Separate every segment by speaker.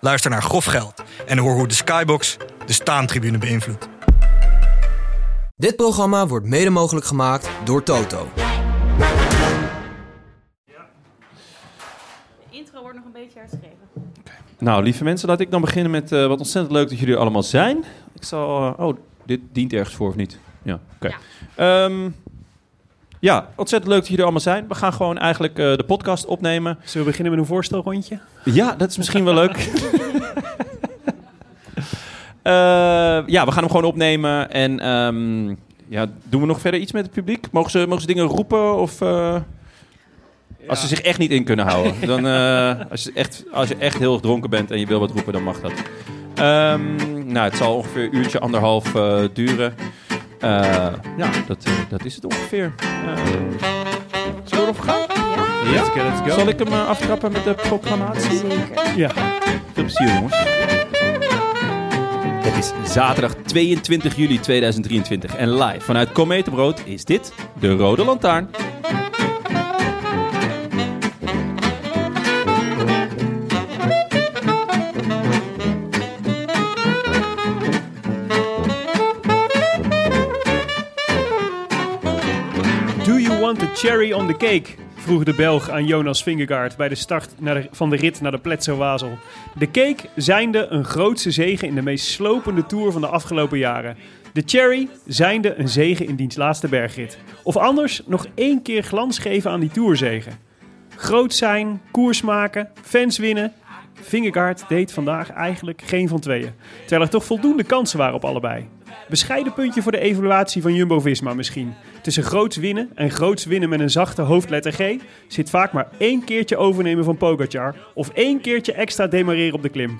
Speaker 1: Luister naar Grof Geld en hoor hoe de Skybox de staantribune beïnvloedt.
Speaker 2: Dit programma wordt mede mogelijk gemaakt door Toto.
Speaker 3: De intro wordt nog een beetje herschreven.
Speaker 4: Nou, lieve mensen, laat ik dan beginnen met eh, wat ontzettend leuk dat jullie er allemaal zijn. Ik zal. eh, oh, dit dient ergens voor of niet? Ja, oké. Ehm, ja, ontzettend leuk dat jullie er allemaal zijn. We gaan gewoon eigenlijk eh, de podcast opnemen.
Speaker 5: Zullen we beginnen met een voorstelrondje?
Speaker 4: Ja, dat is misschien wel leuk. Eh, ja, we gaan hem gewoon opnemen. En ehm, ja, doen we nog verder iets met het publiek? Mogen ze, mogen ze dingen roepen? Of, eh, Als ze zich echt niet in kunnen houden. Dan, eh, als, je echt, als je echt heel erg dronken bent en je wil wat roepen, dan mag dat. Ehm, nou, het zal ongeveer een uurtje, anderhalf eh, duren. Eh, ja, dat, eh, dat is het ongeveer. Eh zullen we erop gaan?
Speaker 5: Let's go, let's go.
Speaker 4: Zal ik hem eh, aftrappen met de proclamatie?
Speaker 3: Zeker.
Speaker 5: Ja.
Speaker 4: Veel plezier, jongens. Het is zaterdag 22 juli 2023 en live vanuit Kometenbrood is dit de Rode Lantaarn.
Speaker 5: Do you want the cherry on the cake? vroeg de Belg aan Jonas Vingegaard bij de start naar de- van de rit naar de Pletso Wazel. De cake zijnde een grootse zegen in de meest slopende tour van de afgelopen jaren. De cherry zijnde een zegen in diens laatste bergrit. Of anders nog één keer glans geven aan die toerzegen. Groot zijn, koers maken, fans winnen. Vingegaard deed vandaag eigenlijk geen van tweeën. Terwijl er toch voldoende kansen waren op allebei. Bescheiden puntje voor de evaluatie van Jumbo-Visma misschien. Tussen groots winnen en groots winnen met een zachte hoofdletter G... zit vaak maar één keertje overnemen van Pogacar... of één keertje extra demareren op de klim.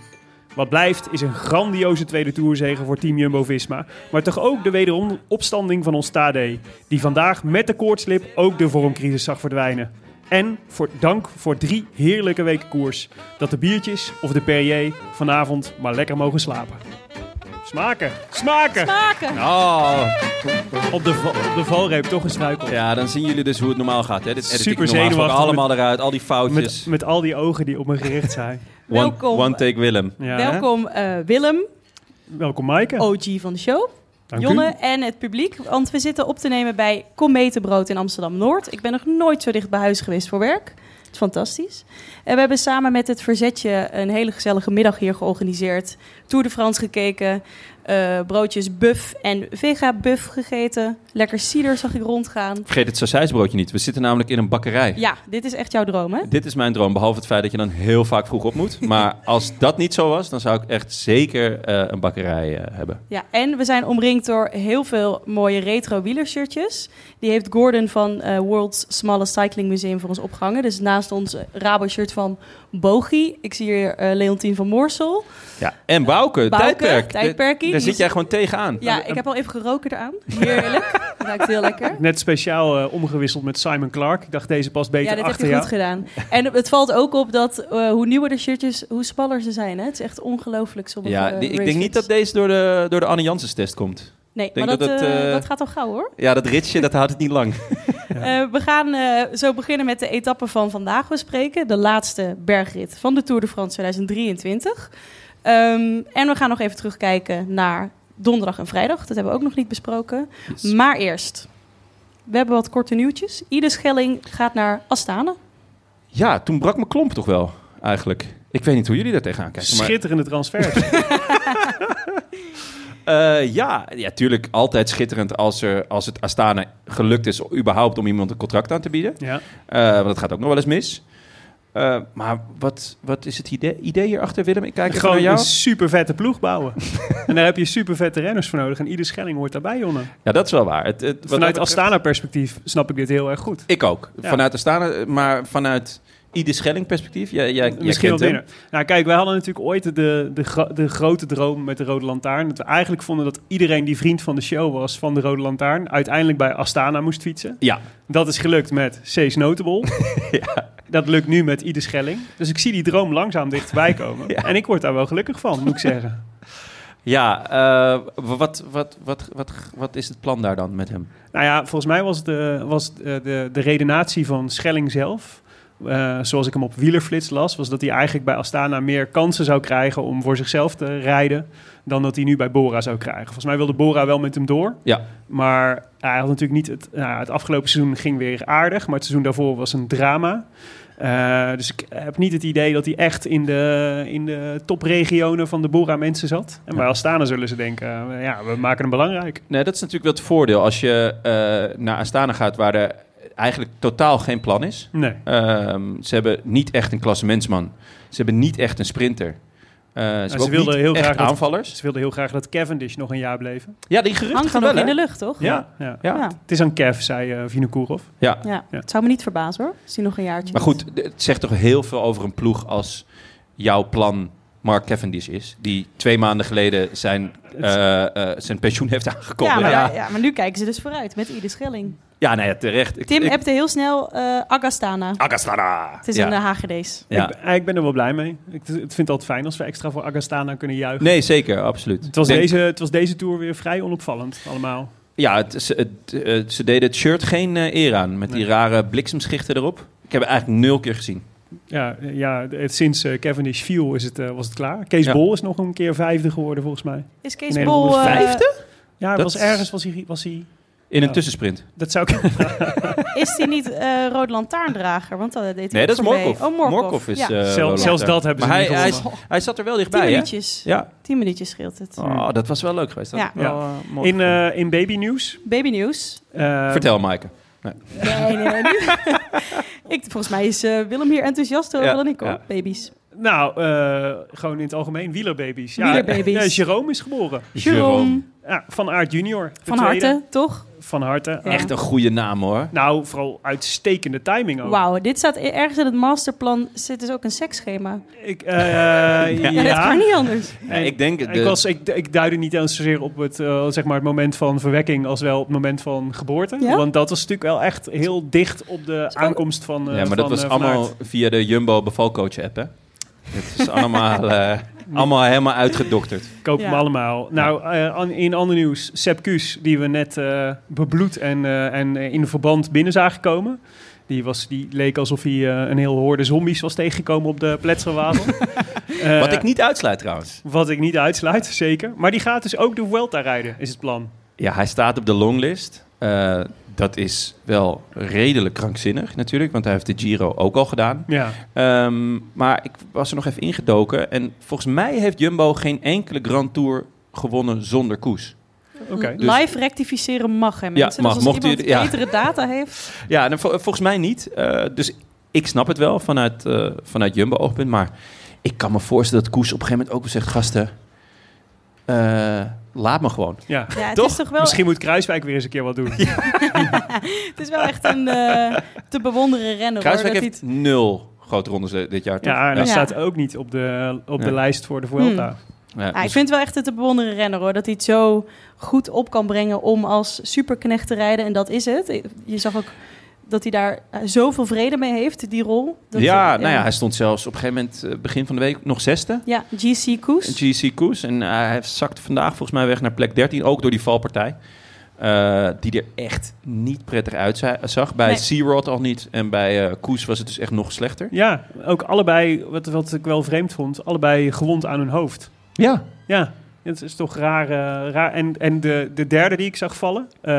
Speaker 5: Wat blijft is een grandioze tweede toerzegen voor Team Jumbo-Visma... maar toch ook de wederom opstanding van ons Tade... die vandaag met de koortslip ook de vormcrisis zag verdwijnen. En voor dank voor drie heerlijke weken koers... dat de biertjes of de Perrier vanavond maar lekker mogen slapen. Smaken! Smaken!
Speaker 3: Maken!
Speaker 4: Oh,
Speaker 5: Op de, va- op de valreep toch een struikel.
Speaker 4: ja, dan zien jullie dus hoe het normaal gaat. Hè? Dit edit
Speaker 5: Super
Speaker 4: ik normaal gesproken
Speaker 5: zenuwachtig
Speaker 4: allemaal eruit, al die foutjes.
Speaker 5: Met, met al die ogen die op me gericht zijn.
Speaker 4: One,
Speaker 3: Welkom.
Speaker 4: one take Willem.
Speaker 5: Ja, hè?
Speaker 3: Welkom eh, Willem,
Speaker 5: Welkom Maaike.
Speaker 3: OG van de show,
Speaker 5: Dank u.
Speaker 3: Jonne en het publiek. Want we zitten op te nemen bij Kometenbrood in Amsterdam-Noord. Ik ben nog nooit zo dicht bij huis geweest voor werk. Het is fantastisch. En we hebben samen met het Verzetje een hele gezellige middag hier georganiseerd. Tour de France gekeken, eh, broodjes buff en vega-buff gegeten. Lekker cider zag ik rondgaan.
Speaker 4: Vergeet het sausijsbroodje niet, we zitten namelijk in een bakkerij.
Speaker 3: Ja, dit is echt jouw droom, hè?
Speaker 4: Dit is mijn droom, behalve het feit dat je dan heel vaak vroeg op moet. Maar als dat niet zo was, dan zou ik echt zeker eh, een bakkerij eh, hebben.
Speaker 3: Ja, en we zijn omringd door heel veel mooie retro wielershirtjes. Die heeft Gordon van eh World's Smallest Cycling Museum voor ons opgehangen. Dus naast ons eh, Rabo-shirt van Bogi. Ik zie hier eh Leontien van Moorsel.
Speaker 4: Ja. En Bouke,
Speaker 3: Bouke,
Speaker 4: tijdperk.
Speaker 3: tijdperkie.
Speaker 4: Daar, daar
Speaker 3: Die
Speaker 4: zit jij gewoon tegenaan.
Speaker 3: Ja, ik heb al even geroken eraan. Nou, Heerlijk. Ruikt heel lekker.
Speaker 5: Net speciaal eh, omgewisseld met Simon Clark. Ik dacht, deze past beter
Speaker 3: Ja, dit heb
Speaker 5: achter
Speaker 3: je goed
Speaker 5: jou.
Speaker 3: gedaan. En het valt ook op dat eh, hoe nieuwer de shirtjes, hoe smaller ze zijn. Hè? Het is echt ongelooflijk sommige
Speaker 4: Ja,
Speaker 3: eh,
Speaker 4: die- ik denk
Speaker 3: racefits.
Speaker 4: niet dat deze door de, door de Anne Janssens test komt.
Speaker 3: Nee,
Speaker 4: denk
Speaker 3: maar dat,
Speaker 4: dat het,
Speaker 3: eh,
Speaker 4: eh,
Speaker 3: dat gaat al gauw hoor.
Speaker 4: Ja, dat ritje, dat houdt het niet lang.
Speaker 3: Eh, we gaan eh, zo beginnen met de etappe van vandaag bespreken. De laatste bergrit van de Tour de France 2023. Ehm, en we gaan nog even terugkijken naar donderdag en vrijdag. Dat hebben we ook nog niet besproken. Maar eerst, we hebben wat korte nieuwtjes. Ieder Schelling gaat naar Astana.
Speaker 4: Ja, toen brak mijn klomp toch wel, eigenlijk. Ik weet niet hoe jullie daar tegenaan kijken. Maar,
Speaker 5: Schitterende transfer.
Speaker 4: Eh, ja, ja, tuurlijk altijd schitterend als, er, als het Astana gelukt is... überhaupt om iemand een contract aan te bieden.
Speaker 5: ja.
Speaker 4: Eh, want dat gaat ook nog wel eens mis. Eh, maar wat, wat is het idee, idee hierachter, Willem? Ik kijk even
Speaker 5: Gewoon
Speaker 4: naar jou.
Speaker 5: een super vette ploeg bouwen. en daar heb je super vette renners voor nodig. En ieder schelling hoort daarbij, Jonne.
Speaker 4: Ja, dat is wel waar. Het, het, wat dat
Speaker 5: Vanuit
Speaker 4: betreft-
Speaker 5: Astana-perspectief snap ik dit heel erg goed.
Speaker 4: Ik ook.
Speaker 5: Ja.
Speaker 4: Vanuit Astana, maar vanuit Ieder Schelling perspectief? Jij, jij, jij
Speaker 5: Misschien wel
Speaker 4: kent hem.
Speaker 5: minder. Nou, kijk, wij hadden natuurlijk ooit de, de, gro- de grote droom met de Rode Lantaarn. Dat we eigenlijk vonden dat iedereen die vriend van de show was van de Rode Lantaarn... uiteindelijk bij Astana moest fietsen.
Speaker 4: Ja,
Speaker 5: Dat is gelukt met C's Notable. Dat lukt nu met Ieder Schelling. Dus ik zie die droom langzaam dichterbij komen. En ik word daar wel gelukkig van, moet ik zeggen.
Speaker 4: ja eh, wat, wat, wat, wat, wat is het plan daar dan met hem?
Speaker 5: Nou ja, volgens mij was de, was de, de, de redenatie van Schelling zelf... eh, zoals ik hem op wielerflits las, was dat hij eigenlijk bij Astana meer kansen zou krijgen om voor zichzelf te rijden dan dat hij nu bij Bora zou krijgen. Volgens mij wilde Bora wel met hem door,
Speaker 4: Ja,
Speaker 5: maar hij had natuurlijk niet het, nou, het afgelopen seizoen ging weer aardig, maar het seizoen daarvoor was een drama. Eh, dus ik heb niet het idee dat hij echt in de, in de topregionen van de Bora mensen zat. En bij Astana zullen ze denken, eh, ja, we maken hem belangrijk.
Speaker 4: nee, dat is natuurlijk wel het voordeel als je eh, naar Astana gaat waar er eigenlijk totaal geen plan is.
Speaker 5: Nee.
Speaker 4: Ehm, ze hebben niet echt een klassementsman. Ze hebben niet echt een sprinter. Eh, ze hebben ook
Speaker 5: wilden
Speaker 4: niet
Speaker 5: heel
Speaker 4: echt
Speaker 5: graag dat-
Speaker 4: aanvallers.
Speaker 5: Ze wilden heel graag dat Cavendish nog een jaar bleven.
Speaker 4: Ja, die geruchten
Speaker 3: Hangt er
Speaker 4: gaan
Speaker 3: nog
Speaker 4: wel,
Speaker 3: in
Speaker 4: hè?
Speaker 3: de lucht, toch?
Speaker 4: Ja.
Speaker 5: Ja.
Speaker 4: Ja.
Speaker 5: Het is aan Kev, zei eh Vinokourov.
Speaker 4: ja.
Speaker 3: Ja,
Speaker 5: Ja.
Speaker 3: het zou me niet verbazen hoor. Zie nog een jaartje.
Speaker 4: Maar goed, d- het zegt toch heel veel over een ploeg als jouw plan Mark Cavendish is. Die twee maanden geleden zijn, eh, eh, zijn pensioen heeft aangekomen.
Speaker 3: ja, maar,
Speaker 4: ja.
Speaker 3: ja. maar nu kijken ze dus vooruit met ieder schelling.
Speaker 4: Ja, nou ja, terecht. Ik-
Speaker 3: Tim
Speaker 4: ik-
Speaker 3: appte heel snel eh, Agastana.
Speaker 4: Agastara.
Speaker 3: Het is
Speaker 4: ja.
Speaker 3: een eh, HGD's.
Speaker 4: Ja.
Speaker 5: Ik, ben- eh, ik ben er wel blij mee. Ik het vind het altijd fijn als we extra voor Agastana kunnen juichen.
Speaker 4: Nee, zeker, absoluut.
Speaker 5: Het was,
Speaker 4: Denk-
Speaker 5: deze, het was deze tour weer vrij onopvallend allemaal.
Speaker 4: Ja, het, ze, het, eh, ze deden het shirt geen eh, eer aan. Met die
Speaker 5: Nee.
Speaker 4: rare bliksemschichten erop. Ik heb het eigenlijk nul keer gezien.
Speaker 5: Ja, eh, ja het, sinds eh, Cavendish viel is het, eh, was het klaar. Kees
Speaker 4: Ja.
Speaker 5: Bol is nog een keer vijfde geworden volgens mij.
Speaker 3: Is Kees
Speaker 5: Nee,
Speaker 3: Bol... eh,
Speaker 4: vijfde?
Speaker 5: Ja, het
Speaker 4: Dat
Speaker 5: was
Speaker 4: is-
Speaker 5: ergens was hij, was hij...
Speaker 4: In een
Speaker 5: Ja.
Speaker 4: tussensprint.
Speaker 5: Dat zou ik...
Speaker 3: is hij niet eh rood lantaarndrager? Want dat deed hij
Speaker 4: Nee,
Speaker 3: ook
Speaker 4: dat is
Speaker 3: voor mee.
Speaker 4: Morkov.
Speaker 3: Oh, Morkov.
Speaker 4: is...
Speaker 3: ja.
Speaker 4: eh,
Speaker 5: Zelf-
Speaker 4: wel
Speaker 5: zelfs
Speaker 4: later.
Speaker 5: dat hebben ze
Speaker 4: Maar
Speaker 5: niet
Speaker 4: hij, hij, is-
Speaker 5: gewonnen.
Speaker 4: hij zat er wel
Speaker 3: Tien
Speaker 4: dichtbij, hè?
Speaker 3: minuutjes.
Speaker 4: Ja.
Speaker 3: Tien minuutjes scheelt het.
Speaker 4: Oh, dat was wel leuk geweest. Dat
Speaker 3: Ja.
Speaker 4: was wel, eh, mooi.
Speaker 5: in, eh, in babynieuws...
Speaker 3: Babynieuws.
Speaker 5: eh,
Speaker 4: Vertel, Maaike.
Speaker 3: Nee, nee, nee. ik, volgens mij is eh, Willem hier enthousiaster over
Speaker 4: Ja,
Speaker 3: dan ik hoor.
Speaker 4: ja.
Speaker 3: Baby's.
Speaker 5: Nou, eh, gewoon in het algemeen wielerbabies. Ja,
Speaker 3: Wielerbabies.
Speaker 5: Ja, Jerome is geboren.
Speaker 4: Jerome.
Speaker 3: Jerome.
Speaker 5: Ja, van Aert junior. de
Speaker 3: Van
Speaker 5: tweede.
Speaker 3: harte, toch?
Speaker 5: Van harte.
Speaker 3: Ja.
Speaker 4: Echt een goede naam, hoor.
Speaker 5: Nou, vooral uitstekende timing ook.
Speaker 3: Wauw, dit staat e- ergens in het masterplan. Zit dus ook een seksschema.
Speaker 5: Ik, eh, ja.
Speaker 3: Ja, dat kan niet anders.
Speaker 4: Nee, ik denk... De,
Speaker 5: Ik, was, ik, ik duidde niet eens zozeer op het, eh, zeg maar het moment van verwekking als wel op het moment van geboorte.
Speaker 3: Ja?
Speaker 5: Want dat was natuurlijk wel echt heel dicht op de aankomst van.
Speaker 4: ja,
Speaker 5: eh,
Speaker 4: maar
Speaker 5: van,
Speaker 4: dat was
Speaker 5: eh, Van
Speaker 4: allemaal
Speaker 5: Aert.
Speaker 4: via de Jumbo bevalcoach-app, hè? Het is allemaal, eh, allemaal helemaal uitgedokterd.
Speaker 5: Koop
Speaker 3: Ja.
Speaker 5: hem allemaal. Nou, eh, an- in ander nieuws, Sepp Kuss, die we net eh, bebloed en, eh, en eh, in verband binnen zagen komen. Die, was, die leek alsof hij eh, een heel hoorde zombies was tegengekomen op de Pletserwazel. Eh,
Speaker 4: Wat ik niet uitsluit, trouwens.
Speaker 5: wat ik niet uitsluit, zeker. Maar die gaat dus ook de Vuelta rijden, is het plan.
Speaker 4: Ja, hij staat op de longlist. Eh, dat is wel redelijk krankzinnig natuurlijk, want hij heeft de Giro ook al gedaan.
Speaker 5: Ja.
Speaker 4: Ehm, maar ik was er nog even ingedoken en volgens mij heeft Jumbo geen enkele Grand Tour gewonnen zonder Koes.
Speaker 5: Oké.
Speaker 4: Dus-
Speaker 3: Live rectificeren mag, hè mensen? Dus
Speaker 4: mag.
Speaker 3: als
Speaker 4: Mocht u-
Speaker 3: iemand
Speaker 4: ja.
Speaker 3: betere data heeft...
Speaker 4: Ja, nou, vol- volgens mij niet. Eh, dus ik snap het wel vanuit, eh, vanuit Jumbo-oogpunt, maar ik kan me voorstellen dat Koes op een gegeven moment ook wel zegt, gasten, eh, laat me gewoon.
Speaker 5: Ja.
Speaker 3: Ja, het
Speaker 4: Toch?
Speaker 3: is toch wel,
Speaker 5: Misschien moet Kruiswijk weer eens een keer wat doen.
Speaker 3: het is wel echt een eh, te bewonderen renner. hoor,
Speaker 4: Kruiswijk
Speaker 3: dat
Speaker 4: heeft nul grote rondes eh, dit jaar. toch?
Speaker 5: Ja, en dat
Speaker 3: Ja. Hmm.
Speaker 5: staat ook niet op de, op de
Speaker 4: Ja.
Speaker 5: lijst voor de Vuelta.
Speaker 4: Ja,
Speaker 3: Ja, Ah, ik
Speaker 4: dus-
Speaker 3: vind het wel echt een te bewonderen renner hoor. Dat hij het zo goed op kan brengen om als superknecht te rijden. En dat is het. Je zag ook dat hij daar eh, zoveel vrede mee heeft, die rol. Dat
Speaker 4: ja,
Speaker 3: hij- eh,
Speaker 4: nou ja, hij stond zelfs op een gegeven moment, eh, begin van de week, nog zesde.
Speaker 3: ja, GC Koes.
Speaker 4: GC Koes. En eh, hij zakt vandaag volgens mij weg naar plek 13, ook door die valpartij. Eh, die er echt niet prettig uitzag. Bij
Speaker 3: Nee.
Speaker 4: Searod al niet. En bij eh, Koes was het dus echt nog slechter.
Speaker 5: Ja, ook allebei, wat, wat ik wel vreemd vond, allebei gewond aan hun hoofd.
Speaker 4: Ja.
Speaker 5: Ja, het is toch raar. eh, raar. En, en de, de derde die ik zag vallen, eh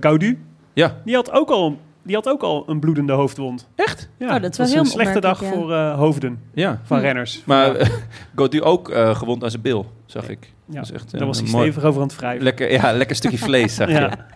Speaker 5: Gaudu,
Speaker 4: Ja.
Speaker 5: die had, ook al, die had ook al een bloedende hoofdwond.
Speaker 4: Echt?
Speaker 5: Ja,
Speaker 3: Oh, dat is
Speaker 5: het
Speaker 3: wel
Speaker 5: was
Speaker 3: heel
Speaker 5: een slechte dag
Speaker 3: opmerkelijk, ja.
Speaker 5: voor eh, hoofden
Speaker 4: Ja.
Speaker 5: van
Speaker 3: Hm.
Speaker 5: renners.
Speaker 4: Maar
Speaker 5: Ja.
Speaker 4: eh, Godu ook eh, gewond aan zijn bil, zag ik.
Speaker 5: Ja,
Speaker 4: Dat is echt, eh,
Speaker 5: daar was hij
Speaker 4: mooi.
Speaker 5: stevig over aan het wrijven.
Speaker 4: Lekker, ja, lekker stukje vlees, zag je.
Speaker 5: Ja.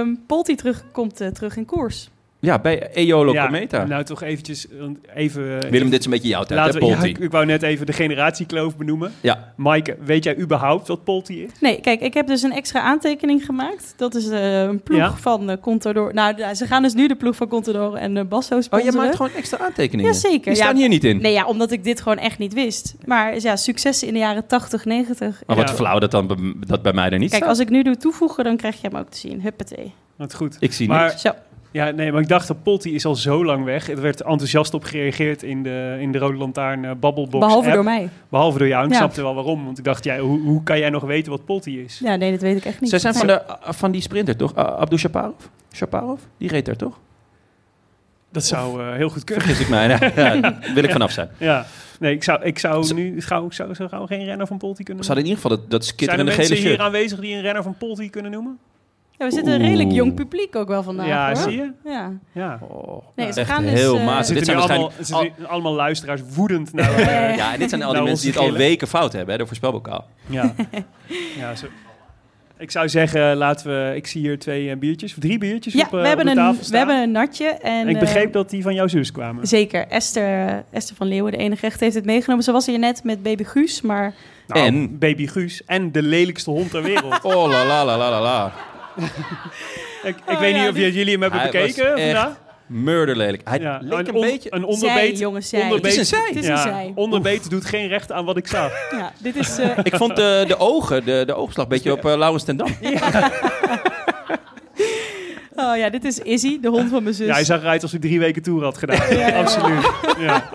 Speaker 3: Ehm Polti terug, komt eh, terug in koers.
Speaker 4: Ja, bij Eolo
Speaker 5: Ja,
Speaker 4: Cometa.
Speaker 5: Nou, toch eventjes... want Even, eh,
Speaker 4: Willem, dit is een beetje jouw tijd,
Speaker 5: Laten
Speaker 4: hè, Oh,
Speaker 5: we, ja,
Speaker 4: Polti?
Speaker 5: ik, ik wou net even de generatiekloof benoemen.
Speaker 4: Ja.
Speaker 5: Maaike, weet jij überhaupt wat Polti is?
Speaker 3: Nee, kijk, ik heb dus een extra aantekening gemaakt. Dat is eh, een ploeg
Speaker 5: Ja.
Speaker 3: van eh, Contador. Nou, da- ze gaan dus nu de ploeg van Contador en eh, Basso
Speaker 4: Oh, jij
Speaker 3: sponsoren.
Speaker 4: maakt gewoon extra aantekeningen?
Speaker 3: Jazeker,
Speaker 4: Die
Speaker 3: ja.
Speaker 4: staan hier niet in.
Speaker 3: Nee, ja, omdat ik dit gewoon echt niet wist. Maar ja, successen in de jaren 80, 90.
Speaker 4: Maar wat
Speaker 5: Ja.
Speaker 4: flauw dat dan bij- dat bij mij er niet
Speaker 3: Kijk,
Speaker 4: staat.
Speaker 3: als ik nu doe toevoegen, dan krijg je hem ook te zien. Huppatee.
Speaker 5: Wat goed.
Speaker 4: Ik zie
Speaker 5: Maar-
Speaker 4: niks.
Speaker 3: Zo.
Speaker 5: Ja, nee, maar ik dacht dat Polti is al zo lang weg. Er werd enthousiast op gereageerd in de, in de Rode Lantaarn eh, Babbelbox
Speaker 3: Behalve
Speaker 5: app.
Speaker 3: door mij.
Speaker 5: Behalve door jou. En ik
Speaker 3: Ja.
Speaker 5: snapte wel waarom. Want ik dacht, jij, hoe, hoe kan jij nog weten wat Polti is?
Speaker 3: Ja, nee, dat weet ik echt niet.
Speaker 4: Zij zijn van,
Speaker 3: Nee.
Speaker 4: de, eh, van die sprinter, toch? Ah, Abdou Shaparov? Shaparov? Die reed daar, toch?
Speaker 5: Dat zou eh, heel goed kunnen.
Speaker 4: Vergis ik mij. Ja, ja, wil ik vanaf zijn.
Speaker 5: Ja. Nee, ik zou, ik zou
Speaker 4: Z-
Speaker 5: nu gauw, ik zou, zo gauw geen renner van Polti kunnen
Speaker 4: Ze hadden
Speaker 5: noemen.
Speaker 4: in ieder geval dat, dat
Speaker 5: Zijn er
Speaker 4: skitterende
Speaker 5: mensen
Speaker 4: gele
Speaker 5: hier
Speaker 4: shirt.
Speaker 5: aanwezig die een renner van Polti kunnen noemen?
Speaker 3: Ja, we zitten een redelijk
Speaker 4: Oeh.
Speaker 3: jong publiek ook wel vandaag.
Speaker 5: ja,
Speaker 3: hoor.
Speaker 5: zie je?
Speaker 3: Ja.
Speaker 5: Ja.
Speaker 4: Oh,
Speaker 3: Nee, ze
Speaker 4: echt
Speaker 3: gaan dus,
Speaker 4: heel
Speaker 3: eh,
Speaker 4: matig. Dit
Speaker 5: Zitten
Speaker 4: zijn
Speaker 5: nu allemaal,
Speaker 4: waarschijnlijk... Oh. al-
Speaker 5: zitten allemaal luisteraars woedend naar... eh,
Speaker 4: ja, en dit zijn al die
Speaker 5: Nou,
Speaker 4: mensen die het
Speaker 5: onze
Speaker 4: al
Speaker 5: gele.
Speaker 4: weken fout hebben, hè, de voorspelbokaal.
Speaker 5: Ja. ja zo. Ik zou zeggen, laten we. Ik zie hier twee eh, biertjes, of drie biertjes
Speaker 3: Ja,
Speaker 5: op, eh,
Speaker 3: we, hebben
Speaker 5: op de
Speaker 3: een,
Speaker 5: tafel staan.
Speaker 3: we hebben een natje. En,
Speaker 5: en ik
Speaker 3: eh,
Speaker 5: begreep dat die van jouw zus kwamen.
Speaker 3: Zeker. Esther, eh, Esther van Leeuwen, de enige echt, heeft het meegenomen. Ze was hier net met baby Guus, maar
Speaker 4: En?
Speaker 5: Nou, baby Guus en de lelijkste hond ter wereld.
Speaker 4: Oh la la la la la la.
Speaker 5: ik ik
Speaker 3: Oh,
Speaker 5: weet niet
Speaker 3: ja,
Speaker 5: of
Speaker 3: dit-
Speaker 5: jullie hem hebben
Speaker 4: Hij was
Speaker 5: bekeken
Speaker 4: echt
Speaker 5: vandaag.
Speaker 4: Murderlelijk. Hij
Speaker 5: Ja,
Speaker 4: leek een
Speaker 5: on-
Speaker 4: beetje...
Speaker 5: een
Speaker 3: zij,
Speaker 5: onderbeet.
Speaker 3: jongens, zij.
Speaker 5: onderbeet-
Speaker 4: Het is een zij.
Speaker 3: Het is
Speaker 5: ja,
Speaker 3: een zij.
Speaker 5: onderbeet doet geen recht aan wat ik zag.
Speaker 3: Ja, dit is... eh,
Speaker 4: Ik vond de, de ogen, de, de oogslag, een beetje op eh, Laurens ten Dam.
Speaker 3: oh ja, dit is Izzy, de hond van mijn zus.
Speaker 5: Ja, hij zag eruit als hij drie weken tour had gedaan.
Speaker 3: ja, ja.
Speaker 5: Absoluut. Ja.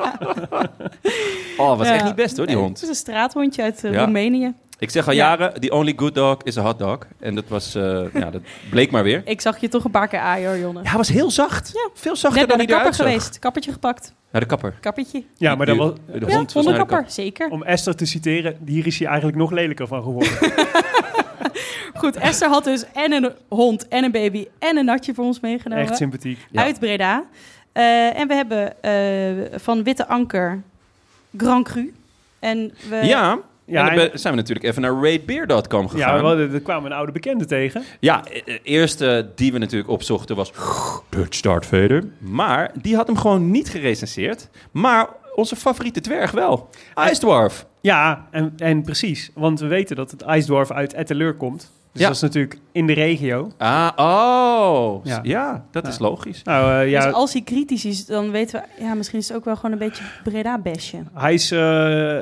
Speaker 4: Oh, was
Speaker 3: Ja.
Speaker 4: echt niet best hoor, die
Speaker 3: Nee,
Speaker 4: hond.
Speaker 3: Het is een straathondje uit eh,
Speaker 4: Ja.
Speaker 3: Roemenië.
Speaker 4: Ik zeg al
Speaker 3: Ja.
Speaker 4: jaren, the only good dog is a hot dog. En dat was, eh, ja, dat bleek maar weer.
Speaker 3: Ik zag je toch een paar keer aaien, hoor, Jonne.
Speaker 4: Ja, hij was heel zacht.
Speaker 3: Ja.
Speaker 4: Veel zachter
Speaker 3: Net
Speaker 4: dan
Speaker 3: naar
Speaker 4: hij
Speaker 3: de kapper
Speaker 4: eruit zag.
Speaker 3: geweest. Kappertje gepakt.
Speaker 4: Naar de kapper.
Speaker 3: Kappertje.
Speaker 5: ja, maar dat was,
Speaker 4: De, de
Speaker 3: Ja,
Speaker 4: hond was naar de
Speaker 3: hondenkapper.
Speaker 4: kapper.
Speaker 3: Zeker.
Speaker 5: om Esther te citeren, hier is hij eigenlijk nog lelijker van geworden.
Speaker 3: Goed, Esther had dus en een hond en een baby en een natje voor ons meegenomen.
Speaker 5: Echt sympathiek.
Speaker 4: Ja.
Speaker 3: Uit Breda. Eh, en we hebben eh, van Witte Anker Grand Cru. En we,
Speaker 4: Ja,
Speaker 5: Ja,
Speaker 4: en
Speaker 5: en-
Speaker 4: dan ben- zijn we natuurlijk even naar raidbeer.com
Speaker 5: ja
Speaker 4: gegaan.
Speaker 5: we
Speaker 4: Ja,
Speaker 5: hadden- er kwamen een oude bekende tegen.
Speaker 4: e- e- eerste die we natuurlijk opzochten was Dutch Darth Vader. Maar die had hem gewoon niet gerecenseerd. Maar onze favoriete dwerg wel. Ice Dwarf.
Speaker 5: Ja, en, en precies. Want we weten dat het IJsdorf uit Etteleur komt. Dus
Speaker 4: Ja.
Speaker 5: dat is natuurlijk in de regio.
Speaker 4: Ah, oh.
Speaker 5: Ja.
Speaker 4: Ja, dat is logisch.
Speaker 5: Nou eh, ja,
Speaker 3: Dus als hij kritisch is, dan weten we... Ja, misschien is het ook wel gewoon een beetje Breda-besje.
Speaker 5: hij is, eh, nou,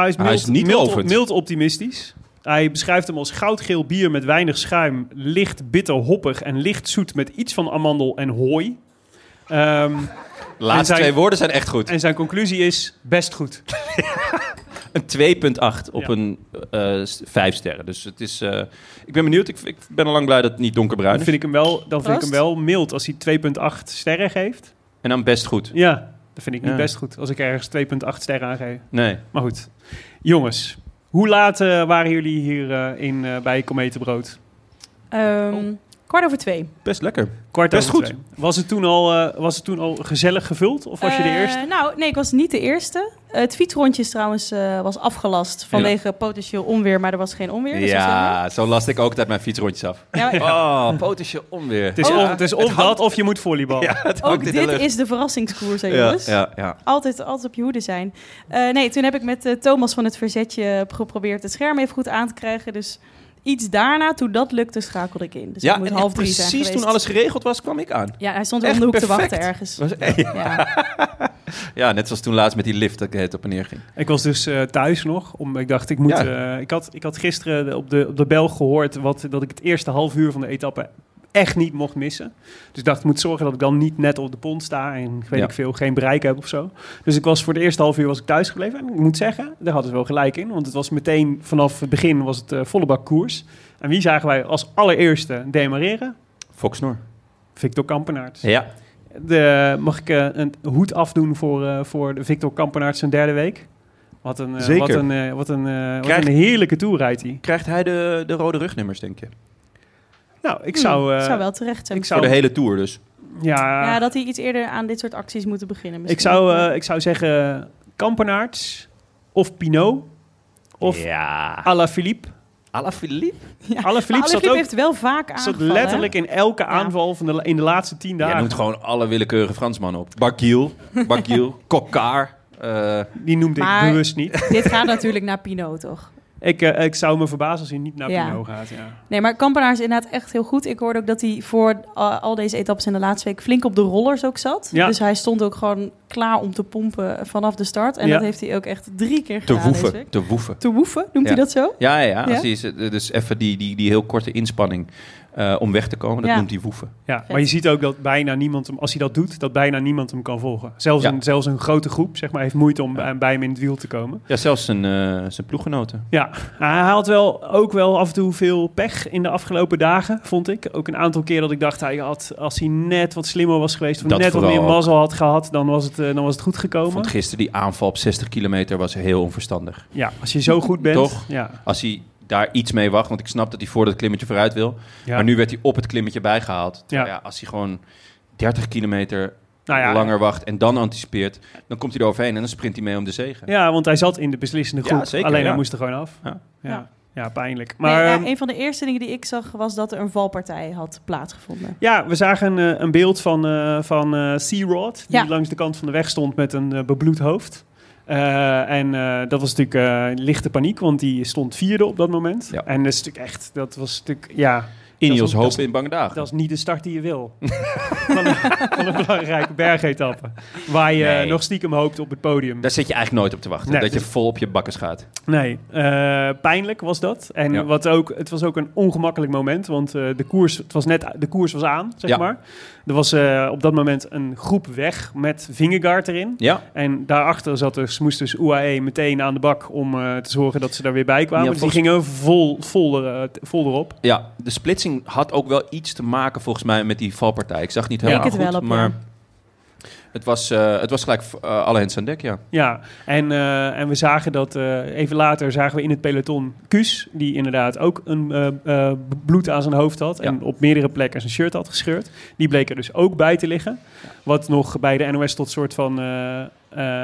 Speaker 5: hij is,
Speaker 4: Hij
Speaker 5: mild,
Speaker 4: is niet
Speaker 5: mild,
Speaker 4: lovend.
Speaker 5: mild optimistisch. Hij beschrijft hem als goudgeel bier met weinig schuim, licht bitter hoppig en licht zoet met iets van amandel en hooi. Ehm,
Speaker 4: De laatste
Speaker 5: zijn-
Speaker 4: twee woorden zijn echt goed.
Speaker 5: en zijn conclusie is best goed.
Speaker 4: Een 2,8 op
Speaker 5: Ja.
Speaker 4: een eh, s- vijf sterren. Dus het is. eh, ik ben benieuwd. Ik, ik ben al lang blij dat het niet donkerbruin
Speaker 5: Dan
Speaker 4: is.
Speaker 5: vind ik hem wel, dan vind ik hem
Speaker 3: Proost.
Speaker 5: wel mild als hij 2,8 sterren geeft.
Speaker 4: En dan best goed.
Speaker 5: Ja, dat vind ik niet
Speaker 4: Ja.
Speaker 5: best goed als ik ergens 2,8 sterren aan geef.
Speaker 4: Nee.
Speaker 5: Maar goed, jongens, hoe laat eh, waren jullie hier eh, in, eh, bij Kometenbrood?
Speaker 3: Ehm,
Speaker 4: Oh.
Speaker 3: Kwart over twee.
Speaker 4: Best lekker.
Speaker 5: Kwart
Speaker 4: Best
Speaker 5: over
Speaker 4: goed.
Speaker 5: twee. Was het, toen al, eh, was het toen al gezellig gevuld of was je de
Speaker 3: Eh,
Speaker 5: eerste?
Speaker 3: Nou, nee, ik was niet de eerste. Eh, het fietsrondje is trouwens eh, was afgelast vanwege potentieel onweer, maar er was geen onweer. Dus dat is jammer.
Speaker 4: Ja, zo last ik ook uit mijn fietsrondjes af.
Speaker 3: Ja, maar
Speaker 4: Oh, potentieel onweer.
Speaker 5: Het is,
Speaker 4: ja.
Speaker 5: of, het is of dat of je moet volleybal.
Speaker 4: Ja, het
Speaker 3: Ook
Speaker 4: hangt in de
Speaker 3: dit
Speaker 4: lucht.
Speaker 3: is de verrassingskoers, hè,
Speaker 4: Ja,
Speaker 3: jongens.
Speaker 4: ja, ja.
Speaker 3: Altijd, altijd op je hoede zijn. Eh, nee, toen heb ik met eh, Thomas van het Verzetje geprobeerd het scherm even goed aan te krijgen. Dus iets daarna, toen dat lukte, schakelde ik in. Dus
Speaker 4: ja
Speaker 3: het moet
Speaker 4: en
Speaker 3: half
Speaker 4: echt
Speaker 3: drie zijn
Speaker 4: precies toen
Speaker 3: geweest.
Speaker 4: alles geregeld was, kwam ik aan.
Speaker 3: Ja, hij stond weer om
Speaker 4: Echt
Speaker 3: de hoek te
Speaker 4: perfect.
Speaker 3: wachten ergens.
Speaker 4: Was, ja.
Speaker 3: Ja.
Speaker 4: net zoals toen laatst met die lift dat ik het op en neer ging.
Speaker 5: Ik was dus eh, thuis nog. Om, ik dacht, ik moet. eh, ik, had, ik had gisteren op de, op de bel gehoord wat, dat ik het eerste half uur van de etappe echt niet mocht missen. Dus ik dacht, ik moet zorgen dat ik dan niet net op de pont sta en weet
Speaker 4: Ja.
Speaker 5: ik veel, geen bereik heb of zo. Dus ik was voor de eerste half uur was ik thuis gebleven. En ik moet zeggen, daar hadden ze wel gelijk in. Want het was meteen vanaf het begin was het eh, volle bak koers. En wie zagen wij als allereerste demareren?
Speaker 4: Fox Noor.
Speaker 5: Victor Kampenaerts.
Speaker 4: Ja.
Speaker 5: De, mag ik eh, een hoed afdoen voor, eh, voor de Victor Kampenaerts zijn derde week? Wat een, eh,
Speaker 4: Zeker.
Speaker 5: Wat een, eh, wat een, eh,
Speaker 4: Krijg-
Speaker 5: wat een heerlijke tour rijdt hij.
Speaker 4: Krijgt hij de, de rode rugnummers, denk je?
Speaker 5: Nou, ik zou... eh,
Speaker 3: Hmm, zou wel terecht zijn.
Speaker 5: ik
Speaker 4: Voor
Speaker 5: zou,
Speaker 4: de hele tour dus.
Speaker 5: ja,
Speaker 3: Ja, dat hij iets eerder aan dit soort acties moeten beginnen.
Speaker 5: ik,
Speaker 3: Misschien.
Speaker 5: zou, eh, ik zou zeggen Kampenaerts of Pinot of
Speaker 4: ja.
Speaker 5: Alaphilippe
Speaker 4: Alaphilippe?
Speaker 5: Alaphilippe
Speaker 3: Alaphilippe
Speaker 5: eh, zat ook
Speaker 3: heeft wel vaak
Speaker 5: zat
Speaker 3: aangevallen. hè?
Speaker 5: letterlijk in elke aanval van de, in de laatste tien
Speaker 4: Jij
Speaker 5: dagen.
Speaker 4: noemt gewoon alle willekeurige Fransmannen op. Bargiel, Bargiel, Kokkaar. eh,
Speaker 5: Die noemde
Speaker 3: Maar-
Speaker 5: ik bewust niet.
Speaker 3: Dit gaat natuurlijk naar Pinot, toch?
Speaker 5: Ik, eh, ik zou me verbazen als hij niet naar
Speaker 3: Ja.
Speaker 5: Pinot gaat. Ja.
Speaker 3: Nee, maar Kampenaar is inderdaad echt heel goed. Ik hoorde ook dat hij voor eh, al deze etappes in de laatste week flink op de rollers ook zat.
Speaker 5: Ja.
Speaker 3: Dus hij stond ook gewoon klaar om te pompen vanaf de start. En
Speaker 5: Ja.
Speaker 3: dat heeft hij ook echt drie keer
Speaker 4: te
Speaker 3: gedaan deze
Speaker 4: woeven,
Speaker 3: week.
Speaker 4: te woeven.
Speaker 3: Te woeven, noemt
Speaker 4: Ja.
Speaker 3: hij dat zo?
Speaker 4: Ja, ja, ja.
Speaker 3: Ja?
Speaker 4: Als die is, eh, dus even die, die, die heel korte inspanning eh, om weg te komen, dat
Speaker 3: Ja.
Speaker 4: noemt hij woeven.
Speaker 5: Ja, maar je ziet ook dat bijna niemand hem, als hij dat doet, dat bijna niemand hem kan volgen. Zelfs,
Speaker 4: Ja.
Speaker 5: een, zelfs een grote groep zeg maar, heeft moeite om bij- bij hem in het wiel te komen.
Speaker 4: Ja, zelfs zijn, eh, zijn ploeggenoten.
Speaker 5: Ja, Nou, hij haalt wel ook wel af en toe veel pech in de afgelopen dagen, vond ik. Ook een aantal keer dat ik dacht, hij had, als hij net wat slimmer was geweest, of
Speaker 4: Dat
Speaker 5: net wat
Speaker 4: vooral
Speaker 5: meer
Speaker 4: ook.
Speaker 5: mazzel had gehad, dan was het, eh, dan was het goed
Speaker 4: Ik
Speaker 5: gekomen.
Speaker 4: vond gisteren die aanval op 60 kilometer was heel onverstandig.
Speaker 5: Ja, als je zo goed bent.
Speaker 4: Toch?
Speaker 5: Ja.
Speaker 4: Als hij daar iets mee wacht, want ik snap dat hij voor dat klimmetje vooruit wil.
Speaker 5: ja.
Speaker 4: Maar nu werd hij op het klimmetje bijgehaald.
Speaker 5: Ja.
Speaker 4: Ja. Ja, als hij gewoon 30 kilometer
Speaker 5: Nou ja,
Speaker 4: langer wacht en dan anticipeert, dan komt hij er overheen en dan sprint hij mee om de zegen.
Speaker 5: Ja, want hij zat in de beslissende
Speaker 4: Ja,
Speaker 5: groep.
Speaker 4: zeker,
Speaker 5: alleen
Speaker 4: ja.
Speaker 5: hij moest er gewoon af. Ja,
Speaker 4: Ja.
Speaker 5: ja.
Speaker 3: Ja.
Speaker 5: pijnlijk. Maar
Speaker 3: Maar,
Speaker 5: ehm, ja,
Speaker 3: een van de eerste dingen die ik zag was dat er een valpartij had plaatsgevonden.
Speaker 5: we zagen eh, een beeld van, eh van eh, Searod, die
Speaker 3: Ja.
Speaker 5: langs de kant van de weg stond met een eh, bebloed hoofd. Eh, en eh, dat was natuurlijk eh, lichte paniek, want die stond vierde op dat moment.
Speaker 4: Ja.
Speaker 5: En dat is natuurlijk echt, dat was natuurlijk, ja, Dat
Speaker 4: Ineos
Speaker 5: is- dat
Speaker 4: hoop
Speaker 5: is-
Speaker 4: in bange dagen.
Speaker 5: dat is niet de start die je wil. van, een, van een belangrijke bergetappe. Waar je
Speaker 4: Nee.
Speaker 5: nog stiekem hoopt op het podium.
Speaker 4: Daar zit je eigenlijk nooit op te wachten.
Speaker 5: Nee,
Speaker 4: dat je
Speaker 5: dus-
Speaker 4: vol op je bakkers gaat.
Speaker 5: Nee, eh, pijnlijk was dat. En
Speaker 4: Ja.
Speaker 5: wat ook, het was ook een ongemakkelijk moment, want eh, de, koers, het was net, de koers was aan, zeg
Speaker 4: Ja.
Speaker 5: maar. Er was eh, op dat moment een groep weg met Vingegaard erin.
Speaker 4: Ja,
Speaker 5: En daarachter zat dus, moest dus UAE meteen aan de bak om eh, te zorgen dat ze daar weer bij kwamen.
Speaker 4: Ja,
Speaker 5: dus die
Speaker 4: volgens-
Speaker 5: gingen vol, vol, er- vol erop.
Speaker 4: ja, de splitsing had ook wel iets te maken volgens mij met die valpartij. Ik zag het niet
Speaker 5: Ja.
Speaker 4: helemaal
Speaker 3: Leek het
Speaker 4: goed,
Speaker 3: wel op, ja.
Speaker 4: maar het, was, eh, het was gelijk eh, alle hens aan dek, ja.
Speaker 5: Ja, en, eh, en we zagen dat eh, even later zagen we in het peloton Kuus, die inderdaad ook een eh, eh, bloed aan zijn hoofd had en
Speaker 4: Ja.
Speaker 5: op meerdere plekken zijn shirt had gescheurd. Die bleek er dus ook bij te liggen. Wat nog bij de NOS tot soort van eh,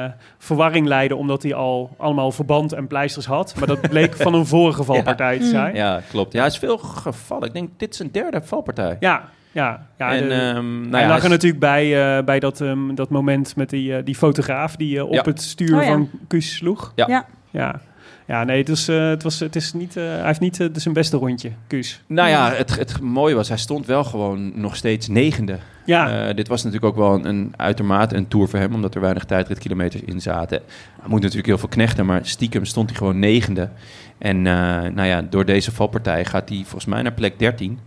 Speaker 5: eh, verwarring leidde, omdat hij al allemaal verband en pleisters had. Maar dat bleek van een vorige valpartij te zijn. Ja,
Speaker 4: Ja, klopt. Ja, hij is veel gevallen. Ik denk, dit is een derde valpartij.
Speaker 5: ja, ja.
Speaker 4: en,
Speaker 5: de-
Speaker 4: ehm, nou
Speaker 5: hij
Speaker 4: ja,
Speaker 5: lag er
Speaker 4: hij is-
Speaker 5: natuurlijk bij, eh, bij dat, ehm, dat moment met die, eh, die fotograaf die eh, op
Speaker 4: Ja.
Speaker 5: het stuur
Speaker 3: Oh ja.
Speaker 5: van Kuus sloeg.
Speaker 4: Ja.
Speaker 3: Ja.
Speaker 5: ja. Ja, nee, het was, eh, het was, het is niet, eh, hij heeft niet eh, zijn beste rondje, Kuus.
Speaker 4: Nou ja, het, het mooie was, hij stond wel gewoon nog steeds negende.
Speaker 5: Ja,
Speaker 3: Ah.
Speaker 4: Eh, dit was natuurlijk ook wel een, een uitermate een tour voor hem, omdat er weinig tijdritkilometers in zaten. Hij moet natuurlijk heel veel knechten, maar stiekem stond hij gewoon negende. En eh, nou ja, door deze valpartij gaat hij volgens mij naar plek 13.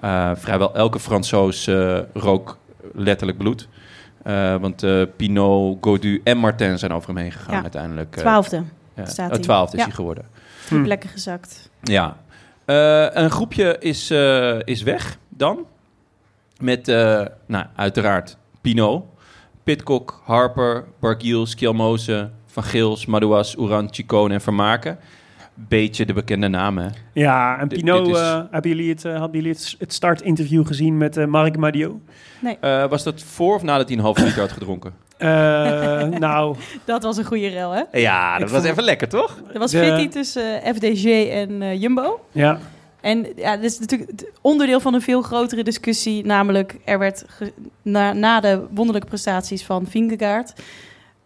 Speaker 4: Eh, vrijwel elke Fransoos eh, rook letterlijk bloed. Eh, want eh, Pinot, Godu en Martin zijn over hem heen gegaan
Speaker 3: Ja.
Speaker 4: uiteindelijk. Eh,
Speaker 3: Twaalfde,
Speaker 4: ja.
Speaker 3: staat
Speaker 4: Oh,
Speaker 3: hij.
Speaker 4: twaalfde is
Speaker 3: Ja.
Speaker 4: hij geworden.
Speaker 3: drie
Speaker 5: Hm.
Speaker 3: plekken gezakt.
Speaker 4: Ja. Eh, een groepje is, eh, is weg dan. Met eh, nou, uiteraard Pino, Pitcock, Harper, Bargiel, Skelmoze, Van Gils, Madouas, Oeran, Chicone en Vermaken. Beetje de bekende namen. hè?
Speaker 5: ja en
Speaker 4: dit-
Speaker 5: Pinot,
Speaker 4: dit is-
Speaker 5: eh, hebben jullie het, eh, hadden jullie het, het startinterview gezien met eh, Marc Madio?
Speaker 4: Eh, was dat voor of nadat hij een half liter had gedronken?
Speaker 5: Eh, nou,
Speaker 3: Dat was een goede rel, hè?
Speaker 4: Ja,
Speaker 5: dat was even
Speaker 4: lekker, toch?
Speaker 3: Er was
Speaker 5: De-
Speaker 3: fitty tussen eh, FDG en eh, Jumbo.
Speaker 5: ja,
Speaker 3: En ja, dit is natuurlijk het onderdeel van een veel grotere discussie. Namelijk, er werd ge- na, na de wonderlijke prestaties van Vingegaard...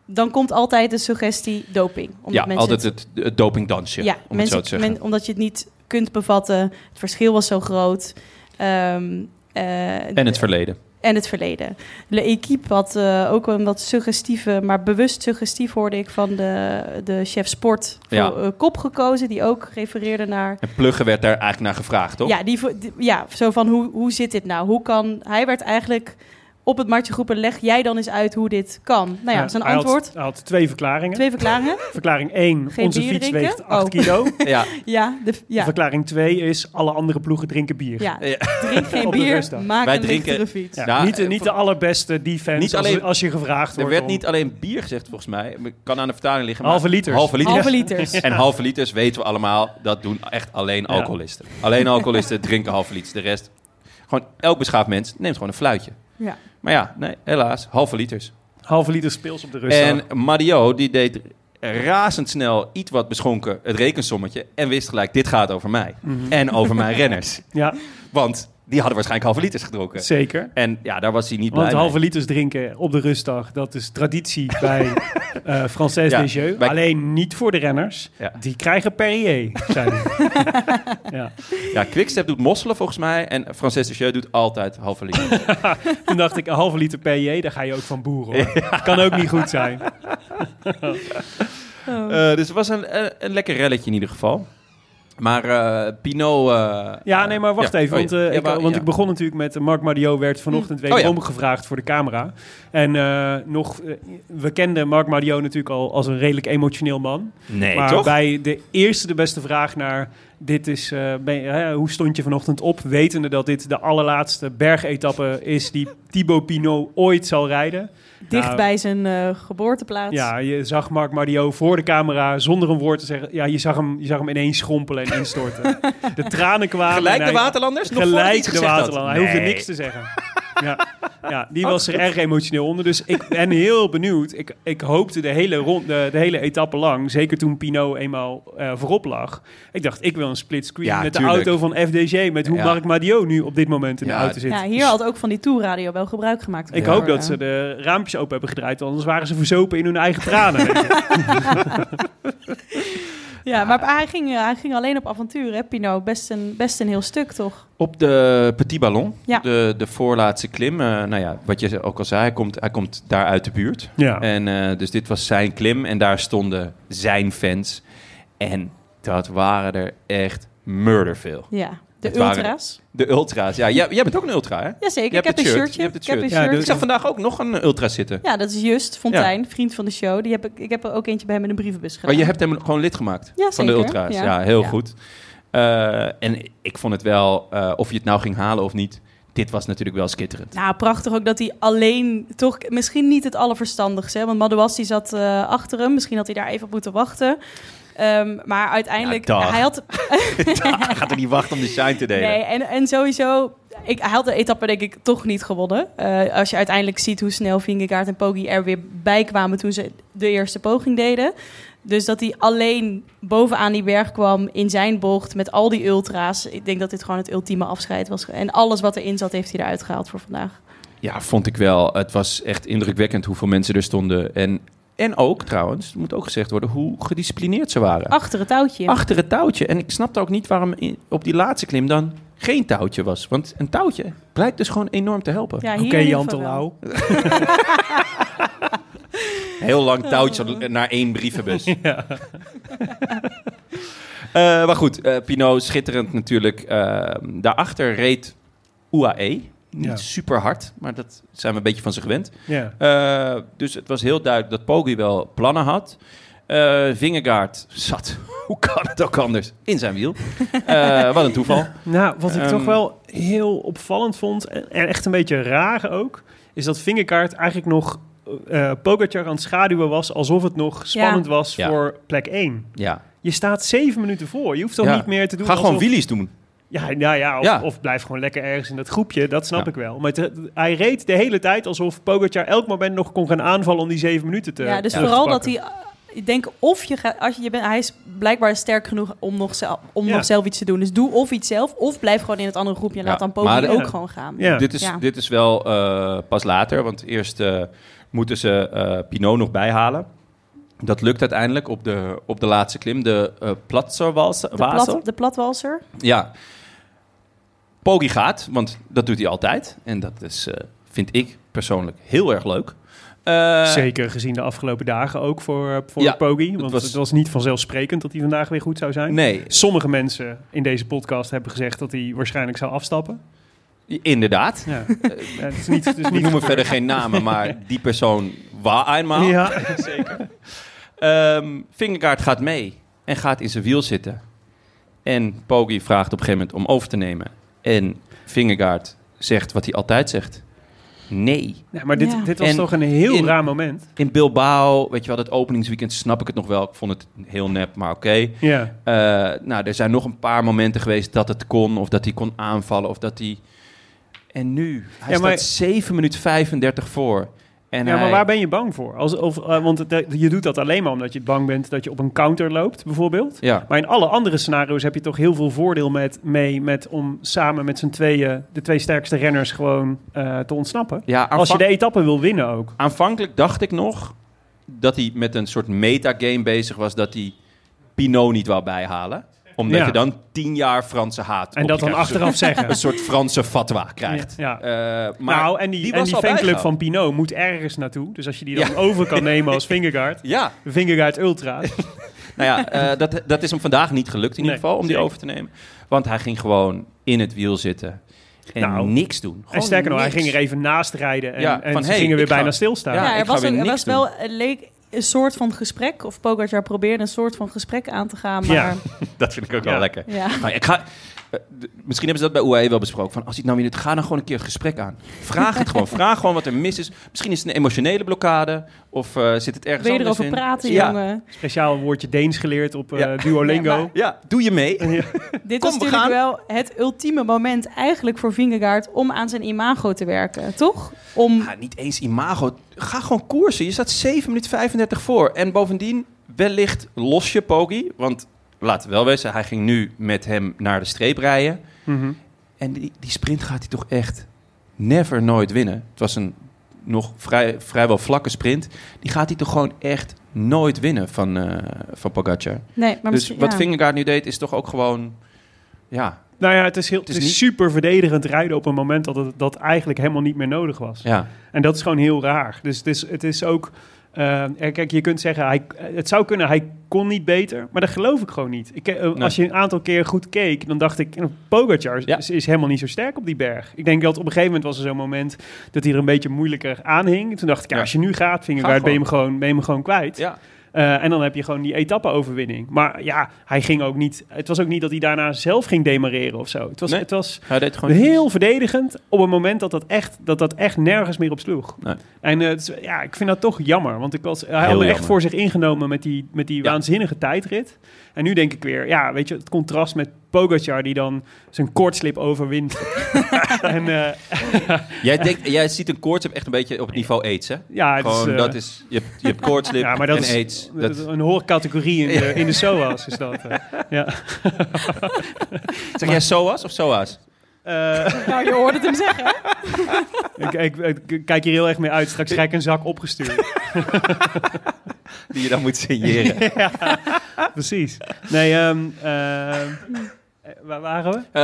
Speaker 3: dan komt altijd de suggestie doping. Omdat
Speaker 4: ja,
Speaker 3: mensen
Speaker 4: altijd het, het dopingdansje,
Speaker 3: ja,
Speaker 4: om het
Speaker 3: mensen,
Speaker 4: zo te zeggen.
Speaker 3: men- omdat je het niet kunt bevatten. Het verschil was zo groot. Ehm, eh,
Speaker 4: en het verleden.
Speaker 3: en het verleden. Le Equipe had eh, ook een wat suggestieve, maar bewust suggestief hoorde ik van de, de chef sport voor,
Speaker 4: Ja.
Speaker 3: eh, kop gekozen, die ook refereerde naar.
Speaker 4: En Pluggen werd daar eigenlijk naar gevraagd, toch?
Speaker 3: Ja, die, vo- die- ja, zo van hoe, hoe zit dit nou? Hoe kan. Hij werd eigenlijk op het matje geroepen: leg jij dan eens uit hoe dit kan. Nou ja, zijn
Speaker 5: hij had-
Speaker 3: antwoord.
Speaker 5: hij Had, twee verklaringen.
Speaker 3: Twee verklaringen.
Speaker 5: Verklaring 1,
Speaker 3: Geen
Speaker 5: onze
Speaker 3: bier
Speaker 5: fiets
Speaker 3: drinken?
Speaker 5: weegt 8
Speaker 3: Oh.
Speaker 5: kilo.
Speaker 4: Ja.
Speaker 3: Ja, de, ja,
Speaker 5: Verklaring 2 is, alle andere ploegen drinken bier.
Speaker 3: ja.
Speaker 4: Ja.
Speaker 3: drink geen
Speaker 5: Op de
Speaker 3: bier,
Speaker 5: rustdag.
Speaker 3: maak
Speaker 4: Wij
Speaker 3: een
Speaker 4: drinken-
Speaker 3: lichtere fiets.
Speaker 5: Ja,
Speaker 4: Ja,
Speaker 5: niet,
Speaker 4: eh,
Speaker 5: niet de allerbeste defense
Speaker 4: niet
Speaker 5: als-
Speaker 4: alleen-
Speaker 5: als, je gevraagd wordt.
Speaker 4: Er werd
Speaker 5: om-
Speaker 4: niet alleen bier gezegd, volgens mij. Ik kan aan de vertaling liggen. maar-
Speaker 5: Halve liters.
Speaker 4: Halve liters.
Speaker 3: Halve liters.
Speaker 4: En halve liters weten we allemaal, dat doen echt alleen
Speaker 5: Ja.
Speaker 4: alcoholisten. Alleen alcoholisten drinken halve liters. De rest, gewoon elk beschaafd mens neemt gewoon een fluitje.
Speaker 3: Ja.
Speaker 4: Maar ja, nee, helaas, halve liters.
Speaker 5: Halve liter speels op de rust.
Speaker 4: En Mario, die deed eh, razendsnel iets wat beschonken het rekensommetje en wist gelijk, dit gaat over mij.
Speaker 5: Mhm.
Speaker 4: En over mijn renners.
Speaker 5: Ja,
Speaker 4: Want die hadden waarschijnlijk halve liters gedronken.
Speaker 5: zeker.
Speaker 4: En ja, daar was hij niet
Speaker 5: Want
Speaker 4: blij
Speaker 5: halve liters drinken op de rustdag, dat is traditie bij eh Française
Speaker 4: Ja,
Speaker 5: des Jeux.
Speaker 4: bij-
Speaker 5: Alleen niet voor de renners.
Speaker 4: Ja.
Speaker 5: Die krijgen Perrier, zei hij. ja.
Speaker 4: mee. Ja, Quickstep doet mosselen volgens mij en Frances de Jeu doet altijd halve liter.
Speaker 5: Toen dacht ik, een halve liter Perrier, daar ga je ook van boeren hoor. Kan ook niet goed zijn.
Speaker 4: Eh,
Speaker 3: Oh.
Speaker 5: Oh.
Speaker 4: dus het was een, een, een lekker relletje in ieder geval. Maar eh Pinot... eh,
Speaker 5: Ja, nee, maar wacht
Speaker 4: ja.
Speaker 5: even.
Speaker 4: Oh,
Speaker 5: Want,
Speaker 4: ja.
Speaker 5: eh,
Speaker 4: Ja, maar-
Speaker 5: ik, want
Speaker 4: ja. Mm. Oh,
Speaker 5: ik begon natuurlijk met... eh, Marc Madio werd vanochtend weer
Speaker 4: ja.
Speaker 5: omgevraagd voor de camera. En eh, nog... eh, we kenden Marc Madio natuurlijk al als een redelijk emotioneel man.
Speaker 4: Nee,
Speaker 5: maar
Speaker 4: toch?
Speaker 5: bij de eerste de beste vraag naar... Dit is, eh, ben je- hè, hoe stond je vanochtend op? Wetende dat dit de allerlaatste bergetappe is die Thibaut Pinot ooit zal rijden.
Speaker 3: Dicht
Speaker 5: Nou,
Speaker 3: bij zijn eh, geboorteplaats.
Speaker 5: Ja, je zag Marc Mario voor de camera zonder een woord te zeggen. Ja, je zag hem, je zag hem ineens schrompelen en instorten. De tranen kwamen. en
Speaker 4: Gelijk de
Speaker 5: hij-
Speaker 4: Waterlanders? Nog voordat hij
Speaker 5: Gelijk
Speaker 4: iets
Speaker 5: de
Speaker 4: gezegd had?
Speaker 5: waterland. Hij hoefde
Speaker 4: Nee.
Speaker 5: niks te zeggen. Ja, ja die was er erg emotioneel onder. Dus ik ben heel benieuwd. Ik, ik hoopte de hele, rond, de, de hele etappe lang, zeker toen Pino eenmaal eh, voorop lag. Ik dacht, ik wil een split screen
Speaker 4: Ja,
Speaker 5: met
Speaker 4: tuurlijk.
Speaker 5: de auto van FDG. Met hoe
Speaker 4: Ja.
Speaker 5: Marc Madio nu op dit moment in
Speaker 4: Ja,
Speaker 5: de auto zit.
Speaker 3: Ja, hier had ook van die tourradio wel gebruik gemaakt. eh,
Speaker 5: Ik
Speaker 4: Ja.
Speaker 5: hoop dat ze de raampjes open hebben gedraaid. want Anders waren ze verzopen in hun eigen tranen.
Speaker 3: Ja, maar hij ging, eh, hij ging alleen op avontuur, hè, Pino? Best een, best een heel stuk, toch?
Speaker 4: Op de Petit Ballon,
Speaker 3: Ja.
Speaker 4: de, de voorlaatste klim. eh, nou ja, wat je ook al zei, hij komt, hij komt daar uit de buurt.
Speaker 5: ja.
Speaker 4: En, eh, dus dit was zijn klim en daar stonden zijn fans. En dat waren er echt murder veel.
Speaker 3: Ja, de
Speaker 4: Het waren-
Speaker 3: ultra's.
Speaker 4: De ultra's. Ja, jij, jij bent ook een ultra, hè?
Speaker 3: Jazeker,
Speaker 4: Je
Speaker 3: ik
Speaker 4: hebt
Speaker 3: heb een
Speaker 4: het shirt,
Speaker 3: shirtje.
Speaker 4: je hebt het
Speaker 3: Ik heb een
Speaker 4: shirt.
Speaker 5: Ja,
Speaker 3: shirt.
Speaker 4: Ik zag vandaag ook nog een ultra zitten.
Speaker 3: Ja, dat is Just Fontijn, vriend van de show. Die heb ik, ik heb er ook eentje bij hem in de brievenbus gedaan.
Speaker 4: Maar Oh, je hebt hem gewoon lid gemaakt
Speaker 3: Ja,
Speaker 4: van de
Speaker 3: zeker.
Speaker 4: ultra's. Ja,
Speaker 3: Ja.
Speaker 4: heel
Speaker 3: Ja.
Speaker 4: goed. Eh, en ik vond het wel, eh, of je het nou ging halen of niet, dit was natuurlijk wel schitterend.
Speaker 3: Nou, prachtig ook dat hij alleen toch misschien niet het allerverstandigste. hè, Want Madouas die zat eh, achter hem. Misschien had hij daar even op moeten wachten. Ehm, maar uiteindelijk,
Speaker 4: Ja, dag.
Speaker 3: hij had.
Speaker 4: hij gaat er niet wachten om de shine te delen.
Speaker 3: Nee, en, en sowieso. Ik, hij had de etappe denk ik toch niet gewonnen. Eh, als je uiteindelijk ziet hoe snel Vingegaard en Poggi er weer bij kwamen toen ze de eerste poging deden. Dus dat hij alleen bovenaan die berg kwam in zijn bocht met al die ultra's. Ik denk dat dit gewoon het ultieme afscheid was. En alles wat erin zat heeft hij eruit gehaald voor vandaag.
Speaker 4: Ja, vond ik wel. Het was echt indrukwekkend hoeveel mensen er stonden. En, en ook trouwens, het moet ook gezegd worden, hoe gedisciplineerd ze waren.
Speaker 3: Achter het touwtje.
Speaker 4: Achter het touwtje. En ik snapte ook niet waarom in- op die laatste klim dan geen touwtje was. Want een touwtje blijkt dus gewoon enorm te helpen.
Speaker 3: Ja, hier
Speaker 5: Oké,
Speaker 3: in ieder
Speaker 5: Jan
Speaker 3: geval wel.
Speaker 5: Terlouw.
Speaker 4: Heel lang
Speaker 5: Eh.
Speaker 4: touwtje naar één brievenbus. Eh, maar goed, eh Pinot schitterend natuurlijk. Eh, daarachter reed UAE. Niet
Speaker 5: Ja.
Speaker 4: super hard, maar dat zijn we een beetje van ze gewend.
Speaker 5: Ja.
Speaker 4: Eh, dus het was heel duidelijk dat Poggi wel plannen had. Eh Vingegaard zat, hoe kan het ook anders, in zijn wiel. Eh, wat een toeval.
Speaker 5: Nou, wat ik
Speaker 4: Ehm,
Speaker 5: toch wel heel opvallend vond, en en echt een beetje raar ook, is dat Vingerkaart eigenlijk nog eh Pogacar aan het schaduwen was, alsof het nog spannend was
Speaker 4: Ja.
Speaker 5: voor plek 1.
Speaker 4: Ja.
Speaker 5: Je staat zeven minuten voor. Je hoeft toch
Speaker 4: Ja.
Speaker 5: niet meer te doen
Speaker 4: Ga gewoon
Speaker 5: alsof-
Speaker 4: wheelies doen.
Speaker 5: Ja, nou ja, of,
Speaker 4: Ja.
Speaker 5: of blijf gewoon lekker ergens in dat groepje. Dat snap
Speaker 4: Ja.
Speaker 5: ik wel. Maar het- hij reed de hele tijd alsof Pogacar elk moment nog kon gaan aanvallen om die zeven minuten te
Speaker 3: Ja, dus
Speaker 5: terug te
Speaker 3: vooral dat
Speaker 5: pakken.
Speaker 3: hij. Ik denk of je gaat, als je, je bent, hij is blijkbaar sterk genoeg om, nog zelf, om
Speaker 5: Ja.
Speaker 3: nog zelf iets te doen. Dus doe of iets zelf, of blijf gewoon in het andere groepje en
Speaker 4: Ja,
Speaker 3: laat dan
Speaker 4: maar
Speaker 3: Poggi
Speaker 4: de-
Speaker 3: ook
Speaker 5: Ja.
Speaker 3: gewoon gaan.
Speaker 5: Ja.
Speaker 4: Dit, is,
Speaker 3: Ja.
Speaker 4: dit is wel eh, pas later, want eerst eh, moeten ze eh, Pinot nog bijhalen. Dat lukt uiteindelijk op de, op de laatste klim, de eh Platzerwalse-
Speaker 3: De,
Speaker 4: Wasel.
Speaker 3: plat, de platwalser.
Speaker 4: Ja. Poggi gaat, want dat doet hij altijd. En dat is, eh, vind ik persoonlijk heel erg leuk. Eh,
Speaker 5: Zeker gezien de afgelopen dagen ook voor, eh, voor
Speaker 4: Ja,
Speaker 5: Poggi. Want
Speaker 4: het
Speaker 5: het
Speaker 4: was-
Speaker 5: was, niet vanzelfsprekend dat hij vandaag weer goed zou zijn.
Speaker 4: Nee,
Speaker 5: Sommige mensen in deze podcast hebben gezegd dat hij waarschijnlijk zou afstappen.
Speaker 4: inderdaad.
Speaker 5: Ja. Eh, het is niet, het is
Speaker 4: We
Speaker 5: niet
Speaker 4: noemen verder geen namen, maar die persoon waar eenmaal.
Speaker 5: Ja,
Speaker 4: Ehm Vingegaard gaat mee en gaat in zijn wiel zitten. En Poggi vraagt op een gegeven moment om over te nemen. En Vingegaard zegt wat hij altijd zegt. Nee.
Speaker 5: Nee, maar dit,
Speaker 3: Ja.
Speaker 5: dit was
Speaker 4: En
Speaker 5: toch een heel
Speaker 4: in-
Speaker 5: raar moment.
Speaker 4: In Bilbao, weet je wel, dat openingsweekend snap ik het nog wel. Ik vond het heel nep, maar oké.
Speaker 5: Ja.
Speaker 4: Eh, nou, er zijn nog een paar momenten geweest dat het kon. Of dat hij kon aanvallen. Of dat hij... En nu? Hij
Speaker 5: Ja, maar-
Speaker 4: staat 7 minuten 35 voor. En
Speaker 5: Ja, maar
Speaker 4: hij-
Speaker 5: waar ben je bang voor? Als, of, eh, want het- eh, je doet dat alleen maar omdat je bang bent dat je op een counter loopt, bijvoorbeeld.
Speaker 4: Ja,
Speaker 5: Maar in alle andere scenario's heb je toch heel veel voordeel met, mee met om samen met z'n tweeën, de twee sterkste renners, gewoon eh, te ontsnappen.
Speaker 4: ja
Speaker 5: Als je
Speaker 4: aanvan-
Speaker 5: de etappe wil winnen ook.
Speaker 4: aanvankelijk dacht ik nog dat hij met een soort metagame bezig was dat hij Pinot niet wou bijhalen. Omdat
Speaker 5: Ja.
Speaker 4: je dan tien jaar Franse haat
Speaker 5: En
Speaker 4: op
Speaker 5: dat
Speaker 4: je
Speaker 5: dan
Speaker 4: krijgt. Een
Speaker 5: achteraf zeggen.
Speaker 4: soort- Een soort Franse fatwa krijgt.
Speaker 5: Ja.
Speaker 4: Eh, maar
Speaker 5: nou, en die, en
Speaker 4: was
Speaker 5: die
Speaker 4: al
Speaker 5: fanclub
Speaker 4: bijgehouden.
Speaker 5: van Pinot moet ergens naartoe. Dus als je die dan
Speaker 4: Ja.
Speaker 5: over kan nemen als Vingegaard.
Speaker 4: Ja,
Speaker 5: de Vingegaard Ultra.
Speaker 4: nou ja, eh, dat, dat is hem vandaag niet gelukt in
Speaker 5: Nee,
Speaker 4: ieder geval, om die
Speaker 5: zeker.
Speaker 4: over te nemen. Want hij ging gewoon in het wiel zitten en
Speaker 5: Nou,
Speaker 4: niks doen. Gewoon
Speaker 5: en sterker nog, hij
Speaker 4: niks.
Speaker 5: ging er even naast rijden. En,
Speaker 4: Ja,
Speaker 5: en
Speaker 4: van,
Speaker 5: ze
Speaker 4: hey,
Speaker 5: gingen weer
Speaker 4: ik ga-
Speaker 5: bijna stilstaan.
Speaker 4: Ja,
Speaker 3: Ja,
Speaker 4: ik
Speaker 3: er
Speaker 4: ga
Speaker 3: was,
Speaker 4: weer
Speaker 3: ook- er
Speaker 4: niks
Speaker 3: was
Speaker 4: doen.
Speaker 3: wel het leek een soort van gesprek. Of Pogacar probeerde een soort van gesprek aan te gaan. Maar
Speaker 5: Ja.
Speaker 3: ja.
Speaker 4: Dat vind ik ook
Speaker 5: Ja.
Speaker 4: wel lekker. Nou, ik ga, eh, d- misschien hebben ze dat bij UAE wel besproken. Van als hij het nou weer doet, ga dan gewoon een keer het gesprek aan. Vraag het gewoon. Vraag gewoon wat er mis is. Misschien is het een emotionele blokkade. Of eh, zit het ergens
Speaker 3: Wil je
Speaker 4: anders
Speaker 3: erover
Speaker 4: in.
Speaker 3: praten,
Speaker 4: ja.
Speaker 3: jongen?
Speaker 5: Speciaal woordje Deens geleerd op eh,
Speaker 4: Ja.
Speaker 5: Duolingo.
Speaker 3: Ja, maar-
Speaker 4: Ja, doe je mee.
Speaker 3: Dit
Speaker 4: Kom,
Speaker 3: was
Speaker 4: we
Speaker 3: natuurlijk
Speaker 4: gaan.
Speaker 3: wel het ultieme moment eigenlijk voor Vingegaard om aan zijn imago te werken, toch? Om
Speaker 4: Ja, Ah, niet eens imago. Ga gewoon koersen. Je staat 7 minuten 35 voor. En bovendien, wellicht los je Poggi. Want laten we wel wezen, hij ging nu met hem naar de streep rijden.
Speaker 5: Mhm.
Speaker 4: En die, die sprint gaat hij toch echt never nooit winnen. Het was een nog vrij, vrijwel vlakke sprint. Die gaat hij toch gewoon echt nooit winnen van, eh van Pogacar.
Speaker 3: nee, maar
Speaker 4: Dus
Speaker 3: misschien-
Speaker 4: wat
Speaker 3: ja.
Speaker 4: Vingegaard nu deed is toch ook gewoon... Ja,
Speaker 5: Nou ja, het is, heel, het
Speaker 4: Het is
Speaker 5: is
Speaker 4: niet-
Speaker 5: super verdedigend rijden op een moment dat het dat eigenlijk helemaal niet meer nodig was.
Speaker 4: ja.
Speaker 5: En dat is gewoon heel raar. Dus het is, het is ook. eh, eh, kijk, je kunt zeggen, hij, eh, het zou kunnen, hij kon niet beter. Maar dat geloof ik gewoon niet. Ik, eh, Als je een aantal keer goed keek, dan dacht ik... eh, Pogacar
Speaker 4: Ja.
Speaker 5: is, is helemaal niet zo sterk op die berg. Ik denk dat op een gegeven moment was er zo'n moment... dat hij er een beetje moeilijker aan hing. Toen dacht ik, ja,
Speaker 4: Ja.
Speaker 5: als je nu gaat,
Speaker 4: Ga
Speaker 5: Vingegaard, ben je hem gewoon, ben je hem gewoon kwijt.
Speaker 4: ja.
Speaker 5: Eh, en dan heb je gewoon die etappe-overwinning. Maar ja, hij ging ook niet... Het was ook niet dat hij daarna zelf ging demareren of zo. Het was,
Speaker 4: Nee.
Speaker 5: het was
Speaker 4: Hij deed gewoon...
Speaker 5: heel verdedigend op een moment dat dat echt, dat dat echt nergens meer op sloeg.
Speaker 4: Nee.
Speaker 5: En eh, het is- ja, ik vind dat toch jammer, want ik was, hij had me
Speaker 4: jammer.
Speaker 5: echt voor zich ingenomen met die, met die
Speaker 4: Ja.
Speaker 5: waanzinnige tijdrit. En nu denk ik weer, ja, weet je, het contrast met Pogacar die dan zijn koortslip overwint. en eh,
Speaker 4: Jij, denkt, jij ziet een koorts echt een beetje op het niveau aids, hè?
Speaker 5: ja, het
Speaker 4: Gewoon,
Speaker 5: eh,
Speaker 4: dat is, je hebt, je hebt koortslip
Speaker 5: Ja, maar dat
Speaker 4: en
Speaker 5: is-
Speaker 4: aids. Dat,
Speaker 5: een hoorcategorie in de, in de SOAS is dat. eh. ja.
Speaker 4: zeg jij SOAS of SOAS?
Speaker 5: Eh,
Speaker 3: Nou, je hoorde het hem zeggen. hè?
Speaker 5: ik, ik, ik kijk hier heel erg mee uit. Straks krijg ik een zak opgestuurd.
Speaker 4: Die je dan moet signeren.
Speaker 5: Precies. Nee, ehm, ehm, eh, waar waren we?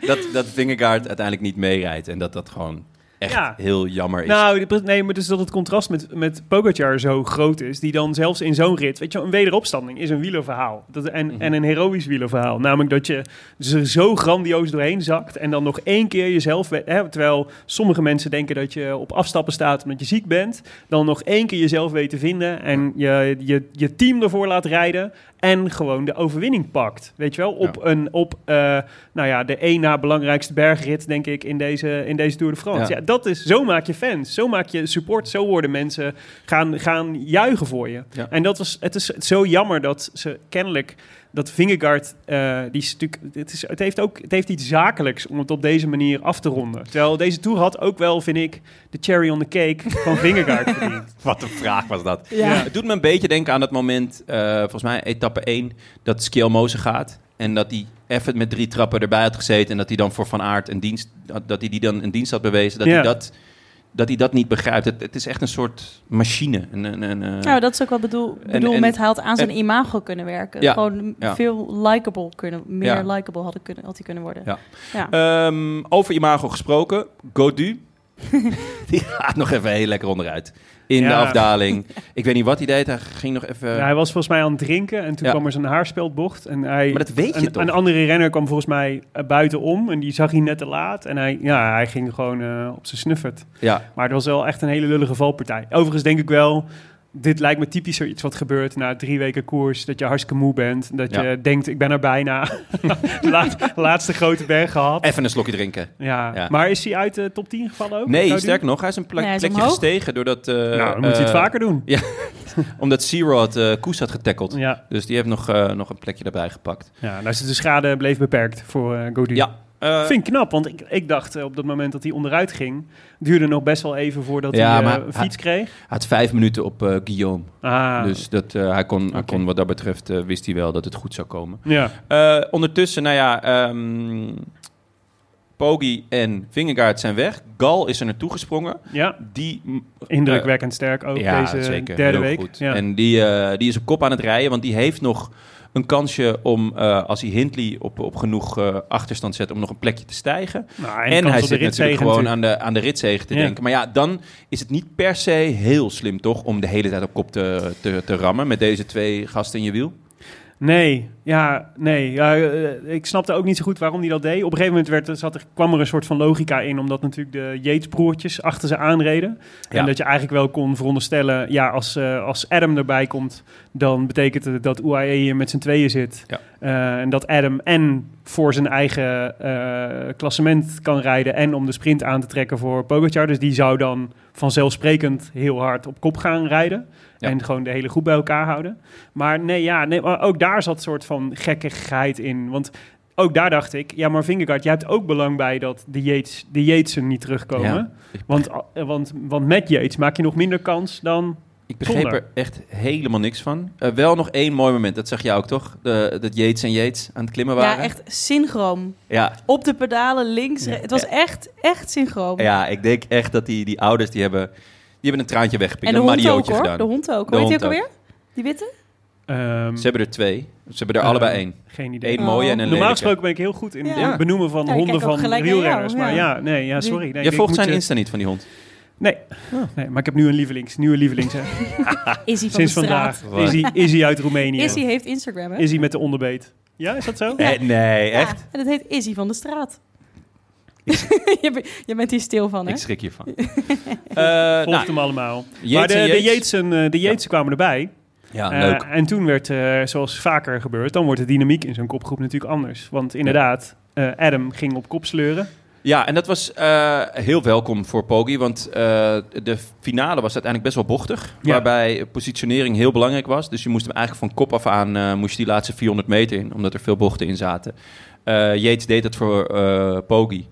Speaker 4: Eh, dat, dat Vingegaard uiteindelijk niet meerijdt. En dat dat gewoon echt
Speaker 5: Ja.
Speaker 4: heel jammer is.
Speaker 5: Nou, de- nee, maar dus dat het contrast met, met Pogacar zo groot is, die dan zelfs in zo'n rit, weet je, wel, een wederopstanding is een wielerverhaal. Dat, en,
Speaker 4: Mhm.
Speaker 5: en een heroïsch wielerverhaal. Namelijk dat je dus er zo grandioos doorheen zakt en dan nog één keer jezelf, we- hè, terwijl sommige mensen denken dat je op afstappen staat omdat je ziek bent, dan nog één keer jezelf weet te vinden en je, je, je team ervoor laat rijden en gewoon de overwinning pakt. Weet je wel, op, een, op eh, nou ja, de één na belangrijkste bergrit, denk ik, in deze, in deze Tour de France. Ja.
Speaker 4: Ja.
Speaker 5: dat is, zo maak je fans, zo maak je support, zo worden mensen gaan, gaan juichen voor je.
Speaker 4: Ja.
Speaker 5: En dat was, het is zo jammer dat ze kennelijk, dat Vingegaard, eh, die is natuurlijk, het, is, het, heeft ook, het heeft iets zakelijks om het op deze manier af te ronden. Terwijl deze Tour had ook wel, vind ik, de cherry on the cake van Vingegaard verdiend.
Speaker 4: Wat een vraag was dat.
Speaker 3: Ja.
Speaker 4: Het doet me een beetje denken aan dat moment, eh, volgens mij etappe 1, dat Skelmoze gaat. En dat hij even met drie trappen erbij had gezeten. En dat hij dan voor Van Aert een dienst, dat hij die dan een dienst had bewezen. Dat,
Speaker 5: Ja.
Speaker 4: hij, dat, dat hij dat niet begrijpt. Het, het is echt een soort machine. Een, een, een, eh,
Speaker 3: Nou, dat is ook wat bedoel, bedoel
Speaker 4: en-
Speaker 3: met hij had aan zijn
Speaker 4: en-
Speaker 3: imago kunnen werken.
Speaker 4: Ja,
Speaker 3: Gewoon
Speaker 4: ja.
Speaker 3: veel likable kunnen, meer
Speaker 4: Ja.
Speaker 3: likable had, ik kunnen, had hij kunnen worden.
Speaker 4: Ja.
Speaker 3: Ja.
Speaker 4: Ehm, over imago gesproken, Godu. die gaat nog even heel lekker onderuit. In de
Speaker 5: Ja.
Speaker 4: afdaling. Ik weet niet wat hij deed. Hij ging nog even...
Speaker 5: Ja, hij was volgens mij aan het drinken en toen
Speaker 4: Ja.
Speaker 5: kwam er zijn haarspeldbocht. En hij,
Speaker 4: Maar dat weet je
Speaker 5: een,
Speaker 4: toch?
Speaker 5: Een andere renner kwam volgens mij eh, buitenom en die zag hij net te laat. En hij, ja, hij ging gewoon eh, op zijn snuffert.
Speaker 4: ja.
Speaker 5: Maar het was wel echt een hele lullige valpartij. Overigens denk ik wel, dit lijkt me typisch zoiets wat gebeurt na drie weken koers. Dat je hartstikke moe bent. Dat
Speaker 4: Ja.
Speaker 5: je denkt, ik ben er bijna. Laat, laatste grote berg gehad.
Speaker 4: Even een slokje drinken.
Speaker 5: Ja.
Speaker 4: Ja.
Speaker 5: Maar is hij uit de top 10 gevallen ook?
Speaker 4: Nee,
Speaker 5: Zou
Speaker 4: sterker
Speaker 5: die-
Speaker 4: nog, hij is een plek-
Speaker 3: Nee, hij is
Speaker 4: plekje
Speaker 3: omhoog.
Speaker 4: gestegen doordat... eh,
Speaker 5: Oh, Nou, dan moet hij het
Speaker 4: eh,
Speaker 5: vaker doen.
Speaker 4: Omdat Zero had eh, Koes had getackled.
Speaker 5: Ja,
Speaker 4: Dus die heeft nog, eh, nog een plekje erbij gepakt.
Speaker 5: ja nou, dus de schade bleef beperkt voor eh Godin.
Speaker 4: Ja, Eh,
Speaker 5: Vind ik knap, want ik, ik dacht eh, op dat moment dat hij onderuit ging, duurde nog best wel even voordat
Speaker 4: Ja,
Speaker 5: hij eh,
Speaker 4: maar
Speaker 5: een fiets kreeg.
Speaker 4: Hij had vijf minuten op eh, Guillaume.
Speaker 5: Ah,
Speaker 4: Dus dat, eh, hij, kon, hij
Speaker 5: Oké.
Speaker 4: kon wat dat betreft, eh, wist hij wel dat het goed zou komen.
Speaker 5: ja.
Speaker 4: Eh, ondertussen, nou ja, ehm Poggi en Vingegaard zijn weg. Gal is er naartoe gesprongen.
Speaker 5: ja,
Speaker 4: Die mm,
Speaker 5: indrukwekkend sterk ook
Speaker 4: ja,
Speaker 5: deze
Speaker 4: zeker.
Speaker 5: derde
Speaker 4: Heel
Speaker 5: week.
Speaker 4: goed.
Speaker 5: Ja.
Speaker 4: En die, eh, die is op kop aan het rijden, want die heeft nog een kansje om, eh, als hij Hindley op, op genoeg eh, achterstand zet, om nog een plekje te stijgen.
Speaker 5: Nou,
Speaker 4: En,
Speaker 5: kans op
Speaker 4: hij
Speaker 5: de
Speaker 4: zit natuurlijk
Speaker 5: ritzegen
Speaker 4: gewoon aan de, aan de ritzegen te
Speaker 5: Ja.
Speaker 4: denken. Maar ja, dan is het niet per se heel slim toch om de hele tijd op kop te, te, te rammen met deze twee gasten in je wiel.
Speaker 5: Nee, ja, nee. Ja, eh, ik snapte ook niet zo goed waarom hij dat deed. Op een gegeven moment werd, er- zat er, kwam er een soort van logica in, omdat natuurlijk de Yates-broertjes achter ze aanreden.
Speaker 4: Ja.
Speaker 5: En dat je eigenlijk wel kon veronderstellen, ja, als, eh, als Adam erbij komt, dan betekent het dat UAE hier met z'n tweeën zit.
Speaker 4: Ja.
Speaker 5: Eh, en dat Adam en voor zijn eigen eh, klassement kan rijden en om de sprint aan te trekken voor Pogacar. Dus die zou dan vanzelfsprekend heel hard op kop gaan rijden.
Speaker 4: Ja.
Speaker 5: En gewoon de hele groep bij elkaar houden. Maar nee, ja, nee, maar ook daar zat een soort van gekkigheid in. Want ook daar dacht ik, ja, maar Vingegaard, jij hebt ook belang bij dat de Yates, de Yatesen niet terugkomen.
Speaker 4: Ja.
Speaker 5: Want, eh, want, want met Yates maak je nog minder kans dan...
Speaker 4: Ik begreep
Speaker 5: Zonder.
Speaker 4: er echt helemaal niks van. Eh, wel nog één mooi moment, dat zag jij ook toch? De, dat Yates en Yates aan het klimmen waren.
Speaker 3: Ja, echt synchroom.
Speaker 4: Ja,
Speaker 3: Op de pedalen, links. re- Het was
Speaker 4: Ja.
Speaker 3: echt, echt synchroom.
Speaker 4: ja, ik denk echt dat die, die ouders, die hebben, die hebben een traantje weggepikt.
Speaker 3: En de
Speaker 4: een
Speaker 3: hond ook
Speaker 4: mariootje
Speaker 3: hoor.
Speaker 4: gedaan.
Speaker 3: De hond ook.
Speaker 4: De
Speaker 3: Hoe heet die
Speaker 4: hond
Speaker 3: ook alweer? Die witte?
Speaker 5: ehm,
Speaker 4: Ze hebben er twee. Ze hebben er
Speaker 5: eh,
Speaker 4: allebei één.
Speaker 5: Geen idee.
Speaker 4: Eén
Speaker 3: Oh.
Speaker 4: mooie en een
Speaker 5: Normaal
Speaker 4: lelijke.
Speaker 5: gesproken ben ik heel goed in
Speaker 3: Ja.
Speaker 5: in het benoemen van
Speaker 3: Ja, ik
Speaker 5: honden
Speaker 3: kijk ook
Speaker 5: van
Speaker 3: gelijk naar
Speaker 5: wielrenners.
Speaker 3: jou,
Speaker 5: Maar
Speaker 3: ja.
Speaker 5: ja, nee, ja,
Speaker 3: Die-
Speaker 5: sorry. Nee,
Speaker 4: Jij
Speaker 5: ik eh,
Speaker 4: volgt
Speaker 5: moet
Speaker 4: zijn
Speaker 5: je-
Speaker 4: Insta niet van die hond.
Speaker 5: Nee. nee, maar ik heb nu een lievelings. Nieuwe lievelings, hè.
Speaker 4: Ah,
Speaker 3: Is hij van
Speaker 5: Sinds
Speaker 3: de straat?
Speaker 5: vandaag. Is hij, is hij uit Roemenië.
Speaker 3: Is hij heeft Instagram, hè?
Speaker 5: Is hij met de onderbeet. Ja, is dat zo?
Speaker 4: Eh, nee,
Speaker 3: Ja,
Speaker 4: echt?
Speaker 3: en dat heet Izzy van de straat. je, bent- je bent hier stil van, hè?
Speaker 4: Ik schrik hiervan. Eh nou,
Speaker 5: Volgt hem allemaal.
Speaker 4: Yates
Speaker 5: maar de,
Speaker 4: en
Speaker 5: de
Speaker 4: Yates.
Speaker 5: Yatesen, eh, de Yatesen kwamen erbij.
Speaker 4: ja,
Speaker 5: Eh,
Speaker 4: leuk.
Speaker 5: en toen werd, eh, zoals vaker gebeurt, dan wordt de dynamiek in zo'n kopgroep natuurlijk anders. Want inderdaad, eh, Adam ging op kop sleuren.
Speaker 4: Ja, en dat was eh, heel welkom voor Poggi, want eh, de finale was uiteindelijk best wel bochtig.
Speaker 5: Ja.
Speaker 4: Waarbij positionering heel belangrijk was. Dus je moest hem eigenlijk van kop af aan, eh, moest je die laatste 400 meter in, omdat er veel bochten in zaten. Eh Yates deed dat voor eh Poggi.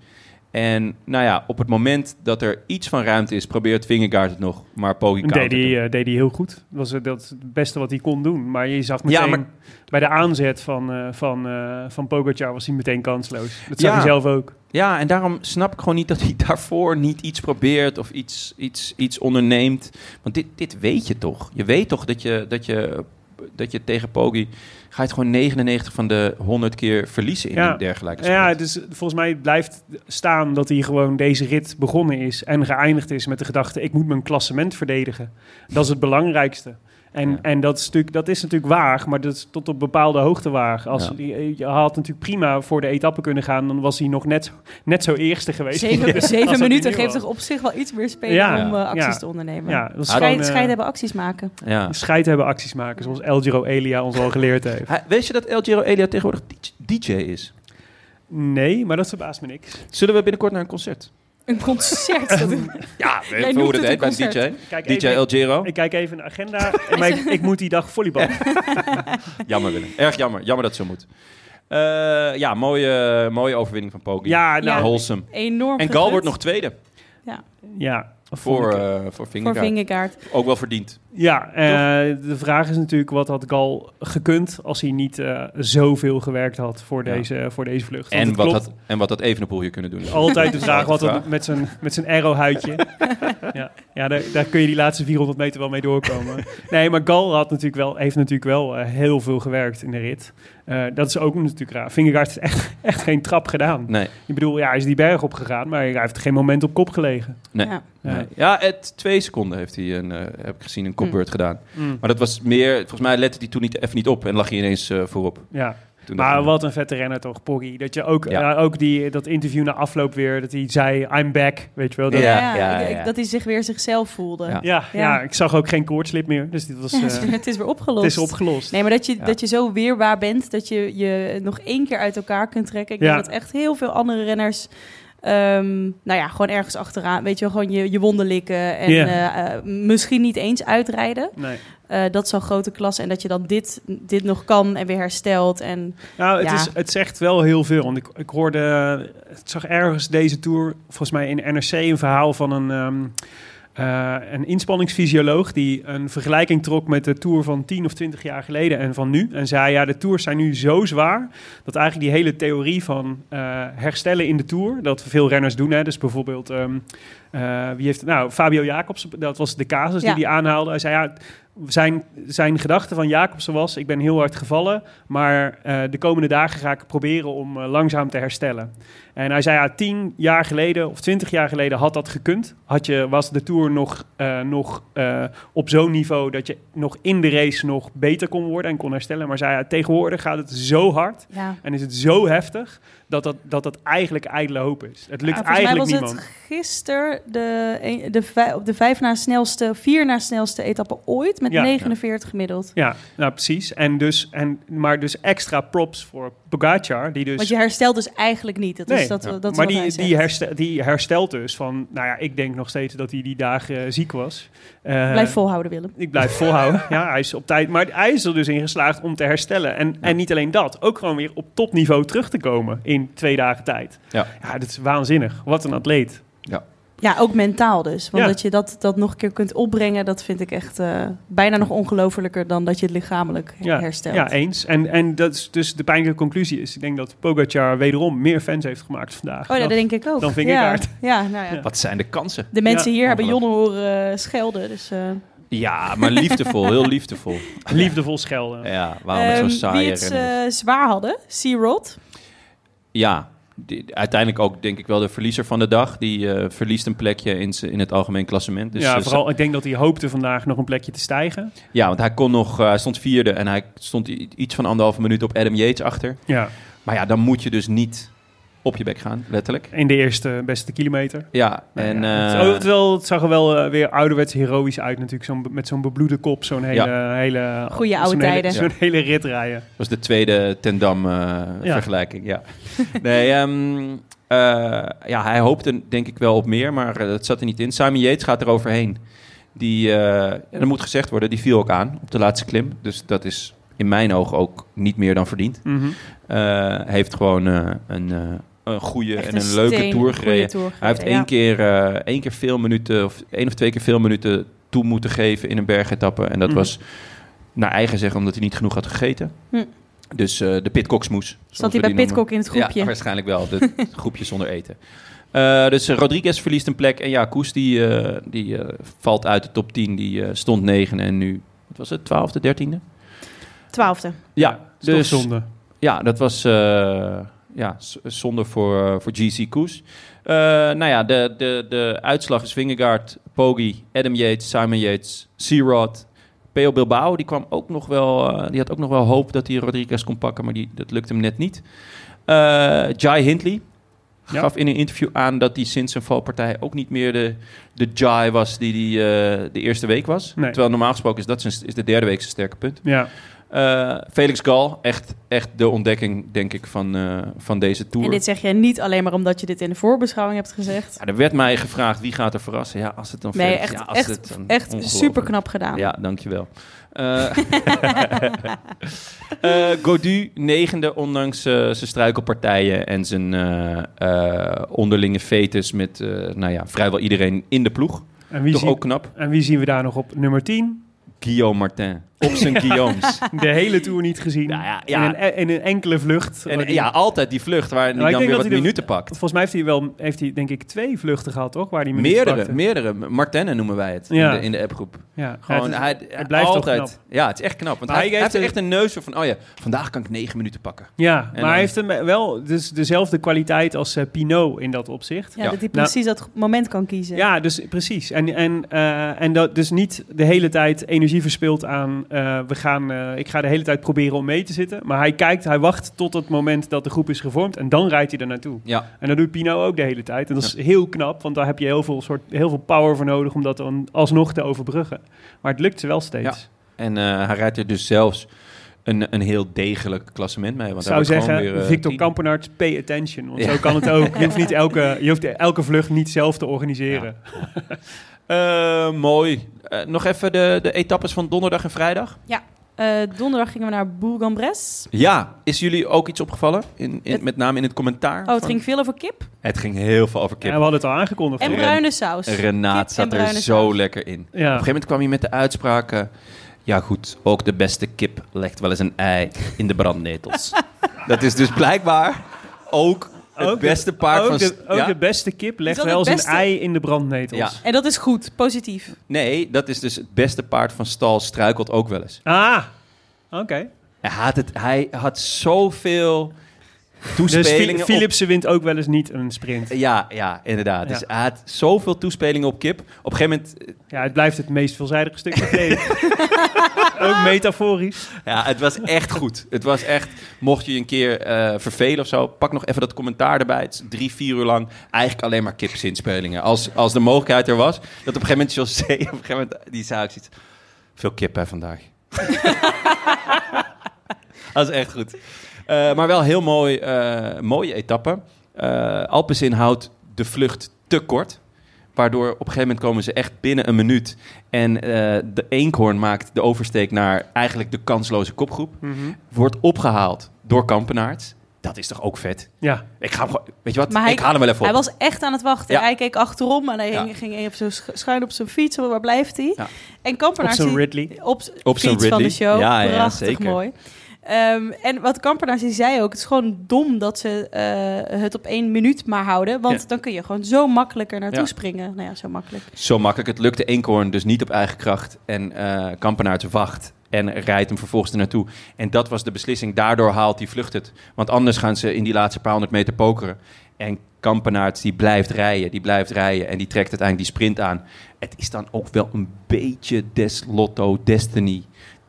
Speaker 4: En nou ja, op het moment dat er iets van ruimte is, probeert Vingegaard het nog. Maar Poggi
Speaker 5: Dat deed
Speaker 4: countert
Speaker 5: hij
Speaker 4: hem.
Speaker 5: eh, deed hij heel goed. Dat was eh, dat het beste wat hij kon doen. Maar je zag meteen,
Speaker 4: Ja, maar-
Speaker 5: bij de aanzet van, eh van, eh, van Pogacar was hij meteen kansloos. Dat zag
Speaker 4: Ja.
Speaker 5: hij zelf ook.
Speaker 4: Ja, en daarom snap ik gewoon niet dat hij daarvoor niet iets probeert of iets, iets, iets onderneemt. Want dit, dit weet je toch? Je weet toch dat je, dat je, dat je tegen Poggi ga je het gewoon 99 van de 100 keer verliezen in
Speaker 5: Ja.
Speaker 4: een dergelijke sport.
Speaker 5: Ja, dus volgens mij blijft staan dat hij gewoon deze rit begonnen is en geëindigd is met de gedachte: ik moet mijn klassement verdedigen. Dat is het belangrijkste. En,
Speaker 4: Ja.
Speaker 5: en dat, is natuurlijk, dat is natuurlijk waag, maar dat is tot op bepaalde hoogte waag. Als, eh, je, je had natuurlijk prima voor de etappe kunnen gaan, dan was hij nog net, net zo eerste geweest.
Speaker 3: Zeven,
Speaker 5: Ja. Als
Speaker 3: zeven
Speaker 5: dat
Speaker 3: minuten
Speaker 5: hij nu
Speaker 3: geeft
Speaker 5: was.
Speaker 3: toch op zich wel iets meer spelen
Speaker 5: Ja.
Speaker 3: om eh, acties
Speaker 5: Ja.
Speaker 3: te ondernemen.
Speaker 5: Ja, dat is
Speaker 3: Scheid,
Speaker 5: gewoon, eh,
Speaker 3: scheiden hebben acties maken.
Speaker 4: Ja.
Speaker 5: Scheid hebben acties maken, zoals El Giro Elia ons al geleerd heeft.
Speaker 4: Hij- Weet je dat El Giro Elia tegenwoordig DJ is?
Speaker 5: Nee, maar dat verbaast me niks.
Speaker 4: Zullen we binnenkort naar een concert?
Speaker 3: Een concert. dat-
Speaker 4: Ja,
Speaker 3: Jij noemt het een
Speaker 4: bij
Speaker 3: concert.
Speaker 4: DJ.
Speaker 5: Kijk
Speaker 4: DJ
Speaker 5: even,
Speaker 4: El Giro.
Speaker 5: ik kijk even in de agenda, maar ik, ik moet die dag volleyballen.
Speaker 4: Jammer Willem. Erg jammer. Jammer dat het zo moet. Eh, ja, mooie, mooie overwinning van Poggi.
Speaker 5: Ja, nou,
Speaker 4: Wholesome.
Speaker 3: Enorm
Speaker 4: En Gal
Speaker 3: gegund
Speaker 4: wordt nog tweede.
Speaker 5: ja.
Speaker 4: Voor, eh voor
Speaker 3: voor
Speaker 4: Vingegaard.
Speaker 3: Vingegaard.
Speaker 4: Ook wel verdiend.
Speaker 5: Ja, eh, de vraag is natuurlijk wat had Gal gekund als hij niet eh, zoveel gewerkt had voor,
Speaker 4: Ja.
Speaker 5: deze, voor deze vlucht. Want
Speaker 4: En
Speaker 5: het
Speaker 4: wat,
Speaker 5: klopt.
Speaker 4: had, en wat had Evenepoel hier kunnen doen.
Speaker 5: Altijd de vraag wat
Speaker 4: Altijd de
Speaker 5: het met zijn, met zijn arrowhuidje. ja, ja daar, daar kun je die laatste 400 meter wel mee doorkomen. Nee, maar Gal had natuurlijk wel, heeft natuurlijk wel eh, heel veel gewerkt in de rit. Eh, dat is ook natuurlijk raar. Vingegaard heeft echt, echt geen trap gedaan.
Speaker 4: Nee.
Speaker 5: Ik bedoel, ja, hij is die berg opgegaan, maar hij heeft geen moment op kop gelegen.
Speaker 4: Nee.
Speaker 3: Ja.
Speaker 5: Ja.
Speaker 4: nee. Ja, het, twee seconden heeft hij een, eh, heb ik gezien een kopbeurt
Speaker 3: Hm.
Speaker 4: gedaan.
Speaker 5: Mm.
Speaker 4: Maar dat was meer, volgens mij lette hij toen niet, even niet op en lag hij ineens eh, voorop.
Speaker 5: Ja.
Speaker 4: Toen dacht
Speaker 5: Maar
Speaker 4: ik,
Speaker 5: wat een vette renner toch, Poggy. Dat je ook,
Speaker 4: Ja.
Speaker 5: ja, ook die, dat interview na afloop weer, dat hij zei, I'm back, weet je wel. Dat,
Speaker 4: Ja,
Speaker 5: ja.
Speaker 4: ja,
Speaker 3: ik- ik-
Speaker 4: ja.
Speaker 3: Dat hij zich weer zichzelf voelde.
Speaker 4: Ja.
Speaker 5: Ja,
Speaker 3: Ja.
Speaker 5: ik zag ook geen koortslip meer, dus dit was,
Speaker 3: Ja,
Speaker 5: eh,
Speaker 3: het, is weer, het is weer
Speaker 5: het
Speaker 3: opgelost.
Speaker 5: is opgelost.
Speaker 3: Nee, maar dat je,
Speaker 4: Ja.
Speaker 3: dat je zo weerbaar bent dat je je nog één keer uit elkaar kunt trekken. Ik
Speaker 5: Ja.
Speaker 3: denk dat echt heel veel andere renners Ehm, nou ja, gewoon ergens achteraan. Weet je, wel, gewoon je, je wonden likken. En
Speaker 5: Ja.
Speaker 3: eh, eh, misschien niet eens uitrijden.
Speaker 5: Nee.
Speaker 3: Eh, dat is zo'n grote klas. En dat je dan dit, dit nog kan en weer herstelt. En
Speaker 5: Nou, het,
Speaker 3: Ja.
Speaker 5: is, het zegt wel heel veel. Want ik, ik hoorde, eh, het zag ergens deze tour, volgens mij in NRC, een verhaal van een, ehm, eh, een inspanningsfysioloog. die een vergelijking trok met de tour van 10 of 20 jaar geleden en van nu. En zei: Ja, de tours zijn nu zo zwaar. dat eigenlijk die hele theorie van eh, herstellen in de tour. dat veel renners doen. Hè, dus bijvoorbeeld, ehm, eh, wie heeft. Nou, Fabio Jacobs, dat was de casus
Speaker 3: Ja.
Speaker 5: die hij aanhaalde. Hij zei: Ja, zijn, zijn gedachte van Jacobsen was: Ik ben heel hard gevallen, maar eh, de komende dagen ga ik proberen om eh, langzaam te herstellen. En hij zei: Ja, tien jaar geleden of twintig jaar geleden had dat gekund. Had je, was de tour nog, eh, nog eh, op zo'n niveau dat je nog in de race nog beter kon worden en kon herstellen. Maar zei hij, Tegenwoordig gaat het zo hard
Speaker 3: ja.
Speaker 5: en is het zo heftig dat dat, dat, dat eigenlijk ijdele hoop is. Het lukt
Speaker 3: Ja, Ah, volgens mij
Speaker 5: eigenlijk
Speaker 3: was
Speaker 5: niemand.
Speaker 3: het gisteren de, de, vij- op de vijf na snelste, vier na snelste etappe ooit met
Speaker 5: Ja.
Speaker 3: 49 gemiddeld.
Speaker 5: Ja, nou precies. En dus, en, maar dus extra props voor Pogacar, die dus.
Speaker 3: Want je herstelt dus eigenlijk niet. Dat
Speaker 5: Nee,
Speaker 3: is dat,
Speaker 5: ja.
Speaker 3: dat is
Speaker 5: maar
Speaker 3: wat hij
Speaker 5: die,
Speaker 3: zegt.
Speaker 5: die, herste- die herstelt dus van, nou ja, ik denk nog steeds dat hij die dagen eh, ziek was. Eh,
Speaker 3: Blijf volhouden, Willem.
Speaker 5: Ik blijf volhouden. ja, hij is op tijd. Maar hij is er dus in geslaagd om te herstellen. En, en niet alleen dat, ook gewoon weer op topniveau terug te komen in twee dagen tijd.
Speaker 4: Ja.
Speaker 5: ja dat is waanzinnig. Wat een atleet.
Speaker 3: Ja, ook mentaal dus. Want
Speaker 5: Ja.
Speaker 3: dat je dat, dat nog een keer kunt opbrengen, dat vind ik echt eh, bijna nog ongelofelijker dan dat je het lichamelijk
Speaker 5: Ja,
Speaker 3: herstelt.
Speaker 5: Ja, eens. En, en dat is dus de pijnlijke conclusie is, ik denk dat Pogacar wederom meer fans heeft gemaakt vandaag.
Speaker 3: oh, ja,
Speaker 5: Dan-
Speaker 3: dat denk ik ook.
Speaker 5: dan vind ik
Speaker 3: ja.
Speaker 5: het
Speaker 3: Ja, nou ja.
Speaker 5: Ja.
Speaker 4: Wat zijn de kansen?
Speaker 3: De mensen
Speaker 5: Ja.
Speaker 3: hier hebben Jonne
Speaker 4: Ongelooflijk.
Speaker 3: horen eh, schelden. Dus, eh.
Speaker 4: Ja, maar liefdevol, heel liefdevol.
Speaker 5: liefdevol schelden.
Speaker 4: Ja, waarom het
Speaker 3: Ehm,
Speaker 4: zo'n
Speaker 3: die
Speaker 4: saaie
Speaker 3: het
Speaker 4: renner is.
Speaker 3: eh, zwaar hadden, Sea-Rod.
Speaker 4: Ja, die- uiteindelijk ook denk ik wel de verliezer van de dag. Die eh, verliest een plekje in, z'n- in het algemeen klassement. Dus,
Speaker 5: ja,
Speaker 4: eh,
Speaker 5: vooral, ik denk dat hij hoopte vandaag nog een plekje te stijgen.
Speaker 4: ze- ja, want hij kon nog, eh, hij stond vierde en hij stond i- iets van anderhalve minuut op Adam Yates achter.
Speaker 5: Ja,
Speaker 4: Maar ja, dan moet je dus niet op je bek gaan, letterlijk.
Speaker 5: in de eerste beste kilometer.
Speaker 4: Ja,
Speaker 5: Nou
Speaker 4: en
Speaker 5: ja, het,
Speaker 4: eh,
Speaker 5: oh, het wel, het zag er wel eh, weer ouderwets heroïs uit natuurlijk. Zo'n, met zo'n bebloede kop, zo'n hele... hele
Speaker 3: Goeie oude
Speaker 5: zo'n hele-
Speaker 3: tijden.
Speaker 5: zo'n hele rit rijden.
Speaker 4: was de tweede Ten Dam eh, vergelijking, ja. Nee, ehm, eh, ja, hij hoopte denk ik wel op meer, maar eh, dat zat er niet in. Simon Yates gaat er overheen. Die, eh, en dat moet gezegd worden, die viel ook aan op de laatste klim. Dus dat is in mijn ogen ook niet meer dan verdiend.
Speaker 5: Mhm.
Speaker 4: Eh, heeft gewoon eh, een, eh, een goede
Speaker 3: Echt
Speaker 4: en een, leuke
Speaker 3: steen,
Speaker 4: tour
Speaker 3: goede
Speaker 4: gereden.
Speaker 3: tour
Speaker 4: Hij heeft
Speaker 3: gereden, ja.
Speaker 4: één, keer, eh, één keer veel minuten, of één of twee keer veel minuten toe moeten geven in een bergetappe. En dat
Speaker 5: Mhm.
Speaker 4: was naar eigen zeggen omdat hij niet genoeg had gegeten.
Speaker 3: Hm.
Speaker 4: Dus eh, de pitkoksmoes.
Speaker 3: Zat
Speaker 4: zoals
Speaker 3: hij
Speaker 4: we
Speaker 3: bij
Speaker 4: die noemen.
Speaker 3: Pitcock in het groepje?
Speaker 4: Ja, waarschijnlijk wel. Het groepje zonder eten. Eh, dus eh, Rodriguez verliest een plek. En ja, Koes die, eh, die eh, valt uit de top 10. Die eh, stond 9 en nu, wat was het, 12e, 13e?
Speaker 3: Twaalfde.
Speaker 4: Ja,
Speaker 5: Is toch
Speaker 4: dus
Speaker 5: zonde.
Speaker 4: ja, dat was eh, ja, z- zonde voor, eh, voor GC Koes. Eh, nou ja, de, de, de uitslag is Vingegaard, Poggi, Adam Yates, Simon Yates, Searod. Peo Bilbao, die, kwam ook nog wel, eh, die had ook nog wel hoop dat hij Rodriguez kon pakken, maar die, dat lukte hem net niet. Eh, Jai Hindley
Speaker 5: Ja.
Speaker 4: gaf in een interview aan dat hij sinds zijn valpartij ook niet meer de, de Jai was die hij de eerste week was.
Speaker 5: Nee.
Speaker 4: Terwijl normaal gesproken is dat zijn, is de derde week zijn sterke punt.
Speaker 5: Ja.
Speaker 4: Eh, Felix Gal, echt, echt de ontdekking, denk ik, van, eh, van deze tour.
Speaker 3: En dit zeg jij niet alleen maar omdat je dit in de voorbeschouwing hebt gezegd.
Speaker 4: Ja, er werd mij gevraagd wie gaat er verrassen. Ja, als het dan
Speaker 3: Nee,
Speaker 4: Felix-
Speaker 3: echt,
Speaker 4: ja, als het
Speaker 3: echt,
Speaker 4: dan
Speaker 3: echt
Speaker 4: ongelooflijk.
Speaker 3: super knap gedaan.
Speaker 4: Ja, dankjewel. Eh eh, Godu, negende, ondanks eh, zijn struikelpartijen en zijn eh, eh, onderlinge fetus met eh, nou ja, vrijwel iedereen in de ploeg.
Speaker 5: En, wie
Speaker 4: Toch
Speaker 5: zien,
Speaker 4: ook knap.
Speaker 5: en wie zien we daar nog op? Nummer 10.
Speaker 4: Guillaume Martin, op zijn Guillaumes.
Speaker 5: De hele tour niet gezien.
Speaker 4: Nou ja, ja.
Speaker 5: In, een, e-, in een enkele vlucht. eh,
Speaker 4: En ja, altijd die vlucht waarin
Speaker 5: Maar
Speaker 4: hij
Speaker 5: ik
Speaker 4: dan
Speaker 5: denk
Speaker 4: weer
Speaker 5: dat
Speaker 4: wat
Speaker 5: hij de-
Speaker 4: minuten pakt.
Speaker 5: Volgens mij heeft hij wel, heeft hij denk ik twee vluchten gehad, toch? Waar hij minuten
Speaker 4: Meerdere,
Speaker 5: pakte.
Speaker 4: meerdere. Martenne noemen wij het
Speaker 5: Ja.
Speaker 4: in, de, in de appgroep.
Speaker 5: Ja,
Speaker 4: Gewoon,
Speaker 5: het is-
Speaker 4: hij, hij
Speaker 5: blijft toch
Speaker 4: altijd.
Speaker 5: knap.
Speaker 4: Ja, het is echt knap. Want hij,
Speaker 5: Maar hij
Speaker 4: hij heeft
Speaker 5: heeft dus-
Speaker 4: er
Speaker 5: een-
Speaker 4: echt een neus voor van, oh ja, vandaag kan ik negen minuten pakken.
Speaker 5: ja maar
Speaker 4: dan-
Speaker 5: hij heeft hem wel dus dezelfde kwaliteit als eh, Pinot in dat opzicht.
Speaker 3: Ja,
Speaker 4: Ja.
Speaker 3: dat hij
Speaker 5: Nou-
Speaker 3: precies dat moment kan kiezen.
Speaker 5: Ja, dus precies. En, en, eh, en dat dus niet de hele tijd energie verspilt aan eh, we gaan, eh, ik ga de hele tijd proberen om mee te zitten. Maar hij kijkt, hij wacht tot het moment dat de groep is gevormd en dan rijdt hij er naartoe.
Speaker 4: Ja,
Speaker 5: En dat doet Pino ook de hele tijd. En dat is heel knap, want daar heb je heel veel, soort, heel veel power voor nodig om dat dan alsnog te overbruggen. Maar het lukt ze wel steeds.
Speaker 4: en eh, hij rijdt er dus zelfs eh, een, een heel degelijk klassement mee. Want
Speaker 5: Ik zou
Speaker 4: daar wordt
Speaker 5: zeggen,
Speaker 4: gewoon weer, eh,
Speaker 5: Victor
Speaker 4: tien.
Speaker 5: Kampenaert, pay attention. Want
Speaker 4: Ja.
Speaker 5: zo kan het ook. Je hoeft, niet elke, je hoeft elke vlucht niet zelf te organiseren.
Speaker 4: Eh, mooi. Eh, nog even de, de etappes van donderdag en vrijdag.
Speaker 3: Eh, donderdag gingen we naar Bourg-en-Bresse.
Speaker 4: Ja, is jullie ook iets opgevallen? In, in,
Speaker 3: Het-
Speaker 4: met name in het commentaar.
Speaker 3: Oh, het
Speaker 4: van-
Speaker 3: ging veel over kip
Speaker 4: het ging heel veel over
Speaker 5: En
Speaker 4: kip.
Speaker 5: we hadden het al aangekondigd.
Speaker 3: en
Speaker 5: toch?
Speaker 4: Ren-
Speaker 3: bruine saus.
Speaker 4: Renaat
Speaker 3: Kip
Speaker 4: zat
Speaker 3: en
Speaker 4: er
Speaker 3: bruine
Speaker 4: zo
Speaker 3: saus.
Speaker 4: lekker in. Op een
Speaker 5: ja.
Speaker 4: gegeven moment kwam hij met de uitspraken. Ja, goed, ook de beste kip legt wel eens een ei in de brandnetels. dat is dus blijkbaar ook het
Speaker 5: Ook de-
Speaker 4: beste paard van...
Speaker 5: ook de,
Speaker 4: st-
Speaker 5: ook
Speaker 4: ja?
Speaker 5: de beste kip legt
Speaker 3: dat
Speaker 5: wel
Speaker 3: het
Speaker 5: zijn
Speaker 3: beste?
Speaker 5: ei in de brandnetels.
Speaker 3: En dat is goed, positief.
Speaker 4: Nee, dat is dus het beste paard van stal struikelt ook wel eens.
Speaker 5: Ah, oké.
Speaker 4: Hij had, het, hij had zoveel
Speaker 5: Dus
Speaker 4: toespelingen
Speaker 5: Phil-
Speaker 4: op-
Speaker 5: Philipsen wint ook wel eens niet een sprint.
Speaker 4: Ja, ja, inderdaad.
Speaker 5: Ja.
Speaker 4: Dus hij had zoveel toespelingen op kip. Op een gegeven moment,
Speaker 5: Ja, het blijft het meest veelzijdige stuk van Kate. ook metaforisch.
Speaker 4: ja, het was echt goed. Het was echt, mocht je je een keer eh, vervelen of zo, pak nog even dat commentaar erbij. Het is drie, vier uur lang eigenlijk alleen maar kipzinspelingen. Als, als de mogelijkheid er was, dat op een gegeven moment José, op een gegeven moment, die zei ook zoiets, veel kip hè vandaag. dat is echt goed. Eh, maar wel heel mooi, eh, mooie etappe. Eh Alpecin houdt de vlucht te kort. Waardoor op een gegeven moment komen ze echt binnen een minuut. En eh, de eenkhoorn maakt de oversteek naar eigenlijk de kansloze kopgroep.
Speaker 3: Mhm.
Speaker 4: Wordt opgehaald door Kampenaerts. Dat is toch ook vet?
Speaker 5: Ja,
Speaker 4: Ik ga hem gewoon, weet je wat?
Speaker 3: Maar hij-
Speaker 4: ik haal hem wel even op.
Speaker 3: Hij was echt aan het wachten.
Speaker 4: Ja.
Speaker 3: Hij keek achterom en hij
Speaker 4: Ja.
Speaker 3: ging- ging even zo sch- schuin op zijn fiets. Waar blijft hij?
Speaker 4: Ja.
Speaker 3: En
Speaker 5: op
Speaker 3: Kampenaar
Speaker 5: zo'n Ridley.
Speaker 3: op, z-
Speaker 4: Op zo'n
Speaker 3: fiets van de
Speaker 4: Ridley.
Speaker 3: show.
Speaker 4: Ja, ja,
Speaker 3: Prachtig
Speaker 4: zeker.
Speaker 3: mooi. Ehm, en wat Kampenaars die zei ook, het is gewoon dom dat ze eh, het op één minuut maar houden. Want
Speaker 4: Ja.
Speaker 3: dan kun je gewoon zo makkelijk er naartoe
Speaker 4: Ja.
Speaker 3: springen. Nou ja, zo makkelijk.
Speaker 4: Zo makkelijk. Het lukte Eenkhoorn dus niet op eigen kracht. En eh Kampenaerts wacht en rijdt hem vervolgens ernaartoe. En dat was de beslissing. Daardoor haalt hij vlucht het. Want anders gaan ze in die laatste paar honderd meter pokeren. En Kampenaerts die blijft rijden, die blijft rijden. En die trekt uiteindelijk die sprint aan. Het is dan ook wel een beetje des lotto destiny.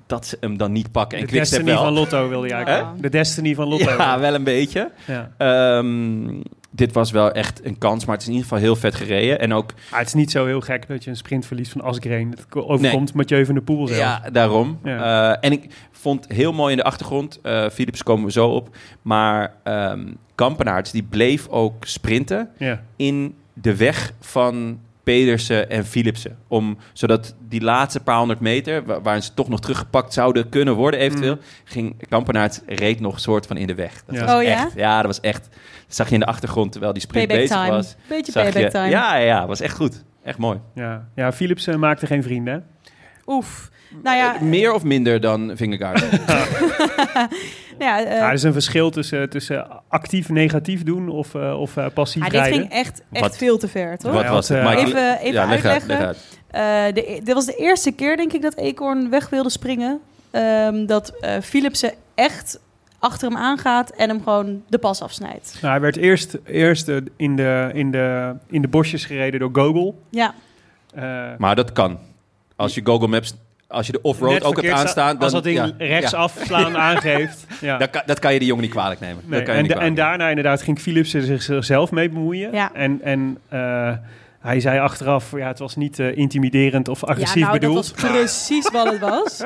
Speaker 4: Dat ze hem dan niet pakken. En
Speaker 5: De
Speaker 4: Quickstep
Speaker 5: destiny
Speaker 4: wel.
Speaker 5: van Lotto wilde jij
Speaker 3: Hè?
Speaker 5: De destiny van Lotto.
Speaker 4: Ja, wel een beetje.
Speaker 5: Ja.
Speaker 4: Ehm, dit was wel echt een kans. Maar het is in ieder geval heel vet gereden. En ook
Speaker 5: Ah, het is niet zo heel gek dat je een sprint verliest van Asgreen. Het overkomt Mathieu van der Poel zelf.
Speaker 4: Ja, daarom.
Speaker 5: Ja.
Speaker 4: Eh, en ik vond heel mooi in de achtergrond, eh Philips komen we zo op, maar ehm Kampenaerts die bleef ook sprinten
Speaker 5: Ja.
Speaker 4: in de weg van Pedersen en Philipsen. Om, zodat die laatste paar honderd meter, wa- waarin ze toch nog teruggepakt zouden kunnen worden eventueel, ging Kampenaerts reed nog soort van in de weg. Dat
Speaker 5: Mm. Ja.
Speaker 4: was
Speaker 3: Oh ja?
Speaker 4: echt, ja, dat was echt. Dat zag je in de achtergrond terwijl die sprint
Speaker 3: Payback
Speaker 4: bezig
Speaker 3: time.
Speaker 4: was.
Speaker 3: Beetje
Speaker 4: Zag
Speaker 3: payback
Speaker 4: je,
Speaker 3: time.
Speaker 4: ja, ja, was echt goed. Echt mooi.
Speaker 5: Ja. ja, Philipsen maakte geen vrienden. hè?
Speaker 3: Oef. Nou ja,
Speaker 4: Eh, Meer of minder dan Vingegaard?
Speaker 3: nou ja, eh,
Speaker 5: Ja, Ah, er is een verschil tussen, tussen actief negatief doen of, eh, of eh, passief
Speaker 3: ah, dit
Speaker 5: rijden.
Speaker 3: ging echt, echt
Speaker 4: Wat-
Speaker 3: veel te ver, toch?
Speaker 4: Wat
Speaker 5: Ja,
Speaker 4: was
Speaker 5: want,
Speaker 4: het?
Speaker 5: eh,
Speaker 4: Mike,
Speaker 3: Even, even
Speaker 4: ja, leg uit,
Speaker 3: uitleggen.
Speaker 4: leg uit.
Speaker 3: Eh, de, dit was de eerste keer, denk ik, dat Eekhoorn weg wilde springen. Ehm, dat eh, Philipsen echt achter hem aangaat en hem gewoon de pas afsnijdt.
Speaker 5: Nou, hij werd eerst, eerst eh, in, de, in, de, in de bosjes gereden door Gogol.
Speaker 3: Ja,
Speaker 5: Eh,
Speaker 4: Maar dat kan. Als je Google Maps, als je de
Speaker 5: net
Speaker 4: off-road ook hebt
Speaker 5: verkeerd sta-
Speaker 4: aanstaan, dan,
Speaker 5: Als dat ding
Speaker 4: ja, ja.
Speaker 5: rechtsaf slaan aangeeft. Ja.
Speaker 4: Dat, kan, dat kan je die jongen niet kwalijk nemen.
Speaker 5: Nee,
Speaker 4: Dat kan je
Speaker 5: en,
Speaker 4: niet
Speaker 5: da- en
Speaker 4: kwalijk
Speaker 5: daarna inderdaad ging Philips er zichzelf mee bemoeien.
Speaker 3: Ja.
Speaker 5: En, en eh, hij zei achteraf, ja, het was niet eh, intimiderend of agressief
Speaker 3: ja nou,
Speaker 5: bedoeld.
Speaker 3: dat was precies wat het was.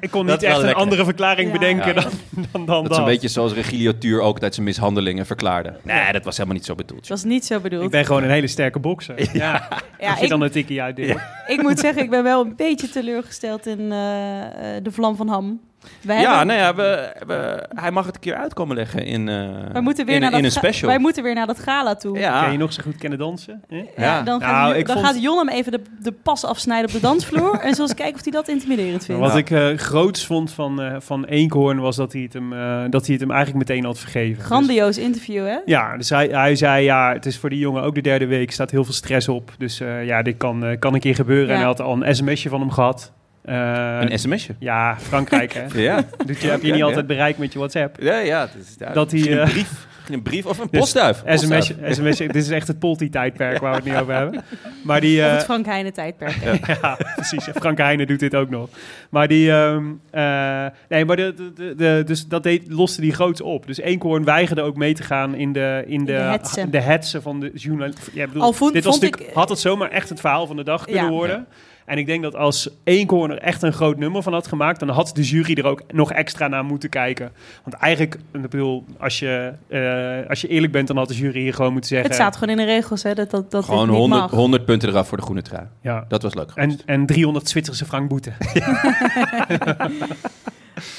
Speaker 5: Ik kon
Speaker 4: Dat
Speaker 5: niet
Speaker 4: is wel
Speaker 5: echt een
Speaker 4: lekker.
Speaker 5: andere verklaring
Speaker 3: Ja.
Speaker 5: bedenken
Speaker 4: Ja.
Speaker 5: Dan, dan, dan
Speaker 4: nemen.
Speaker 5: dat.
Speaker 4: Dat is een beetje zoals Regilio Tuur ook tijdens zijn mishandelingen verklaarde. Nee, dat was helemaal niet zo bedoeld.
Speaker 3: Het was niet zo bedoeld.
Speaker 5: Ik ben gewoon een hele sterke bokser. Ja.
Speaker 3: ja,
Speaker 5: Als je
Speaker 3: ik,
Speaker 5: dan een tikkie uitdeelt.
Speaker 3: ik moet zeggen, ik ben wel een beetje teleurgesteld in eh, eh, de vlam van Ham. We
Speaker 4: ja,
Speaker 3: hebben-
Speaker 4: nou ja, we, we- hij mag het een keer uitkomen leggen in, eh,
Speaker 3: wij moeten weer
Speaker 4: in,
Speaker 3: naar
Speaker 4: in
Speaker 3: dat
Speaker 4: een
Speaker 3: ga-
Speaker 4: special.
Speaker 3: Wij moeten weer naar dat gala toe.
Speaker 4: ja.
Speaker 5: Kan je nog zo goed kennen dansen? hè?
Speaker 3: Ja,
Speaker 4: Ja.
Speaker 3: dan gaat,
Speaker 5: Nou, ik
Speaker 3: dan
Speaker 5: vond-
Speaker 3: gaat Jon hem even de, de pas afsnijden op de dansvloer. en zoals kijken of hij dat intimiderend vindt.
Speaker 5: Wat
Speaker 4: Ja.
Speaker 5: ik eh, groots vond van, eh van Eekhoorn was dat hij, het hem, eh, dat hij het hem eigenlijk meteen had vergeven. Dus-
Speaker 3: Grandioos interview, hè?
Speaker 5: ja, dus hij, hij zei, ja, het is voor die jongen ook de derde week, staat heel veel stress op. Dus eh, ja, dit kan, eh, kan een keer gebeuren.
Speaker 3: Ja.
Speaker 5: En hij had al een sms'je van hem gehad. Eh,
Speaker 4: Een sms'je.
Speaker 5: ja, Frankrijk, hè?
Speaker 4: Ja,
Speaker 5: Dus je heb
Speaker 4: Oké,
Speaker 5: je niet
Speaker 4: ja.
Speaker 5: altijd bereik met je WhatsApp.
Speaker 4: ja, ja. Het is, ja,
Speaker 5: Dat hij,
Speaker 4: misschien een
Speaker 5: eh,
Speaker 4: brief, misschien een brief of een
Speaker 5: Dus
Speaker 4: postduif.
Speaker 5: SMS,
Speaker 4: Postduif.
Speaker 5: SMS, dit is echt het Polti-tijdperk waar we het nu over hebben. Maar die,
Speaker 3: Of
Speaker 5: eh,
Speaker 3: het Frank Heijnen tijdperk.
Speaker 5: Ja, precies. Frank Heijnen doet dit ook nog. Maar die... ehm, eh, nee, maar de, de- de, de- dus dat deed, loste die groots op. Dus Eekhoorn weigerde ook mee te gaan in de... In
Speaker 3: de
Speaker 5: de,
Speaker 3: hetsen.
Speaker 5: de hetsen van de journalist. Ja, ik bedoel,
Speaker 3: Al vond-
Speaker 5: dit was
Speaker 3: vond
Speaker 5: natuurlijk,
Speaker 3: ik-
Speaker 5: had het zomaar echt het verhaal van de dag kunnen
Speaker 3: Ja.
Speaker 5: worden. En ik denk dat als Eenkhoorn er echt een groot nummer van had gemaakt, dan had de jury er ook nog extra naar moeten kijken. Want eigenlijk, ik bedoel, als je, eh, als je eerlijk bent, dan had de jury hier gewoon moeten zeggen...
Speaker 3: Het staat gewoon in de regels, hè, dat, dat, dat
Speaker 4: Gewoon
Speaker 3: dit niet
Speaker 4: 100,
Speaker 3: mag.
Speaker 4: 100 punten eraf voor de groene trui.
Speaker 5: Ja.
Speaker 4: Dat was leuk.
Speaker 5: En, en 300 Zwitserse frank boete.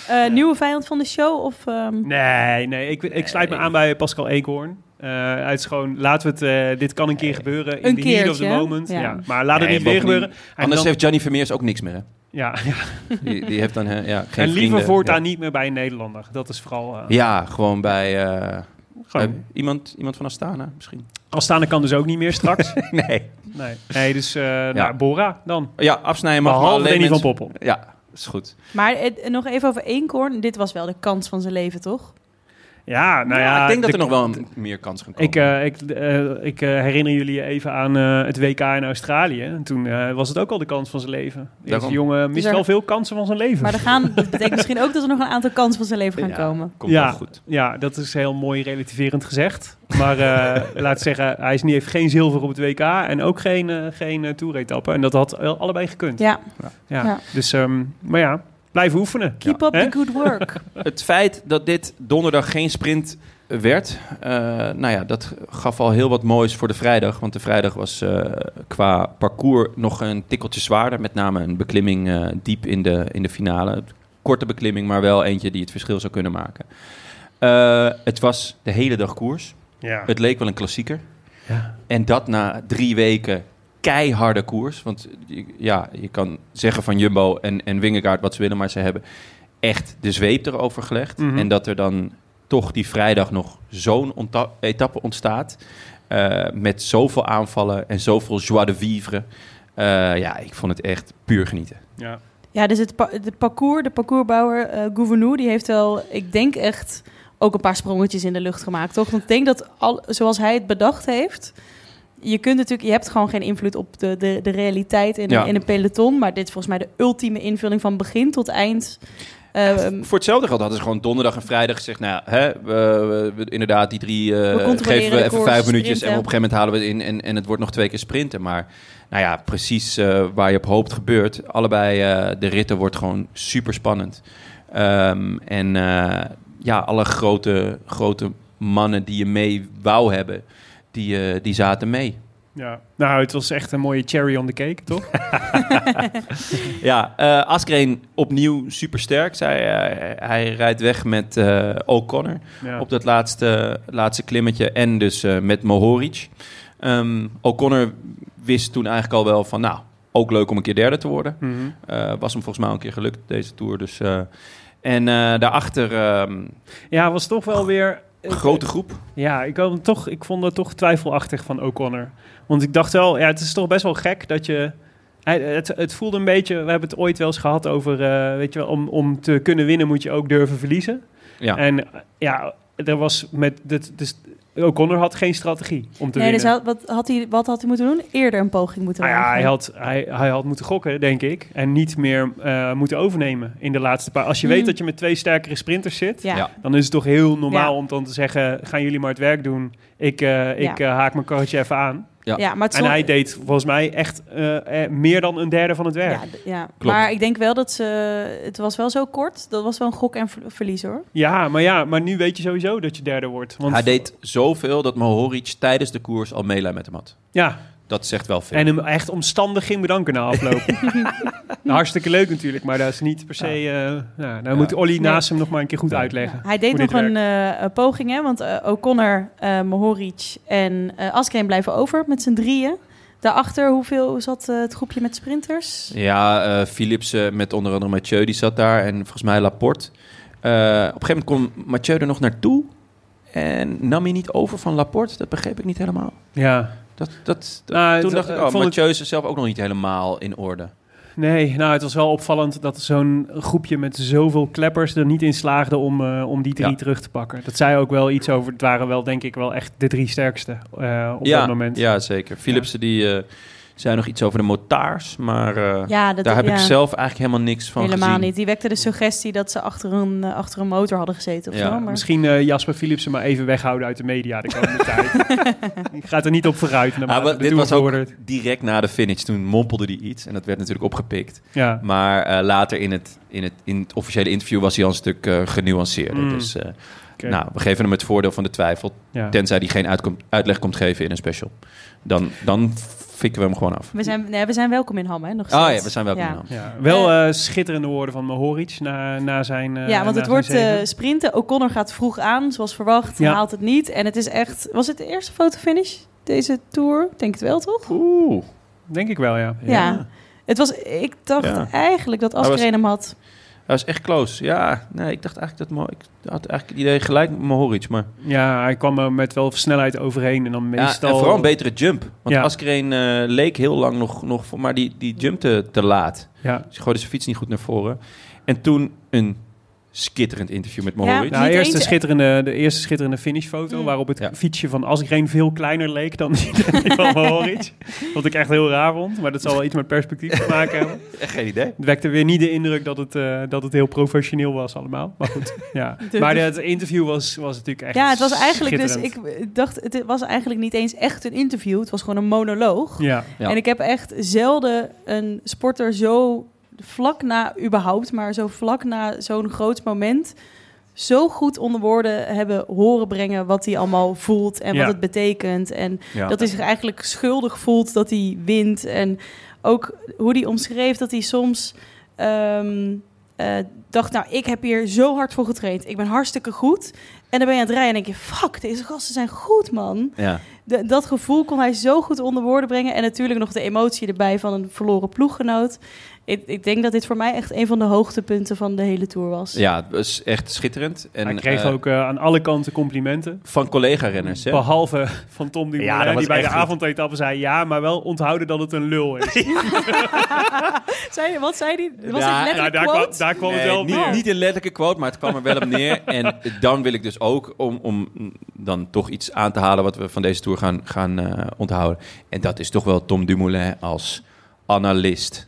Speaker 3: Eh, Nieuwe vijand van de show of... ehm,
Speaker 5: Nee, nee, ik, ik sluit me aan bij Pascal Eekhoorn. Eh hij is gewoon, laten we het, eh, dit kan een keer gebeuren. In
Speaker 3: Een
Speaker 5: the heat of the
Speaker 3: keertje, hè?
Speaker 5: moment. Ja.
Speaker 3: Ja.
Speaker 5: Maar laat het
Speaker 4: Nee,
Speaker 5: niet weer
Speaker 4: bovendien-
Speaker 5: gebeuren. En
Speaker 4: Anders
Speaker 5: dan-
Speaker 4: heeft Johnny Vermeers ook niks meer. Hè?
Speaker 5: ja, ja.
Speaker 4: Die, die heeft dan hè, ja, geen
Speaker 5: En liever
Speaker 4: vrienden.
Speaker 5: voortaan niet meer bij een Nederlander. Dat is vooral... eh
Speaker 4: Ja, Ja, gewoon bij eh,
Speaker 5: gewoon.
Speaker 4: bij iemand, iemand van Astana misschien.
Speaker 5: Astana kan dus ook niet meer straks.
Speaker 4: nee.
Speaker 5: nee. nee, dus eh nou, Bora dan.
Speaker 4: Ja, afsnijden mag maar
Speaker 5: Behalve
Speaker 4: alleen
Speaker 5: Danny van
Speaker 4: mensen-
Speaker 5: Poppel.
Speaker 4: Ja, is goed.
Speaker 3: Maar eh, nog even over Eenkhoorn. Dit was wel de kans van zijn leven, toch?
Speaker 5: Ja, nou ja,
Speaker 4: Ja, ik denk dat
Speaker 5: de-
Speaker 4: er nog wel een- meer kans gaan komen.
Speaker 5: Ik, eh, ik, eh, ik eh, herinner jullie even aan eh, het WK in Australië. En toen eh, was het ook al de kans van zijn leven. Deze
Speaker 4: Daarom.
Speaker 5: jongen mist
Speaker 3: Dus er-
Speaker 5: wel veel kansen van zijn leven.
Speaker 3: Maar er gaan, dat betekent misschien ook dat er nog een aantal kansen van zijn leven gaan
Speaker 4: Ja.
Speaker 3: komen.
Speaker 4: Komt
Speaker 5: ja,
Speaker 4: wel goed.
Speaker 5: Ja, dat is heel mooi relativerend gezegd. Maar eh laat ik zeggen, hij is niet, heeft geen zilver op het WK en ook geen, eh geen eh, toeretappe. En dat had wel allebei gekund.
Speaker 3: Ja,
Speaker 5: Ja.
Speaker 3: Ja.
Speaker 5: Dus, ehm, maar ja, blijven oefenen.
Speaker 3: keep
Speaker 5: Ja.
Speaker 3: up
Speaker 5: Hè?
Speaker 3: the good work.
Speaker 4: Het feit dat dit donderdag geen sprint werd, eh, nou ja, dat gaf al heel wat moois voor de vrijdag. Want de vrijdag was eh, qua parcours nog een tikkeltje zwaarder. Met name een beklimming eh, diep in de, in de finale. Korte beklimming, maar wel eentje die het verschil zou kunnen maken. Eh, het was de hele dag koers.
Speaker 5: Ja.
Speaker 4: Het leek wel een klassieker.
Speaker 5: Ja.
Speaker 4: En dat na drie weken keiharde koers. Want je- ja, je kan zeggen van Jumbo en, en Wingegaard wat ze willen, maar ze hebben echt de zweep erover gelegd.
Speaker 5: Mhm.
Speaker 4: En dat er dan toch die vrijdag nog zo'n onta- etappe ontstaat. eh, met zoveel aanvallen en zoveel joie de vivre. Eh, ja, ik vond het echt puur genieten.
Speaker 5: Ja.
Speaker 3: Ja, dus het pa- de parcours, de parcoursbouwer eh Gouvenou, die heeft wel, ik denk echt, ook een paar sprongetjes in de lucht gemaakt, toch? Want ik denk dat, al, zoals hij het bedacht heeft, je kunt natuurlijk, je hebt gewoon geen invloed op de, de, de realiteit in,
Speaker 4: Ja.
Speaker 3: in een peloton, maar dit is volgens mij de ultieme invulling van begin tot eind. Ehm,
Speaker 4: Voor hetzelfde geld hadden ze gewoon donderdag en vrijdag gezegd... nou, ja, hè, we, we- inderdaad, die drie eh,
Speaker 3: We controleren
Speaker 4: geven we
Speaker 3: de
Speaker 4: even
Speaker 3: koers,
Speaker 4: vijf minuutjes... en
Speaker 3: sprinten.
Speaker 4: op een gegeven moment halen we het in en, en het wordt nog twee keer sprinten. Maar nou ja, precies eh, waar je op hoopt gebeurt. Allebei eh, de ritten wordt gewoon super spannend. en eh, ja, alle grote, grote mannen die je mee wou hebben, die, eh, die zaten mee.
Speaker 5: Ja. Nou, het was echt een mooie cherry on the cake, toch?
Speaker 4: Ja, eh Askreen opnieuw super sterk. Zij, eh, hij rijdt weg met eh, O'Connor.
Speaker 5: ja.
Speaker 4: op dat laatste, laatste klimmetje. En dus eh, met Mohoric. Ehm, O'Connor wist toen eigenlijk al wel van... nou, ook leuk om een keer derde te worden.
Speaker 5: Mhm.
Speaker 4: Eh, was hem volgens mij al een keer gelukt deze Tour. Dus, eh, en eh, daarachter ehm,
Speaker 5: ja, was toch wel weer... eh,
Speaker 4: een grote groep.
Speaker 5: Ja, ik, had hem toch, ik vond het toch twijfelachtig van O'Connor. Want ik dacht wel, ja, het is toch best wel gek dat je... Hij- Het, het voelde een beetje, we hebben het ooit wel eens gehad over, eh, weet je wel, om, om te kunnen winnen moet je ook durven verliezen.
Speaker 4: Ja.
Speaker 5: En eh, ja, er was met, dit, dus O'Connor had geen strategie om te
Speaker 3: nee, dus
Speaker 5: winnen.
Speaker 3: had- wat had, hij, wat had hij moeten doen? Eerder een poging moeten
Speaker 5: Nou ja,
Speaker 3: wagen.
Speaker 5: hij had, hij, hij had moeten gokken, denk ik. En niet meer eh, moeten overnemen in de laatste paar. Als je weet
Speaker 3: Hmm.
Speaker 5: dat je met twee sterkere sprinters zit,
Speaker 3: Ja.
Speaker 4: Ja.
Speaker 5: dan is het toch heel normaal
Speaker 3: Ja.
Speaker 5: om dan te zeggen: gaan jullie maar het werk doen. Ik, eh, ik eh, haak mijn karretje even aan.
Speaker 4: Ja.
Speaker 3: Ja, maar het
Speaker 5: En
Speaker 3: zon-
Speaker 5: hij deed volgens mij echt eh, eh, meer dan een derde van het werk.
Speaker 3: ja,
Speaker 5: Ja,
Speaker 3: d- ja. maar ik denk wel dat ze. Het was wel zo kort. Dat was wel een gok en ver- verlies hoor.
Speaker 5: maar ja, maar nu weet je sowieso dat je derde wordt. Want,
Speaker 4: Hij deed zoveel dat Mohoric tijdens de koers al meelij met hem had.
Speaker 5: Ja,
Speaker 4: Dat zegt wel veel.
Speaker 5: en hem echt omstandig ging bedanken na afloop. Nou, hartstikke leuk natuurlijk, maar dat is niet per se... eh nou, dan moet Olly naast hem nog maar een keer goed
Speaker 4: Nee.
Speaker 5: uitleggen.
Speaker 3: Ja, hij deed
Speaker 5: hoe
Speaker 3: nog
Speaker 5: dit
Speaker 3: een eh, eh, poging, hè? Want eh, O'Connor, eh Mohoric en eh Askreen blijven over met z'n drieën. Daarachter, hoeveel zat eh, het groepje met sprinters?
Speaker 4: Ja, eh Philips eh, met onder andere Mathieu, die zat daar. En volgens mij Laporte. Eh, op een gegeven moment kwam Mathieu er nog naartoe. En nam hij niet over van Laporte? Dat begreep ik niet helemaal.
Speaker 5: Ja.
Speaker 4: Dat, dat, dat-
Speaker 5: Nou,
Speaker 4: toen
Speaker 5: het-
Speaker 4: dacht ik,
Speaker 5: ik
Speaker 4: oh,
Speaker 5: vond het-
Speaker 4: Mathieu is zelf ook nog niet helemaal in orde.
Speaker 5: Nee, nou het was wel opvallend dat zo'n groepje met zoveel kleppers er niet in slaagde om, eh, om die drie
Speaker 4: Ja.
Speaker 5: terug te pakken. Dat zei ook wel iets over, het waren wel denk ik wel echt de drie sterkste eh, op dat moment.
Speaker 4: ja, zeker. Philipsen die, eh, zei nog iets over de motaars, maar eh,
Speaker 3: Ja, dat,
Speaker 4: daar heb ik
Speaker 3: ja,
Speaker 4: zelf eigenlijk helemaal niks van
Speaker 3: helemaal
Speaker 4: gezien.
Speaker 3: niet. Die wekte de suggestie dat ze achter een, eh, achter een motor hadden gezeten of
Speaker 4: Ja,
Speaker 3: zo. Maar...
Speaker 5: Misschien eh, Jasper Philipsen maar even weghouden uit de media de komende tijd. Die gaat er niet op vooruit.
Speaker 4: Ah,
Speaker 5: naarmate
Speaker 4: wel,
Speaker 5: de
Speaker 4: dit
Speaker 5: Tour
Speaker 4: was ook
Speaker 5: vordert.
Speaker 4: direct na de finish. Toen mompelde hij iets en dat werd natuurlijk opgepikt.
Speaker 5: Ja.
Speaker 4: Maar eh, later in het, in, het, in het officiële interview was hij al een stuk eh, genuanceerder.
Speaker 5: Mm.
Speaker 4: Dus eh,
Speaker 5: Oké.
Speaker 4: nou, we geven hem het voordeel van de twijfel.
Speaker 5: ja.
Speaker 4: Tenzij hij geen uitkom- uitleg komt geven in een special. Dan, dan fikken we hem gewoon af.
Speaker 3: We, zijn, nee, we zijn welkom in Ham, hè? Nog
Speaker 4: Oh
Speaker 3: steeds.
Speaker 4: ja, we zijn welkom
Speaker 3: Ja.
Speaker 4: in Ham.
Speaker 5: Ja, wel eh, schitterende woorden van Mohoric na, na zijn. eh,
Speaker 3: ja, want
Speaker 5: na
Speaker 3: het wordt
Speaker 5: zijn zege.
Speaker 3: eh, sprinten. O'Connor gaat vroeg aan, zoals verwacht.
Speaker 5: Ja.
Speaker 3: Haalt het niet. En het is echt... Was het de eerste fotofinish deze Tour? Ik Denk het wel, toch?
Speaker 4: Oeh.
Speaker 5: Denk ik wel, ja.
Speaker 3: Ja. Het was... Ik dacht
Speaker 4: Ja.
Speaker 3: eigenlijk dat
Speaker 4: was-
Speaker 3: Askren hem had.
Speaker 4: Hij was echt close. Ja, nee, ik dacht eigenlijk dat... Mo- ik had eigenlijk het idee gelijk met Mohoric, maar...
Speaker 5: Ja, hij kwam er met wel snelheid overheen en dan meestal.
Speaker 4: Ja, en vooral een betere jump. Want
Speaker 5: Ja.
Speaker 4: Askreen eh, leek heel lang nog... nog voor- maar die, die jumpte te laat.
Speaker 5: Ja.
Speaker 4: Ze gooide zijn fiets niet goed naar voren. En toen een skitterend interview met Mohoric.
Speaker 5: Nou,
Speaker 3: Niet
Speaker 5: eerst de,
Speaker 3: eens-
Speaker 5: schitterende, de eerste schitterende finishfoto,
Speaker 3: Mm.
Speaker 5: waarop het
Speaker 4: Ja.
Speaker 5: fietsje van Asgreen veel kleiner leek dan die van Mohoric. Wat ik echt heel raar vond, maar dat zal wel iets met perspectief te maken hebben.
Speaker 4: Echt geen idee.
Speaker 5: Het wekte weer niet de indruk dat het, eh, dat het heel professioneel was allemaal. Maar goed, ja.
Speaker 3: De-
Speaker 5: Maar
Speaker 3: de-
Speaker 5: het interview was, was natuurlijk echt
Speaker 3: Dus- Ja, het was eigenlijk dus...
Speaker 5: schitterend.
Speaker 3: Ik dacht, het was eigenlijk niet eens echt een interview. Het was gewoon een monoloog.
Speaker 5: Ja,
Speaker 4: Ja.
Speaker 3: En ik heb echt zelden een sporter zo vlak na, überhaupt, maar zo vlak na zo'n groot moment. Zo goed onder woorden hebben horen brengen wat hij allemaal voelt en
Speaker 5: Ja.
Speaker 3: wat het betekent. En
Speaker 4: Ja.
Speaker 3: dat hij zich eigenlijk schuldig voelt dat hij wint. En ook hoe hij omschreef dat hij soms ehm, eh, dacht... nou, ik heb hier zo hard voor getraind. Ik ben hartstikke goed. En dan ben je aan het rijden en denk je... fuck, deze gasten zijn goed, man.
Speaker 4: Ja.
Speaker 3: De- dat gevoel kon hij zo goed onder woorden brengen. En natuurlijk nog de emotie erbij van een verloren ploeggenoot. Ik, ik denk dat dit voor mij echt een van de hoogtepunten van de hele tour was.
Speaker 4: ja, het was echt schitterend. En,
Speaker 5: hij kreeg
Speaker 4: eh,
Speaker 5: ook eh, aan alle kanten complimenten.
Speaker 4: Van collega-renners, hè?
Speaker 5: Behalve van Tom Dumoulin,
Speaker 4: Ja, dat was
Speaker 5: die bij de
Speaker 4: echt goed.
Speaker 5: avondetappe zei... ja, maar wel onthouden dat het een lul is.
Speaker 3: Zei, wat zei hij? Was
Speaker 4: Ja,
Speaker 3: het
Speaker 5: Nou,
Speaker 3: letterlijk
Speaker 5: daar, kwam,
Speaker 3: quote?
Speaker 5: daar kwam het
Speaker 4: Nee,
Speaker 5: wel op
Speaker 4: niet,
Speaker 5: neer.
Speaker 4: niet een letterlijke quote, maar het kwam er wel op neer. En dan wil ik dus ook, om, om dan toch iets aan te halen wat we van deze tour gaan, gaan eh, onthouden. En dat is toch wel Tom Dumoulin als analist.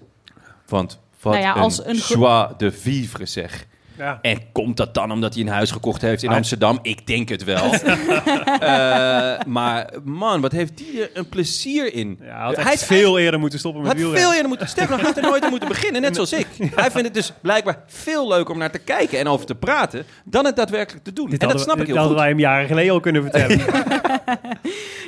Speaker 4: Want wat
Speaker 3: Nou ja, als
Speaker 4: een,
Speaker 3: een gro-
Speaker 4: joie de vivre zeg.
Speaker 5: Ja.
Speaker 4: En komt dat dan omdat hij een huis gekocht heeft in
Speaker 5: Ah.
Speaker 4: Amsterdam? Ik denk het wel. Eh, maar man, wat heeft hij er een plezier in.
Speaker 5: Ja, hij had
Speaker 4: Hij
Speaker 5: echt
Speaker 4: is
Speaker 5: veel eerder moeten stoppen met
Speaker 4: Had veel
Speaker 5: wielrennen.
Speaker 4: eerder moeten. Sterker nog, hij had er nooit aan moeten beginnen, net zoals ik. Hij vindt het dus blijkbaar veel leuker om naar te kijken en over te praten dan het daadwerkelijk te doen.
Speaker 5: Dit
Speaker 4: en dat
Speaker 5: hadden
Speaker 4: snap
Speaker 5: we-
Speaker 4: ik
Speaker 5: dit
Speaker 4: heel
Speaker 5: hadden
Speaker 4: goed.
Speaker 5: wij hem jaren geleden al kunnen vertellen.
Speaker 3: Ja,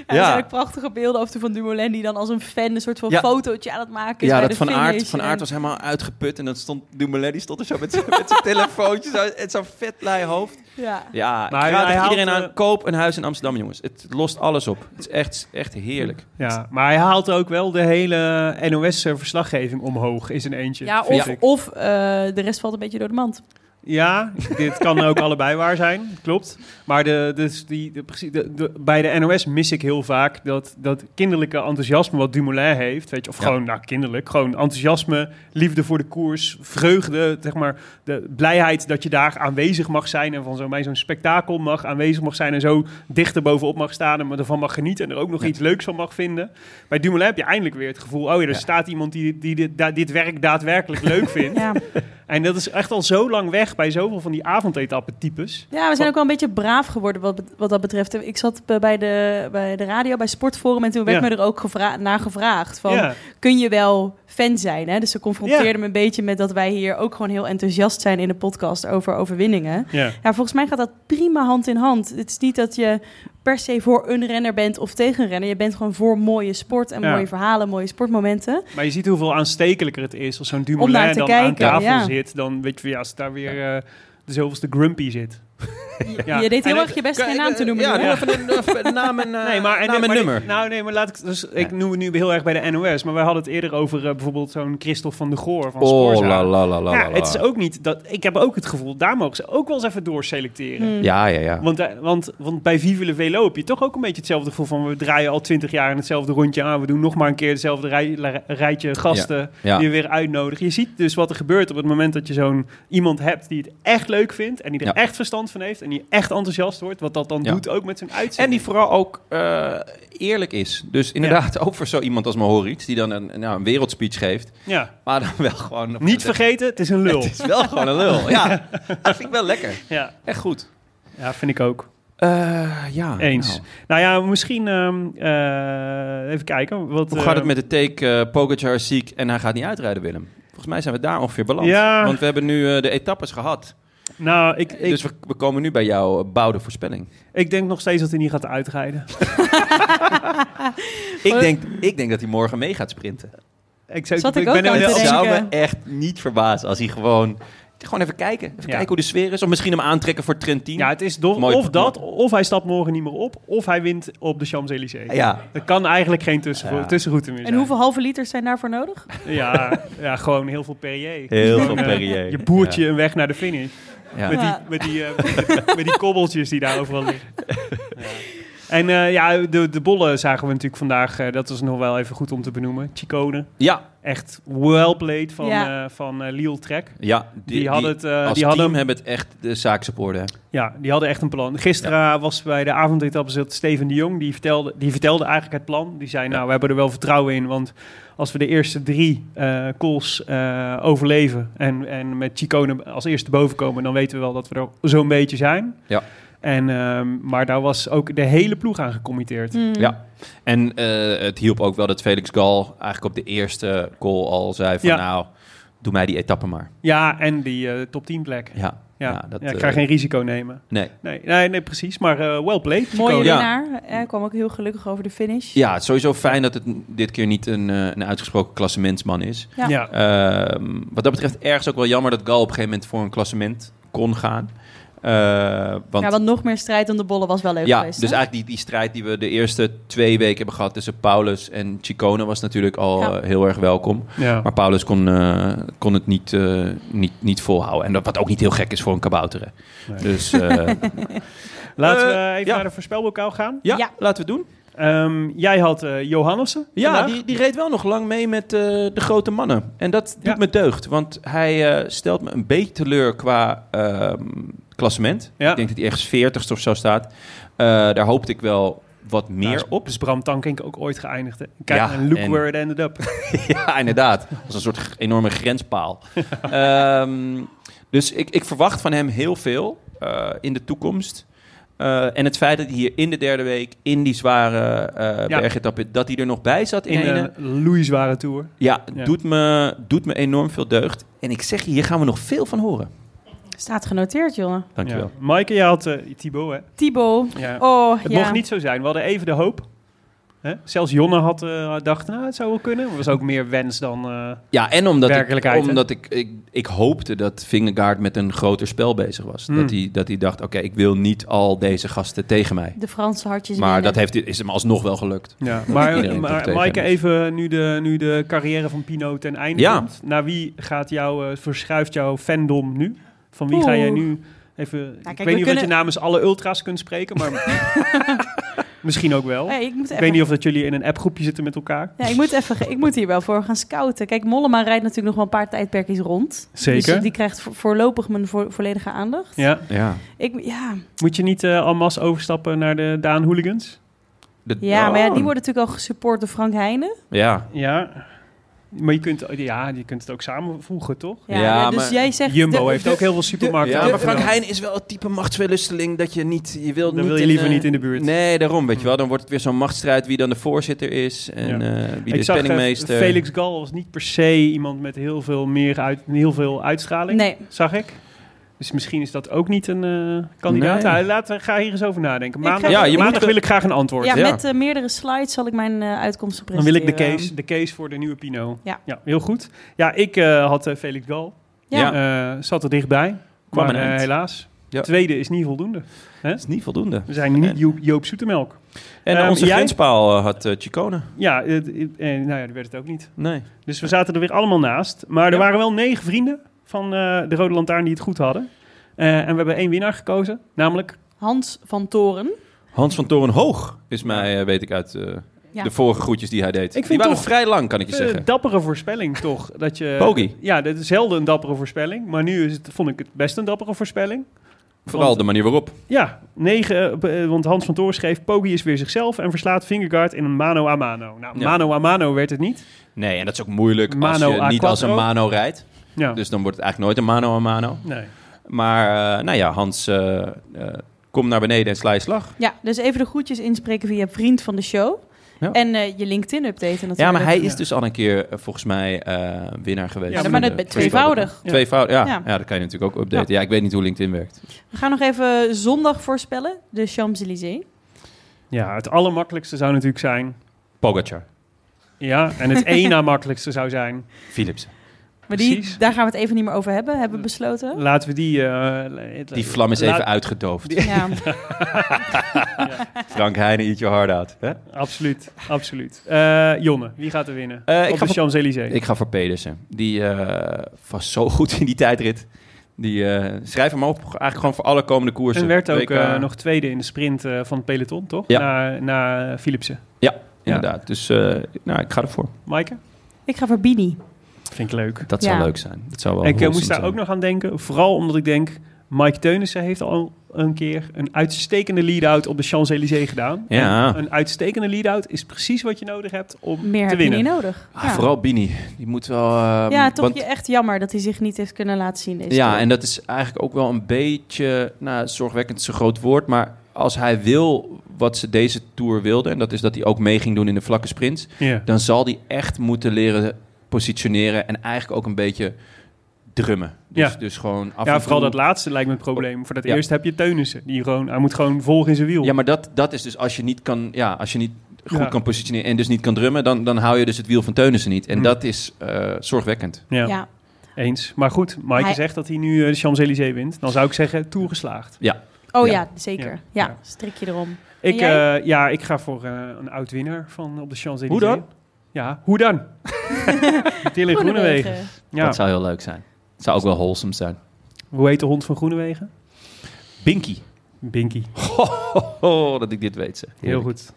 Speaker 4: Ja.
Speaker 3: Er zijn ook prachtige beelden over van Dumoulin die dan als een fan een soort van
Speaker 4: Ja.
Speaker 3: fotootje aan het maken is
Speaker 4: Ja,
Speaker 3: bij
Speaker 4: dat
Speaker 3: de
Speaker 4: van aard,
Speaker 3: finish.
Speaker 4: van aard
Speaker 3: En-
Speaker 4: was helemaal uitgeput en dan stond Dumoulin, die stond er zo met zijn- met zijn telefoontje zo- en zo'n vet lei hoofd.
Speaker 3: Ja.
Speaker 4: Ja, ik
Speaker 5: Maar hij-
Speaker 4: raad
Speaker 5: hij
Speaker 4: echt
Speaker 5: haalt,
Speaker 4: iedereen
Speaker 5: eh,
Speaker 4: aan, koop een huis in Amsterdam, jongens. Het lost alles op. Het is echt, echt heerlijk.
Speaker 5: Ja, maar hij haalt ook wel de hele NOS-verslaggeving omhoog is een eentje.
Speaker 3: Ja,
Speaker 5: vind
Speaker 3: of,
Speaker 5: ik.
Speaker 3: of eh, de rest valt een beetje door de mand.
Speaker 5: ja, dit kan ook allebei waar zijn, klopt. Maar de, dus die, de, precies- de, de- bij de NOS mis ik heel vaak dat, dat kinderlijke enthousiasme wat Dumoulin heeft. Weet je, of
Speaker 4: Ja.
Speaker 5: gewoon, nou kinderlijk, gewoon enthousiasme, liefde voor de koers, vreugde, zeg maar. De blijheid dat je daar aanwezig mag zijn en van zo, bij zo'n spektakel mag aanwezig mag zijn en zo dichter bovenop mag staan en maar ervan mag genieten en er ook nog
Speaker 4: Ja.
Speaker 5: iets leuks van mag vinden. Bij Dumoulin heb je eindelijk weer het gevoel, oh ja, er
Speaker 4: Ja.
Speaker 5: staat iemand die, die dit, da- dit werk daadwerkelijk leuk vindt.
Speaker 3: Ja.
Speaker 5: En dat is echt al zo lang weg bij zoveel van die avondetappen-types.
Speaker 3: Ja, we zijn ook wel een beetje braaf geworden wat, bet- wat dat betreft. Ik zat bij- bij de, bij de radio, bij Sportforum, en toen werd
Speaker 5: Ja.
Speaker 3: me er ook gevra- naar gevraagd. Van,
Speaker 5: Ja,
Speaker 3: kun je wel fan zijn? Hè? Dus ze confronteerden
Speaker 5: Ja.
Speaker 3: me een beetje met dat wij hier ook gewoon heel enthousiast zijn in de podcast over overwinningen.
Speaker 5: ja.
Speaker 3: Ja, volgens mij gaat dat prima hand in hand. Het is niet dat je per se voor een renner bent of tegen een renner. Je bent gewoon voor mooie sport en
Speaker 5: Ja.
Speaker 3: mooie verhalen, mooie sportmomenten.
Speaker 5: Maar je ziet hoeveel aanstekelijker het is als zo'n
Speaker 3: Om
Speaker 5: Dumoulin
Speaker 3: naar te
Speaker 5: dan aan
Speaker 3: kijken,
Speaker 5: tafel
Speaker 3: ja.
Speaker 5: zit. Dan weet je, van, ja, als daar weer eh, de zoveelste grumpy zit. Ja.
Speaker 3: Je deed heel
Speaker 5: En
Speaker 3: erg je best geen naam te noemen.
Speaker 4: eh, Ja,
Speaker 3: nu, hè?
Speaker 4: doe even een, even een naam en, eh,
Speaker 5: Nee, maar, en-
Speaker 4: naam en
Speaker 5: maar-
Speaker 4: nummer.
Speaker 5: nou, nee, maar laat ik... Dus, Ik
Speaker 4: Ja.
Speaker 5: noem het nu heel erg bij de NOS. Maar wij hadden het eerder over eh, bijvoorbeeld zo'n Christophe van de Goor van
Speaker 4: Oh,
Speaker 5: Spoorzaam.
Speaker 4: la la la la
Speaker 5: Ja,
Speaker 4: la,
Speaker 5: het is
Speaker 4: la.
Speaker 5: ook niet dat... Ik heb ook het gevoel, daar mogen ze ook wel eens even doorselecteren.
Speaker 3: Hmm.
Speaker 4: Ja, ja, ja.
Speaker 5: Want, eh, want, want bij Vive le Velo heb je toch ook een beetje hetzelfde gevoel van... we draaien al twintig jaar in hetzelfde rondje aan. We doen nog maar een keer hetzelfde rij- la- rijtje gasten
Speaker 4: ja.
Speaker 5: die we weer uitnodigen. Je ziet dus wat er gebeurt op het moment dat je zo'n iemand hebt die het echt leuk vindt... en die er
Speaker 4: Ja.
Speaker 5: echt verstand van heeft en en die echt enthousiast wordt, wat dat dan
Speaker 4: Ja.
Speaker 5: doet ook met zijn uitzending.
Speaker 4: En die vooral ook eh, eerlijk is. Dus inderdaad, ook voor zo iemand als Mohoric, die dan een, nou, een wereldspeech geeft.
Speaker 5: Ja,
Speaker 4: Maar dan wel gewoon...
Speaker 5: niet vergeten, het is een lul.
Speaker 4: Het is wel gewoon een lul. Ja, dat vind ik wel lekker.
Speaker 5: Ja.
Speaker 4: Echt goed.
Speaker 5: ja, vind ik ook.
Speaker 4: Eh, ja.
Speaker 5: Eens.
Speaker 4: nou.
Speaker 5: Nou ja, misschien ehm, eh, even kijken. Wat,
Speaker 4: Hoe gaat het met
Speaker 5: eh,
Speaker 4: de take eh Pogacar ziek en hij gaat niet uitrijden, Willem? Volgens mij zijn we daar ongeveer beland.
Speaker 5: Ja.
Speaker 4: Want we hebben nu eh, de etappes gehad.
Speaker 5: Nou, ik, ik,
Speaker 4: Dus we, we komen nu bij jouw eh, bouwde voorspelling.
Speaker 5: ik denk nog steeds dat hij niet gaat uitrijden. Eh.
Speaker 4: Ik denk, ik denk dat hij morgen mee gaat sprinten.
Speaker 5: Ik, nou zou,
Speaker 3: Zat ik ook aan
Speaker 5: heel-
Speaker 3: te
Speaker 4: Het
Speaker 3: denken.
Speaker 4: zou me echt niet verbazen als hij gewoon... Gewoon even kijken. Even
Speaker 5: Ja.
Speaker 4: kijken hoe de sfeer is. Of misschien hem aantrekken voor Trentin.
Speaker 5: Ja, het is toch
Speaker 4: Mooi
Speaker 5: of
Speaker 4: verknap.
Speaker 5: dat, of hij stapt morgen niet meer op, of hij wint op de Champs-Élysées.
Speaker 4: ja.
Speaker 5: Er kan eigenlijk geen tussen,
Speaker 4: Ja.
Speaker 5: tussenroute meer
Speaker 3: En
Speaker 5: zijn.
Speaker 3: hoeveel halve liters zijn daarvoor nodig?
Speaker 5: Ja, ja, gewoon heel veel Perrier.
Speaker 4: Heel
Speaker 5: Gewoon,
Speaker 4: veel
Speaker 5: eh,
Speaker 4: Perrier.
Speaker 5: Je boert je een weg naar de finish.
Speaker 4: Ja.
Speaker 5: Met, die,
Speaker 3: Ja.
Speaker 5: met, die, eh, met die- met die kobbeltjes die daar overal liggen. Ja. En eh, ja, de, de bollen zagen we natuurlijk vandaag. eh, dat was nog wel even goed om te benoemen. Chicone.
Speaker 4: Ja,
Speaker 5: Echt well played van,
Speaker 3: Ja
Speaker 5: eh van eh, Lille Trek.
Speaker 4: ja. Die,
Speaker 5: Die, hadden het, eh,
Speaker 4: als
Speaker 5: die
Speaker 4: team
Speaker 5: hadden,
Speaker 4: hebben het echt de zaak op orde.
Speaker 5: ja, die hadden echt een plan. Gisteren eh, was bij de avondetappe zat Steven de Jong. Die vertelde, die vertelde eigenlijk het plan. Die zei, nou, we hebben er wel vertrouwen in. Want als we de eerste drie eh calls eh, overleven... En, en met Chicone als eerste boven komen... dan weten we wel dat we er zo'n beetje zijn.
Speaker 4: Ja.
Speaker 5: En, ehm, maar daar was ook de hele ploeg aan gecommitteerd.
Speaker 3: Hm. Hmm.
Speaker 4: Ja. En eh, het hielp ook wel dat Felix Gal eigenlijk op de eerste call al zei van...
Speaker 5: Ja.
Speaker 4: Nou, doe mij die etappe maar.
Speaker 5: Ja, en die eh, top 10 plek. Ja,
Speaker 4: Ja,
Speaker 5: ja,
Speaker 4: dat,
Speaker 5: ik
Speaker 4: eh,
Speaker 5: ga geen risico nemen.
Speaker 4: Nee.
Speaker 5: Nee, nee, nee precies. Maar eh well played,
Speaker 3: Mooie
Speaker 5: Chicone.
Speaker 4: Ja.
Speaker 3: winnaar. Hij kwam ook heel gelukkig over de finish.
Speaker 4: Ja, het is sowieso fijn dat het n- dit keer niet een, eh, een uitgesproken klassementsman is.
Speaker 3: Ja.
Speaker 5: ja.
Speaker 4: Ehm, wat dat betreft ergens ook wel jammer dat Gal op een gegeven moment voor een klassement kon gaan. Eh, want,
Speaker 3: Ja,
Speaker 4: ja,
Speaker 3: want nog meer strijd dan de bollen was wel leuk
Speaker 4: dus
Speaker 3: geweest. hè?
Speaker 4: eigenlijk die, die strijd die we de eerste twee weken hebben gehad tussen Paulus en Chicone was natuurlijk al
Speaker 3: Ja.
Speaker 4: eh, heel erg welkom.
Speaker 5: Ja.
Speaker 4: Maar Paulus kon, eh, kon het niet, eh, niet, niet volhouden. En dat, wat ook niet heel gek is voor een kabouter. hè.
Speaker 5: Nee.
Speaker 4: Dus eh,
Speaker 5: Laten we
Speaker 4: Eh,
Speaker 5: even
Speaker 4: ja.
Speaker 5: naar de voorspelbokaal gaan.
Speaker 4: ja,
Speaker 3: Ja.
Speaker 4: laten we het doen.
Speaker 5: Ehm, jij had eh Johannessen.
Speaker 4: Ja,
Speaker 5: vandaag.
Speaker 4: Nou, die, die reed wel nog lang mee met eh, de grote mannen. En dat doet
Speaker 5: Ja.
Speaker 4: me deugd, want hij eh, stelt me een beetje teleur qua ehm, klassement.
Speaker 5: Ja.
Speaker 4: Ik denk dat hij ergens 40ste of zo staat. Eh, daar hoopte ik wel wat meer
Speaker 5: Nou, is-
Speaker 4: op.
Speaker 5: Is Bram Tankink ook ooit geëindigd? hè? Kijk,
Speaker 4: Ja,
Speaker 5: en look
Speaker 4: en-
Speaker 5: where it ended up.
Speaker 4: ja, inderdaad. Als een soort g- enorme grenspaal. Ehm, dus ik, ik verwacht van hem heel veel eh, in de toekomst. Eh, en het feit dat hij hier in de derde week, in die zware eh
Speaker 5: Ja.
Speaker 4: bergetappe, dat hij er nog bij zat in,
Speaker 5: In
Speaker 4: een-
Speaker 5: een loeizware tour.
Speaker 4: Ja,
Speaker 5: Ja.
Speaker 4: Doet, me, doet me enorm veel deugd. En ik zeg je, hier gaan we nog veel van horen.
Speaker 3: Staat genoteerd, jongen.
Speaker 4: Dankjewel.
Speaker 5: Ja. Maaike, jij had eh, Thibaut, hè?
Speaker 3: Thibaut.
Speaker 5: Ja.
Speaker 3: Oh,
Speaker 5: Het
Speaker 3: ja.
Speaker 5: mocht niet zo zijn. We hadden even de hoop. Hè? Zelfs Jonne had, eh, dacht, nou, het zou wel kunnen. Maar het was ook meer wens dan... eh,
Speaker 4: Ja, en omdat, ik,
Speaker 5: Werkelijkheid, hè?
Speaker 4: omdat ik, ik, ik hoopte dat Vingegaard met een groter spel bezig was.
Speaker 5: Hmm.
Speaker 4: Dat, hij, dat hij dacht, oké, ik wil niet al deze gasten tegen mij.
Speaker 3: De Franse hartjes
Speaker 4: Maar
Speaker 3: winnen.
Speaker 4: dat heeft, is hem alsnog wel gelukt.
Speaker 5: ja. Maar,
Speaker 4: iedereen toch
Speaker 5: maar
Speaker 4: tegen
Speaker 5: Maaike,
Speaker 4: is.
Speaker 5: even nu de, nu de carrière van Pino ten einde
Speaker 4: Ja.
Speaker 5: komt. Naar wie gaat jouw, eh, verschuift jouw fandom nu? Van wie ga
Speaker 3: Oeh. Nou,
Speaker 5: jij nu even... ik
Speaker 3: kijk,
Speaker 5: weet
Speaker 3: we
Speaker 5: niet of dat je
Speaker 3: kunnen-
Speaker 5: namens alle ultra's kunt spreken, maar... misschien ook wel.
Speaker 3: Hey, ik moet
Speaker 5: Ik
Speaker 3: even...
Speaker 5: weet niet of dat jullie in een appgroepje zitten met elkaar.
Speaker 3: Ja, ik moet, even, ge- ik moet hier wel voor gaan scouten. Kijk, Mollema rijdt natuurlijk nog wel een paar tijdperkjes rond.
Speaker 5: Zeker.
Speaker 3: Dus die krijgt vo- voorlopig mijn vo- volledige aandacht.
Speaker 5: Ja.
Speaker 4: Ja,
Speaker 3: Ik, ja.
Speaker 5: Moet je niet eh en masse overstappen naar de Daan Hooligans?
Speaker 4: De-
Speaker 3: ja, maar ja, die
Speaker 4: Oh.
Speaker 3: worden natuurlijk al gesupport door Frank Heijnen.
Speaker 4: Ja.
Speaker 5: Ja. Maar je kunt, ja, je kunt het ook samenvoegen, toch?
Speaker 3: Ja,
Speaker 4: Ja,
Speaker 3: ja, dus
Speaker 4: maar-
Speaker 3: jij zegt...
Speaker 5: Jumbo
Speaker 3: de-
Speaker 5: heeft
Speaker 3: de-
Speaker 5: ook heel veel supermarkten.
Speaker 4: ja, maar Frank
Speaker 5: overgenomen.
Speaker 4: Heijn is wel het type machtswellusteling dat je niet... Je wilt
Speaker 5: Dan
Speaker 4: niet
Speaker 5: wil je
Speaker 4: een,
Speaker 5: liever
Speaker 4: eh,
Speaker 5: niet in de buurt. Hmm.
Speaker 4: Nee, daarom, weet je wel. Dan wordt het weer zo'n machtsstrijd wie dan de voorzitter is en eh, wie de
Speaker 5: Ik zag eh,
Speaker 4: penningmeester.
Speaker 5: Felix Gal was niet per se iemand met heel veel, meer uit, heel veel uitstraling.
Speaker 3: Nee.
Speaker 5: Zag ik. Dus misschien is dat ook niet een eh, kandidaat.
Speaker 4: Nee.
Speaker 5: Nou, laten, ga hier eens over nadenken.
Speaker 3: Ik ga-
Speaker 5: Maandag,
Speaker 3: Ja, je
Speaker 5: maandag
Speaker 4: moet-
Speaker 5: wil ik graag een antwoord.
Speaker 3: Ja,
Speaker 4: Ja.
Speaker 3: met eh, meerdere slides zal ik mijn eh uitkomsten
Speaker 5: Dan wil ik de
Speaker 3: presenteren.
Speaker 5: case, de case voor de nieuwe Pino.
Speaker 3: Ja.
Speaker 5: heel goed. Ja, ik eh, had eh, Felix Gal.
Speaker 3: Ja.
Speaker 4: Ja.
Speaker 5: Eh, zat er dichtbij.
Speaker 4: Kwam
Speaker 5: maar
Speaker 4: een
Speaker 5: eh,
Speaker 4: eind.
Speaker 5: helaas.
Speaker 4: Ja.
Speaker 5: Tweede is niet voldoende.
Speaker 4: Dat is niet voldoende.
Speaker 5: We zijn niet
Speaker 4: En-
Speaker 5: Joop, Joop Zoetemelk.
Speaker 4: En
Speaker 5: Ehm,
Speaker 4: onze
Speaker 5: jij?
Speaker 4: grenspaal eh, had eh, Chicone.
Speaker 5: Ja, het, het- eh, nou ja, dat werd het ook niet.
Speaker 4: Nee.
Speaker 5: Dus we zaten er weer allemaal naast. Maar er
Speaker 4: Ja.
Speaker 5: waren wel negen vrienden van eh, de Rode Lantaarn die het goed hadden. Eh, en we hebben één winnaar gekozen, namelijk...
Speaker 3: Hans van Toren.
Speaker 4: Hans van Toren Hoog is mij, eh, weet ik uit eh,
Speaker 3: Ja.
Speaker 4: de vorige groetjes die hij deed.
Speaker 5: vind
Speaker 4: die waren
Speaker 5: toch-
Speaker 4: vrij lang, kan ik je
Speaker 5: Een
Speaker 4: zeggen.
Speaker 5: eh, dappere voorspelling toch? Dat je,
Speaker 4: Bogie.
Speaker 5: Ja, dat is zelden een dappere voorspelling. Maar nu is het, vond ik het best een dappere voorspelling.
Speaker 4: Vooral de manier waarop.
Speaker 5: Ja, 9, eh, want Hans van Toor schreef... Poggi is weer zicelf en verslaat Fingergaard in een mano a mano. Nou,
Speaker 4: Ja.
Speaker 5: mano a mano werd het niet.
Speaker 4: Nee, en dat is ook moeilijk als
Speaker 5: Mano
Speaker 4: je
Speaker 5: a
Speaker 4: niet als een
Speaker 5: quattro.
Speaker 4: mano rijdt.
Speaker 5: Ja,
Speaker 4: Dus dan wordt het eigenlijk nooit een mano a mano.
Speaker 5: nee.
Speaker 4: Maar eh, nou ja, Hans, eh, eh, kom naar beneden en sla je slag.
Speaker 3: Ja, dus even de groetjes inspreken via vriend van de show.
Speaker 4: Ja.
Speaker 3: En eh, je LinkedIn updaten natuurlijk.
Speaker 4: Ja, maar hij
Speaker 5: ja.
Speaker 4: is dus al een keer eh, volgens mij eh, winnaar geweest.
Speaker 5: Ja,
Speaker 4: van
Speaker 5: maar
Speaker 4: de
Speaker 3: dat bent
Speaker 4: Freestyle
Speaker 3: tweevoudig.
Speaker 4: Open. Tweevoudig, ja.
Speaker 3: Ja.
Speaker 4: ja. dat kan je natuurlijk ook updaten. Ja. ik weet niet hoe LinkedIn werkt.
Speaker 3: We gaan nog even zondag voorspellen. De Champs-Élysées.
Speaker 5: Ja, het allermakkelijkste zou natuurlijk zijn...
Speaker 4: Pogacar,
Speaker 5: Ja, en het één na makkelijkste zou zijn...
Speaker 4: Philips.
Speaker 3: Maar die,
Speaker 5: Precies.
Speaker 3: daar gaan we het even niet meer over hebben, hebben we besloten.
Speaker 5: Laten we die... eh,
Speaker 4: Die vlam is
Speaker 5: laat-
Speaker 4: even uitgedoofd.
Speaker 3: Ja.
Speaker 4: Frank Heijnen, eat your heart out. Hè?
Speaker 5: Absoluut, absoluut. Eh, Jonne, wie gaat er winnen?
Speaker 4: Eh, ik
Speaker 5: Op
Speaker 4: ga
Speaker 5: de
Speaker 4: voor-
Speaker 5: Champs-Élysées.
Speaker 4: Ik ga voor Pedersen. Die eh, was zo goed in die tijdrit. Die, eh, schrijf hem op. Eigenlijk gewoon voor alle komende koersen.
Speaker 5: En werd ook
Speaker 4: WK.
Speaker 5: eh, nog tweede in de sprint eh, van het peloton, toch?
Speaker 4: Ja.
Speaker 5: Na, na Philipsen.
Speaker 4: Inderdaad. Dus eh, nou, ik ga ervoor.
Speaker 5: Maaike?
Speaker 3: Ik ga voor Bini.
Speaker 5: Vind ik leuk.
Speaker 4: Dat
Speaker 3: Ja.
Speaker 4: zou leuk zijn. Dat zou wel
Speaker 5: ik eh,
Speaker 4: wholesome
Speaker 5: moest daar
Speaker 4: zijn.
Speaker 5: ook nog aan denken. Vooral omdat ik denk, Mike Teunissen heeft al een keer een uitstekende lead-out op de Champs-Élysées gedaan.
Speaker 4: Ja.
Speaker 5: En een uitstekende lead-out is precies wat je nodig hebt om
Speaker 3: Meer
Speaker 5: te
Speaker 3: heb je
Speaker 5: winnen.
Speaker 3: niet nodig.
Speaker 4: Ah, Vooral Bini. Die moet wel... eh,
Speaker 3: ja, toch
Speaker 4: want-
Speaker 3: je echt jammer dat hij zich niet heeft kunnen laten zien deze
Speaker 4: Ja,
Speaker 3: keer.
Speaker 4: en dat is eigenlijk ook wel een beetje... Nou, zorgwekkend is een groot woord. Maar als hij wil wat ze deze Tour wilden... en dat is dat hij ook mee ging doen in de vlakke sprints...
Speaker 5: Ja.
Speaker 4: dan zal die echt moeten leren positioneren en eigenlijk ook een beetje drummen. Dus,
Speaker 5: Ja.
Speaker 4: dus gewoon af
Speaker 5: ja,
Speaker 4: en
Speaker 5: vooral
Speaker 4: toe-
Speaker 5: dat laatste lijkt me het probleem. Voor dat
Speaker 4: Ja.
Speaker 5: eerst heb je Teunissen. Die gewoon, hij moet gewoon volgen in zijn wiel.
Speaker 4: Ja, maar dat, dat is dus als je niet kan, ja, als je niet goed
Speaker 5: Ja.
Speaker 4: kan positioneren en dus niet kan drummen, dan, dan hou je dus het wiel van Teunissen niet. En
Speaker 5: Hm.
Speaker 4: dat is eh, zorgwekkend.
Speaker 5: Ja,
Speaker 3: Ja.
Speaker 5: eens. Maar goed, Mike
Speaker 3: Hij-
Speaker 5: zegt dat hij nu eh, de Champs-Élysées wint. Dan zou ik zeggen, toegeslaagd.
Speaker 3: Oh ja,
Speaker 4: Ja.
Speaker 3: zeker. Ja,
Speaker 5: Ja. Ja.
Speaker 3: strik je erom. En
Speaker 5: Ik,
Speaker 3: jij?
Speaker 5: eh, ja, ik ga voor eh, een oud-winnaar van op de Champs-Élysées.
Speaker 4: Hoe dan?
Speaker 5: Ja, hoe dan? Tilly Groenewegen. Ja.
Speaker 4: Dat zou heel leuk zijn. Het zou ook wel wholesome zijn.
Speaker 5: Hoe heet de hond van Groenewegen?
Speaker 4: Binky.
Speaker 5: Binky.
Speaker 4: Oh, dat ik dit weet. Ze.
Speaker 5: Heel goed.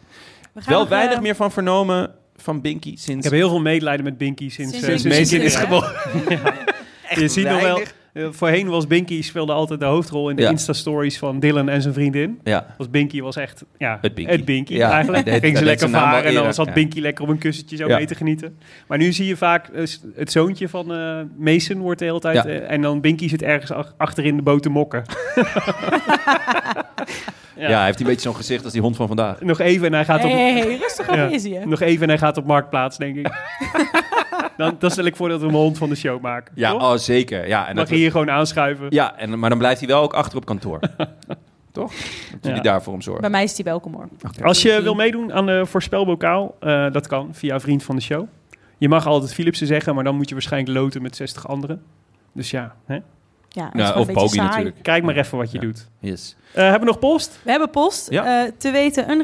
Speaker 3: We gaan
Speaker 4: Wel
Speaker 3: nog,
Speaker 4: weinig
Speaker 3: eh,
Speaker 4: meer van vernomen van Binky sinds.
Speaker 5: Ik heb heel veel medelijden met Binky sinds,
Speaker 3: Sinds
Speaker 5: eh,
Speaker 3: Binky
Speaker 5: sinds
Speaker 3: Mason
Speaker 5: hij
Speaker 3: is
Speaker 5: hè? Ja. Je ziet nog wel, eh, voorheen was Binky, speelde altijd de hoofdrol in de
Speaker 4: Ja.
Speaker 5: Insta-stories van Dylan en zijn vriendin.
Speaker 4: Ja,
Speaker 5: Was Binky was echt ja,
Speaker 4: Het Binky. Ja,
Speaker 5: eigenlijk.
Speaker 4: dat-
Speaker 5: Ging
Speaker 4: dat
Speaker 5: ze
Speaker 4: deed
Speaker 5: lekker
Speaker 4: zijn naam
Speaker 5: varen
Speaker 4: wel
Speaker 5: en dan
Speaker 4: eerder,
Speaker 5: zat
Speaker 4: ja.
Speaker 5: Binky lekker op een kussentje zo
Speaker 4: Ja.
Speaker 5: mee te genieten. Maar nu zie je vaak eh, s- het zoontje van eh Mason wordt de hele tijd...
Speaker 4: Ja.
Speaker 5: eh, en dan Binky zit ergens ach- achterin de boot te mokken.
Speaker 4: ja. hij heeft een beetje zo'n gezicht als die hond van vandaag.
Speaker 5: Nog even en hij gaat op...
Speaker 3: hey, hey, hey, rustig aan
Speaker 5: Ja.
Speaker 3: is je.
Speaker 5: Nog even en hij gaat op Marktplaats, denk ik. dan, dan stel ik voor dat we hem hond van de show maken.
Speaker 4: Ja,
Speaker 5: toch?
Speaker 4: oh, zeker. Ja, en
Speaker 5: Mag
Speaker 4: dat
Speaker 5: je hier gewoon aanschuiven?
Speaker 4: Ja, en, maar dan blijft hij wel ook achter op kantoor. Toch? Dat jullie
Speaker 5: Ja.
Speaker 4: daarvoor om
Speaker 3: Bij
Speaker 4: zorgen.
Speaker 3: mij is die welkom hoor.
Speaker 5: Als je wil meedoen aan de voorspelbokaal, eh, dat kan via vriend van de show. Je mag altijd Philipsen zeggen, maar dan moet je waarschijnlijk loten met 60 anderen. Dus ja, hè?
Speaker 3: Ja, dat is
Speaker 4: Nou,
Speaker 3: gewoon
Speaker 4: of
Speaker 3: een beetje
Speaker 4: Bogie
Speaker 3: saai.
Speaker 4: natuurlijk.
Speaker 5: kijk maar even wat je
Speaker 4: Ja.
Speaker 5: doet.
Speaker 4: Yes.
Speaker 5: Eh, hebben we nog post?
Speaker 3: We hebben post.
Speaker 4: Ja.
Speaker 3: Eh, te weten een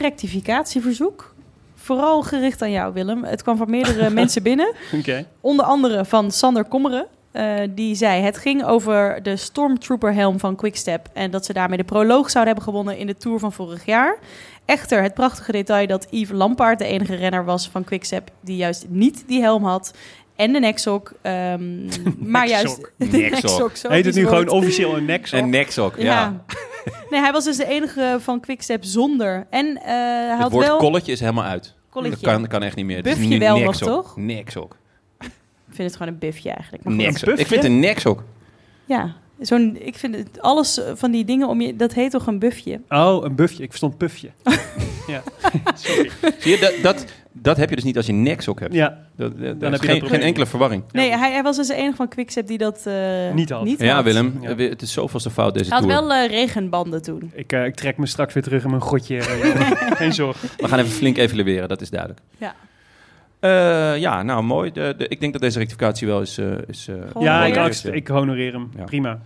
Speaker 3: rectificatieverzoek. Vooral gericht aan jou, Willem. Het kwam van meerdere mensen binnen.
Speaker 5: Oké.
Speaker 3: Onder andere van Sander Kommeren. eh, die zei, het ging over de Stormtrooper helm van Quickstep... en dat ze daarmee de proloog zouden hebben gewonnen in de Tour van vorig jaar. Echter, het prachtige detail dat Yves Lampaard de enige renner was van Quickstep... die juist niet die helm had en de neksok. ehm, maar juist...
Speaker 4: Neksok.
Speaker 3: zo
Speaker 5: Heet het nu
Speaker 3: vies woord.
Speaker 5: gewoon officieel een next?
Speaker 4: Een neksok, ja.
Speaker 3: Ja. Nee, hij was dus de enige van Quickstep zonder. En eh, hij
Speaker 4: Het
Speaker 3: had
Speaker 4: woord
Speaker 3: wel...
Speaker 4: kolletje is helemaal uit. Dat
Speaker 3: Colletje.
Speaker 4: kan, kan echt niet meer. Het is
Speaker 3: Bufje
Speaker 4: nu
Speaker 3: wel nog,
Speaker 4: neksok.
Speaker 3: toch?
Speaker 4: Neksok.
Speaker 3: Ik vind het gewoon een bufje eigenlijk. Maar goed.
Speaker 4: Neksok.
Speaker 5: bufje?
Speaker 4: Ik vind een neksok.
Speaker 3: Ja, zo'n, ik vind het, alles eh, van die dingen om je... Dat heet toch een bufje?
Speaker 5: Oh, een bufje. Ik verstond pufje. ja. Sorry.
Speaker 4: Zie je, dat, dat, dat heb je dus niet als je een neksok hebt.
Speaker 5: Ja,
Speaker 4: Dat, dat- dat
Speaker 5: heb
Speaker 4: is
Speaker 5: je dat
Speaker 4: geen,
Speaker 5: probleem.
Speaker 4: geen enkele verwarring.
Speaker 3: Nee, hij, hij was dus de enige van Quickstep die dat eh,
Speaker 5: Niet had.
Speaker 4: Ja, Willem.
Speaker 5: Ja.
Speaker 4: eh, Het is zoveelste fout deze
Speaker 3: Hij had
Speaker 4: tour.
Speaker 3: wel eh, regenbanden toen.
Speaker 5: ik, eh, ik trek me straks weer terug in mijn grotje. Geen zorg.
Speaker 4: We gaan even flink evalueren, dat is duidelijk.
Speaker 3: Ja.
Speaker 4: Eh, ja, nou mooi. De, de- ik denk dat deze rectificatie wel is... eh, is eh,
Speaker 5: Ja, ik,
Speaker 3: Honoreer.
Speaker 5: accept- ik honoreer hem.
Speaker 4: Ja.
Speaker 5: Prima.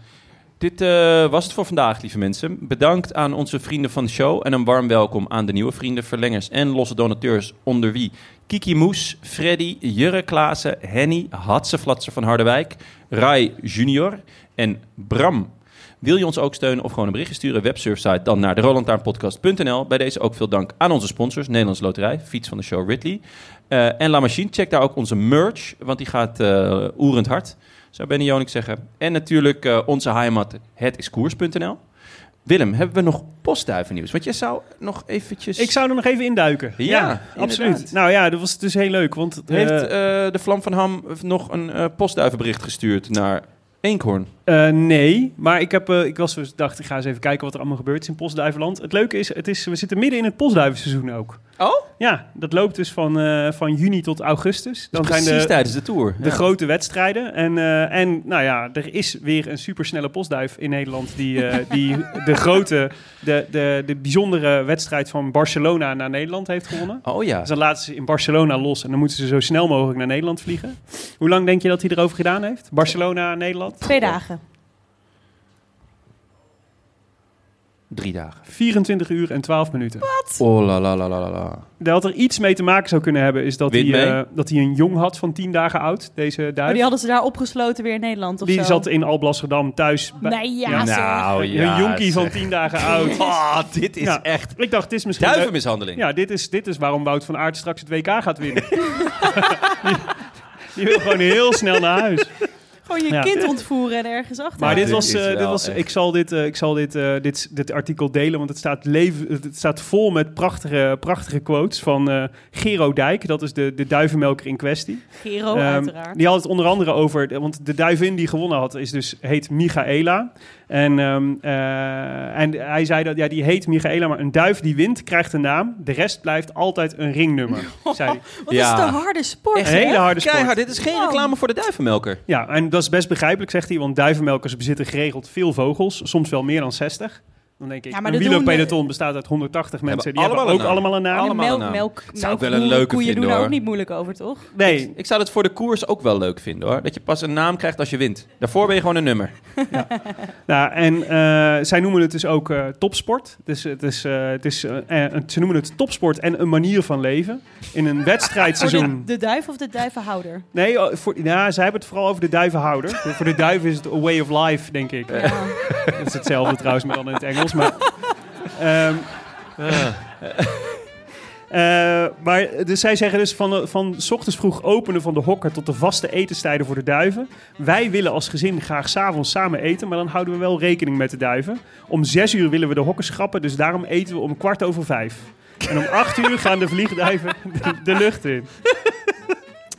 Speaker 4: Dit eh, was het voor vandaag, lieve mensen. Bedankt aan onze vrienden van de show en een warm welkom aan de nieuwe vrienden, verlengers en losse donateurs, onder wie Kiki Moes, Freddy, Jurre Klaassen, Henny, Hatseflatser van Harderwijk, Rai Junior en Bram. Wil je ons ook steunen of gewoon een berichtje sturen? Websurfsite dan naar de rolantaarnpodcast.nl. Bij deze ook veel dank aan onze sponsors. Nederlands Loterij, Fiets van de Show Ridley. eh, en La Machine. Check daar ook onze merch, want die gaat eh, oerend hard zou Benny Jonik zeggen. En natuurlijk eh, onze heimat, hetiskoers.nl. Willem, hebben we nog postduivennieuws? Want jij zou nog eventjes...
Speaker 5: Ik zou er nog even induiken.
Speaker 4: Ja,
Speaker 5: absoluut.
Speaker 4: inderdaad.
Speaker 5: Nou ja, dat was dus heel leuk. Want eh,
Speaker 4: Heeft eh, de Vlam van Ham nog een eh, postduivenbericht gestuurd naar Eekhoorn?
Speaker 5: Eh, nee, maar ik, heb, eh, ik was dus dacht, ik ga eens even kijken wat er allemaal gebeurt is in Postduivenland. Het leuke is, het is we zitten midden in het postduivenseizoen ook.
Speaker 4: Oh?
Speaker 5: Ja, dat loopt dus van, eh, van juni tot augustus. Dan
Speaker 4: Dan
Speaker 5: zijn
Speaker 4: precies
Speaker 5: de,
Speaker 4: tijdens de Tour.
Speaker 5: de grote wedstrijden. En, eh, en nou ja, er is weer een supersnelle postduif in Nederland die, eh, die de grote, de, de, de bijzondere wedstrijd van Barcelona naar Nederland heeft gewonnen.
Speaker 4: Oh ja.
Speaker 5: Dus dan laten ze in Barcelona los en dan moeten ze zo snel mogelijk naar Nederland vliegen. Hoe lang denk je dat hij erover gedaan heeft? Barcelona, Nederland?
Speaker 3: Twee dagen.
Speaker 4: Drie dagen.
Speaker 5: 24 uur en 12 minuten.
Speaker 4: Oh la la la la la la.
Speaker 5: Daar had er iets mee te maken zou kunnen hebben, is dat, hij,
Speaker 4: Wind mee?
Speaker 5: eh, dat hij een jong had van 10 dagen oud, deze
Speaker 3: Maar
Speaker 5: duif.
Speaker 3: Oh, die hadden ze daar opgesloten weer in Nederland of
Speaker 5: die
Speaker 3: zo.
Speaker 5: zat in Alblasserdam thuis. bij-
Speaker 3: Nee, ja,
Speaker 5: Ja.
Speaker 3: zeg.
Speaker 4: Nou ja.
Speaker 5: een jonkie van
Speaker 4: zeg.
Speaker 5: 10 dagen oud.
Speaker 4: Oh, dit is
Speaker 5: Ja.
Speaker 4: echt
Speaker 5: Ik dacht, dit is misschien... leuk.
Speaker 4: duivenmishandeling.
Speaker 5: Ja, dit is, dit is waarom Wout van Aert straks het WK gaat winnen. die, die wil gewoon heel snel naar huis.
Speaker 3: Gewoon je
Speaker 5: Ja.
Speaker 3: kind ontvoeren en ergens achter.
Speaker 5: Maar dit
Speaker 4: dit
Speaker 5: was,
Speaker 4: is
Speaker 5: eh, dit
Speaker 4: wel
Speaker 5: was
Speaker 4: echt.
Speaker 5: ik zal, dit, eh, ik zal dit, eh, dit, dit artikel delen, want het staat, leven, het staat vol met prachtige, prachtige quotes van eh, Gero Dijk. Dat is de, de duivenmelker in kwestie.
Speaker 3: Gero,
Speaker 5: Ehm,
Speaker 3: uiteraard.
Speaker 5: Die had het onder andere over, de- want de duivin die gewonnen had, is dus, heet Michaela. En, ehm, eh, en hij zei dat, ja, die heet Michaela, maar een duif die wint, krijgt een naam. De rest blijft altijd een ringnummer, zei hij.
Speaker 3: Wat
Speaker 4: Ja.
Speaker 3: is de harde sport,
Speaker 5: Een
Speaker 3: hè?
Speaker 5: hele harde sport.
Speaker 4: Keihard, dit is geen
Speaker 3: Wow.
Speaker 4: reclame voor de duivenmelker.
Speaker 5: Ja, en dat is best begrijpelijk, zegt hij, want duivenmelkers bezitten geregeld veel vogels, soms wel meer dan 60. Dan denk ik,
Speaker 3: Ja, maar
Speaker 5: een
Speaker 3: dat
Speaker 5: wielerpeloton bestaat uit 180 mensen, die
Speaker 4: allemaal
Speaker 5: hebben ook
Speaker 4: een naam.
Speaker 5: allemaal een naam.
Speaker 3: En de melk,
Speaker 4: allemaal een naam.
Speaker 3: melk,
Speaker 4: Nou, Zou ik wel een
Speaker 3: melkkoeien-
Speaker 4: leuke
Speaker 3: koeien
Speaker 4: vinden,
Speaker 3: doen daar nou ook
Speaker 4: hoor.
Speaker 3: niet moeilijk over, toch?
Speaker 5: Nee,
Speaker 4: Ik zou dat voor de koers ook wel leuk vinden hoor. Dat je pas een naam krijgt als je wint. Daarvoor ben je gewoon een nummer.
Speaker 5: nou, en eh, zij noemen het dus ook eh, topsport. Dus het is, eh, het is, eh, eh, ze noemen het topsport en een manier van leven. In een
Speaker 3: Voor de,
Speaker 5: wedstrijdseizoen.
Speaker 3: de duif of de duivenhouder?
Speaker 5: Nee, oh, voor, ja, zij hebben het vooral over de duivenhouder. voor de duiven is het a way of life, denk ik.
Speaker 3: Ja.
Speaker 5: Dat is hetzelfde trouwens, maar dan in het Engels. Maar, ehm, eh, maar dus zij zeggen dus van, de- van 's ochtends vroeg openen van de hokker tot de vaste etenstijden voor de duiven. Wij willen als gezin graag s'avonds samen eten, maar dan houden we wel rekening met de duiven. Om zes uur willen we de hokken schrappen, dus daarom eten we om kwart over vijf. En om acht uur gaan de vliegduiven de, de lucht in.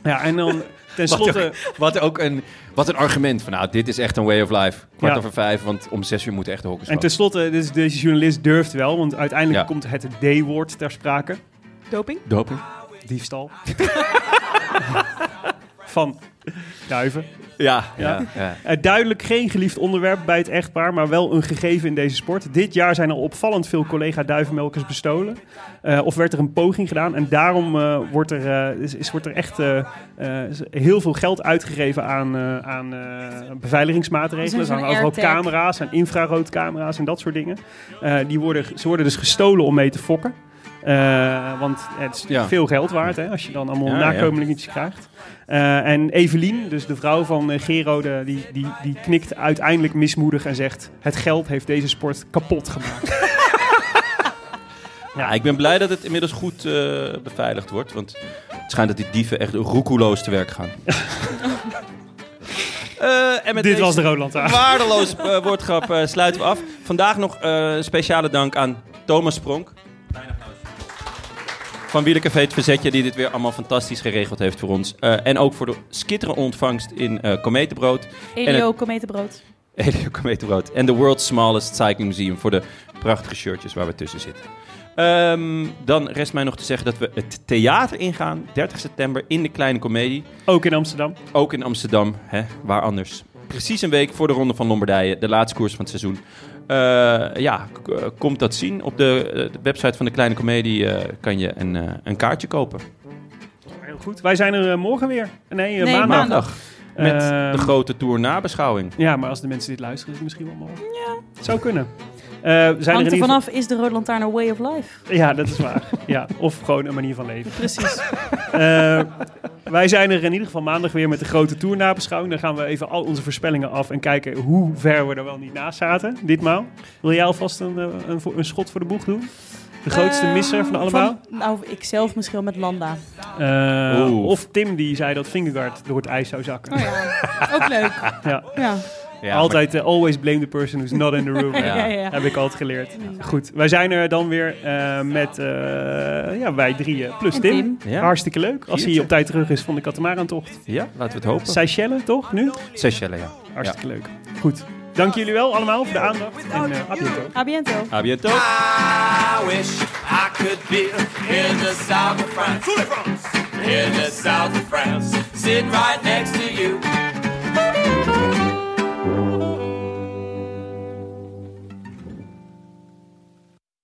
Speaker 5: Ja, en dan tenslotte...
Speaker 4: Eh, Wat ook een, wat een argument van nou, dit is echt een way of life. Kwart
Speaker 5: Ja.
Speaker 4: over vijf, want om zes uur moeten echt de hokken
Speaker 5: En
Speaker 4: slaan.
Speaker 5: tenslotte, dus deze journalist durft wel, want uiteindelijk
Speaker 4: Ja.
Speaker 5: komt het D-woord ter sprake.
Speaker 3: Doping?
Speaker 4: Doping?
Speaker 5: Diefstal. Van duiven.
Speaker 4: Ja.
Speaker 5: Ja.
Speaker 4: ja. ja.
Speaker 5: Eh, duidelijk geen geliefd onderwerp bij het echtpaar, maar wel een gegeven in deze sport. Dit jaar zijn al opvallend veel collega duivenmelkers bestolen. Eh, of werd er een poging gedaan. En daarom eh, wordt, er, eh, is, is- wordt er echt eh, eh, is heel veel geld uitgegeven aan, eh, aan eh, beveiligingsmaatregelen. Er
Speaker 3: Zo'n- zo'n
Speaker 5: zijn overal
Speaker 3: AirTag.
Speaker 5: camera's en infraroodcamera's en dat soort dingen. Eh, die worden, ze worden dus gestolen om mee te fokken. Eh, want het is
Speaker 4: Ja.
Speaker 5: veel geld waard hè, als je dan allemaal
Speaker 4: Ja, ja.
Speaker 5: nakomelingetjes krijgt. Eh, en Evelien, dus de vrouw van eh, Gero, de- die, die, die knikt uiteindelijk mismoedig en zegt: Het geld heeft deze sport kapot gemaakt.
Speaker 4: Ja, ik ben blij dat het inmiddels goed eh, beveiligd wordt. Want het schijnt dat die dieven echt roekeloos te werk gaan. Eh, en met
Speaker 5: Dit
Speaker 4: deze
Speaker 5: was de Roland
Speaker 4: waardeloos eh, woordgrap eh, sluiten we af. Vandaag nog eh, speciale dank aan Thomas Spronk. Van Wielercafé het Verzetje, die dit weer allemaal fantastisch geregeld heeft voor ons. Eh, en ook voor de skitterende ontvangst in eh Kometenbrood.
Speaker 3: Elio, kometenbrood.
Speaker 4: Elio Kometenbrood. En de World's Smallest Cycling Museum voor de prachtige shirtjes waar we tussen zitten. Ehm, dan rest mij nog te zeggen dat we het theater ingaan. 30 september in de Kleine Comedie.
Speaker 5: Ook in Amsterdam.
Speaker 4: Ook in Amsterdam, hè? waar anders. Precies een week voor de Ronde van Lombardije, de laatste koers van het seizoen. Eh, ja, k- eh, komt dat zien. Op de, eh, de website van de Kleine Comedie eh, kan je een, eh, een kaartje kopen.
Speaker 5: Heel goed. Wij zijn er eh, morgen weer. Nee, eh,
Speaker 3: Nee,
Speaker 5: maandag.
Speaker 3: maandag.
Speaker 4: Met
Speaker 5: Ehm,
Speaker 4: de grote tour nabeschouwing.
Speaker 5: Ja, maar als de mensen dit luisteren, is het misschien wel morgen. Ja. Zou kunnen. Eh, we zijn er
Speaker 3: Hangt
Speaker 5: in
Speaker 3: er
Speaker 5: ieder geval...
Speaker 3: vanaf, is de Rode Lantaarn een way of life?
Speaker 5: Ja, dat is waar. ja, of gewoon een manier van leven.
Speaker 3: Precies.
Speaker 5: Eh, wij zijn er in ieder geval maandag weer met de grote tour nabeschouwing. Dan gaan we even al onze voorspellingen af en kijken hoe ver we er wel niet naast zaten. Ditmaal. Wil jij alvast een, eh, een, vo- een schot voor de boeg doen? De grootste
Speaker 3: Ehm,
Speaker 5: misser van allemaal?
Speaker 3: van- nou, ik zelf misschien wel met Landa.
Speaker 5: Eh,
Speaker 4: Oeh.
Speaker 5: of Tim die zei dat Fingergaard door het ijs zou zakken.
Speaker 3: Oh ja, ook leuk.
Speaker 5: Ja.
Speaker 3: Ja.
Speaker 4: Ja,
Speaker 5: altijd eh, always blame the person who's not in the room.
Speaker 4: Ja.
Speaker 3: ja, ja.
Speaker 5: Heb ik altijd geleerd. Goed, wij zijn er dan weer eh, met eh, ja, wij drieën plus
Speaker 3: En
Speaker 5: Tim.
Speaker 3: Tim.
Speaker 4: maar- ja.
Speaker 5: Hartstikke leuk. Als hij
Speaker 4: Jeetje.
Speaker 5: op tijd terug is van de katamarantocht.
Speaker 4: Ja, laten we het hopen.
Speaker 5: Seychellen, toch? Nu?
Speaker 4: Seychellen, ja.
Speaker 5: Hartstikke leuk. Goed. Dank jullie wel allemaal voor de aandacht. En eh, à bientôt.
Speaker 3: A biento.
Speaker 4: A bientôt.
Speaker 6: I wish I could be in the south of France. In the south of France, sitting right next to you.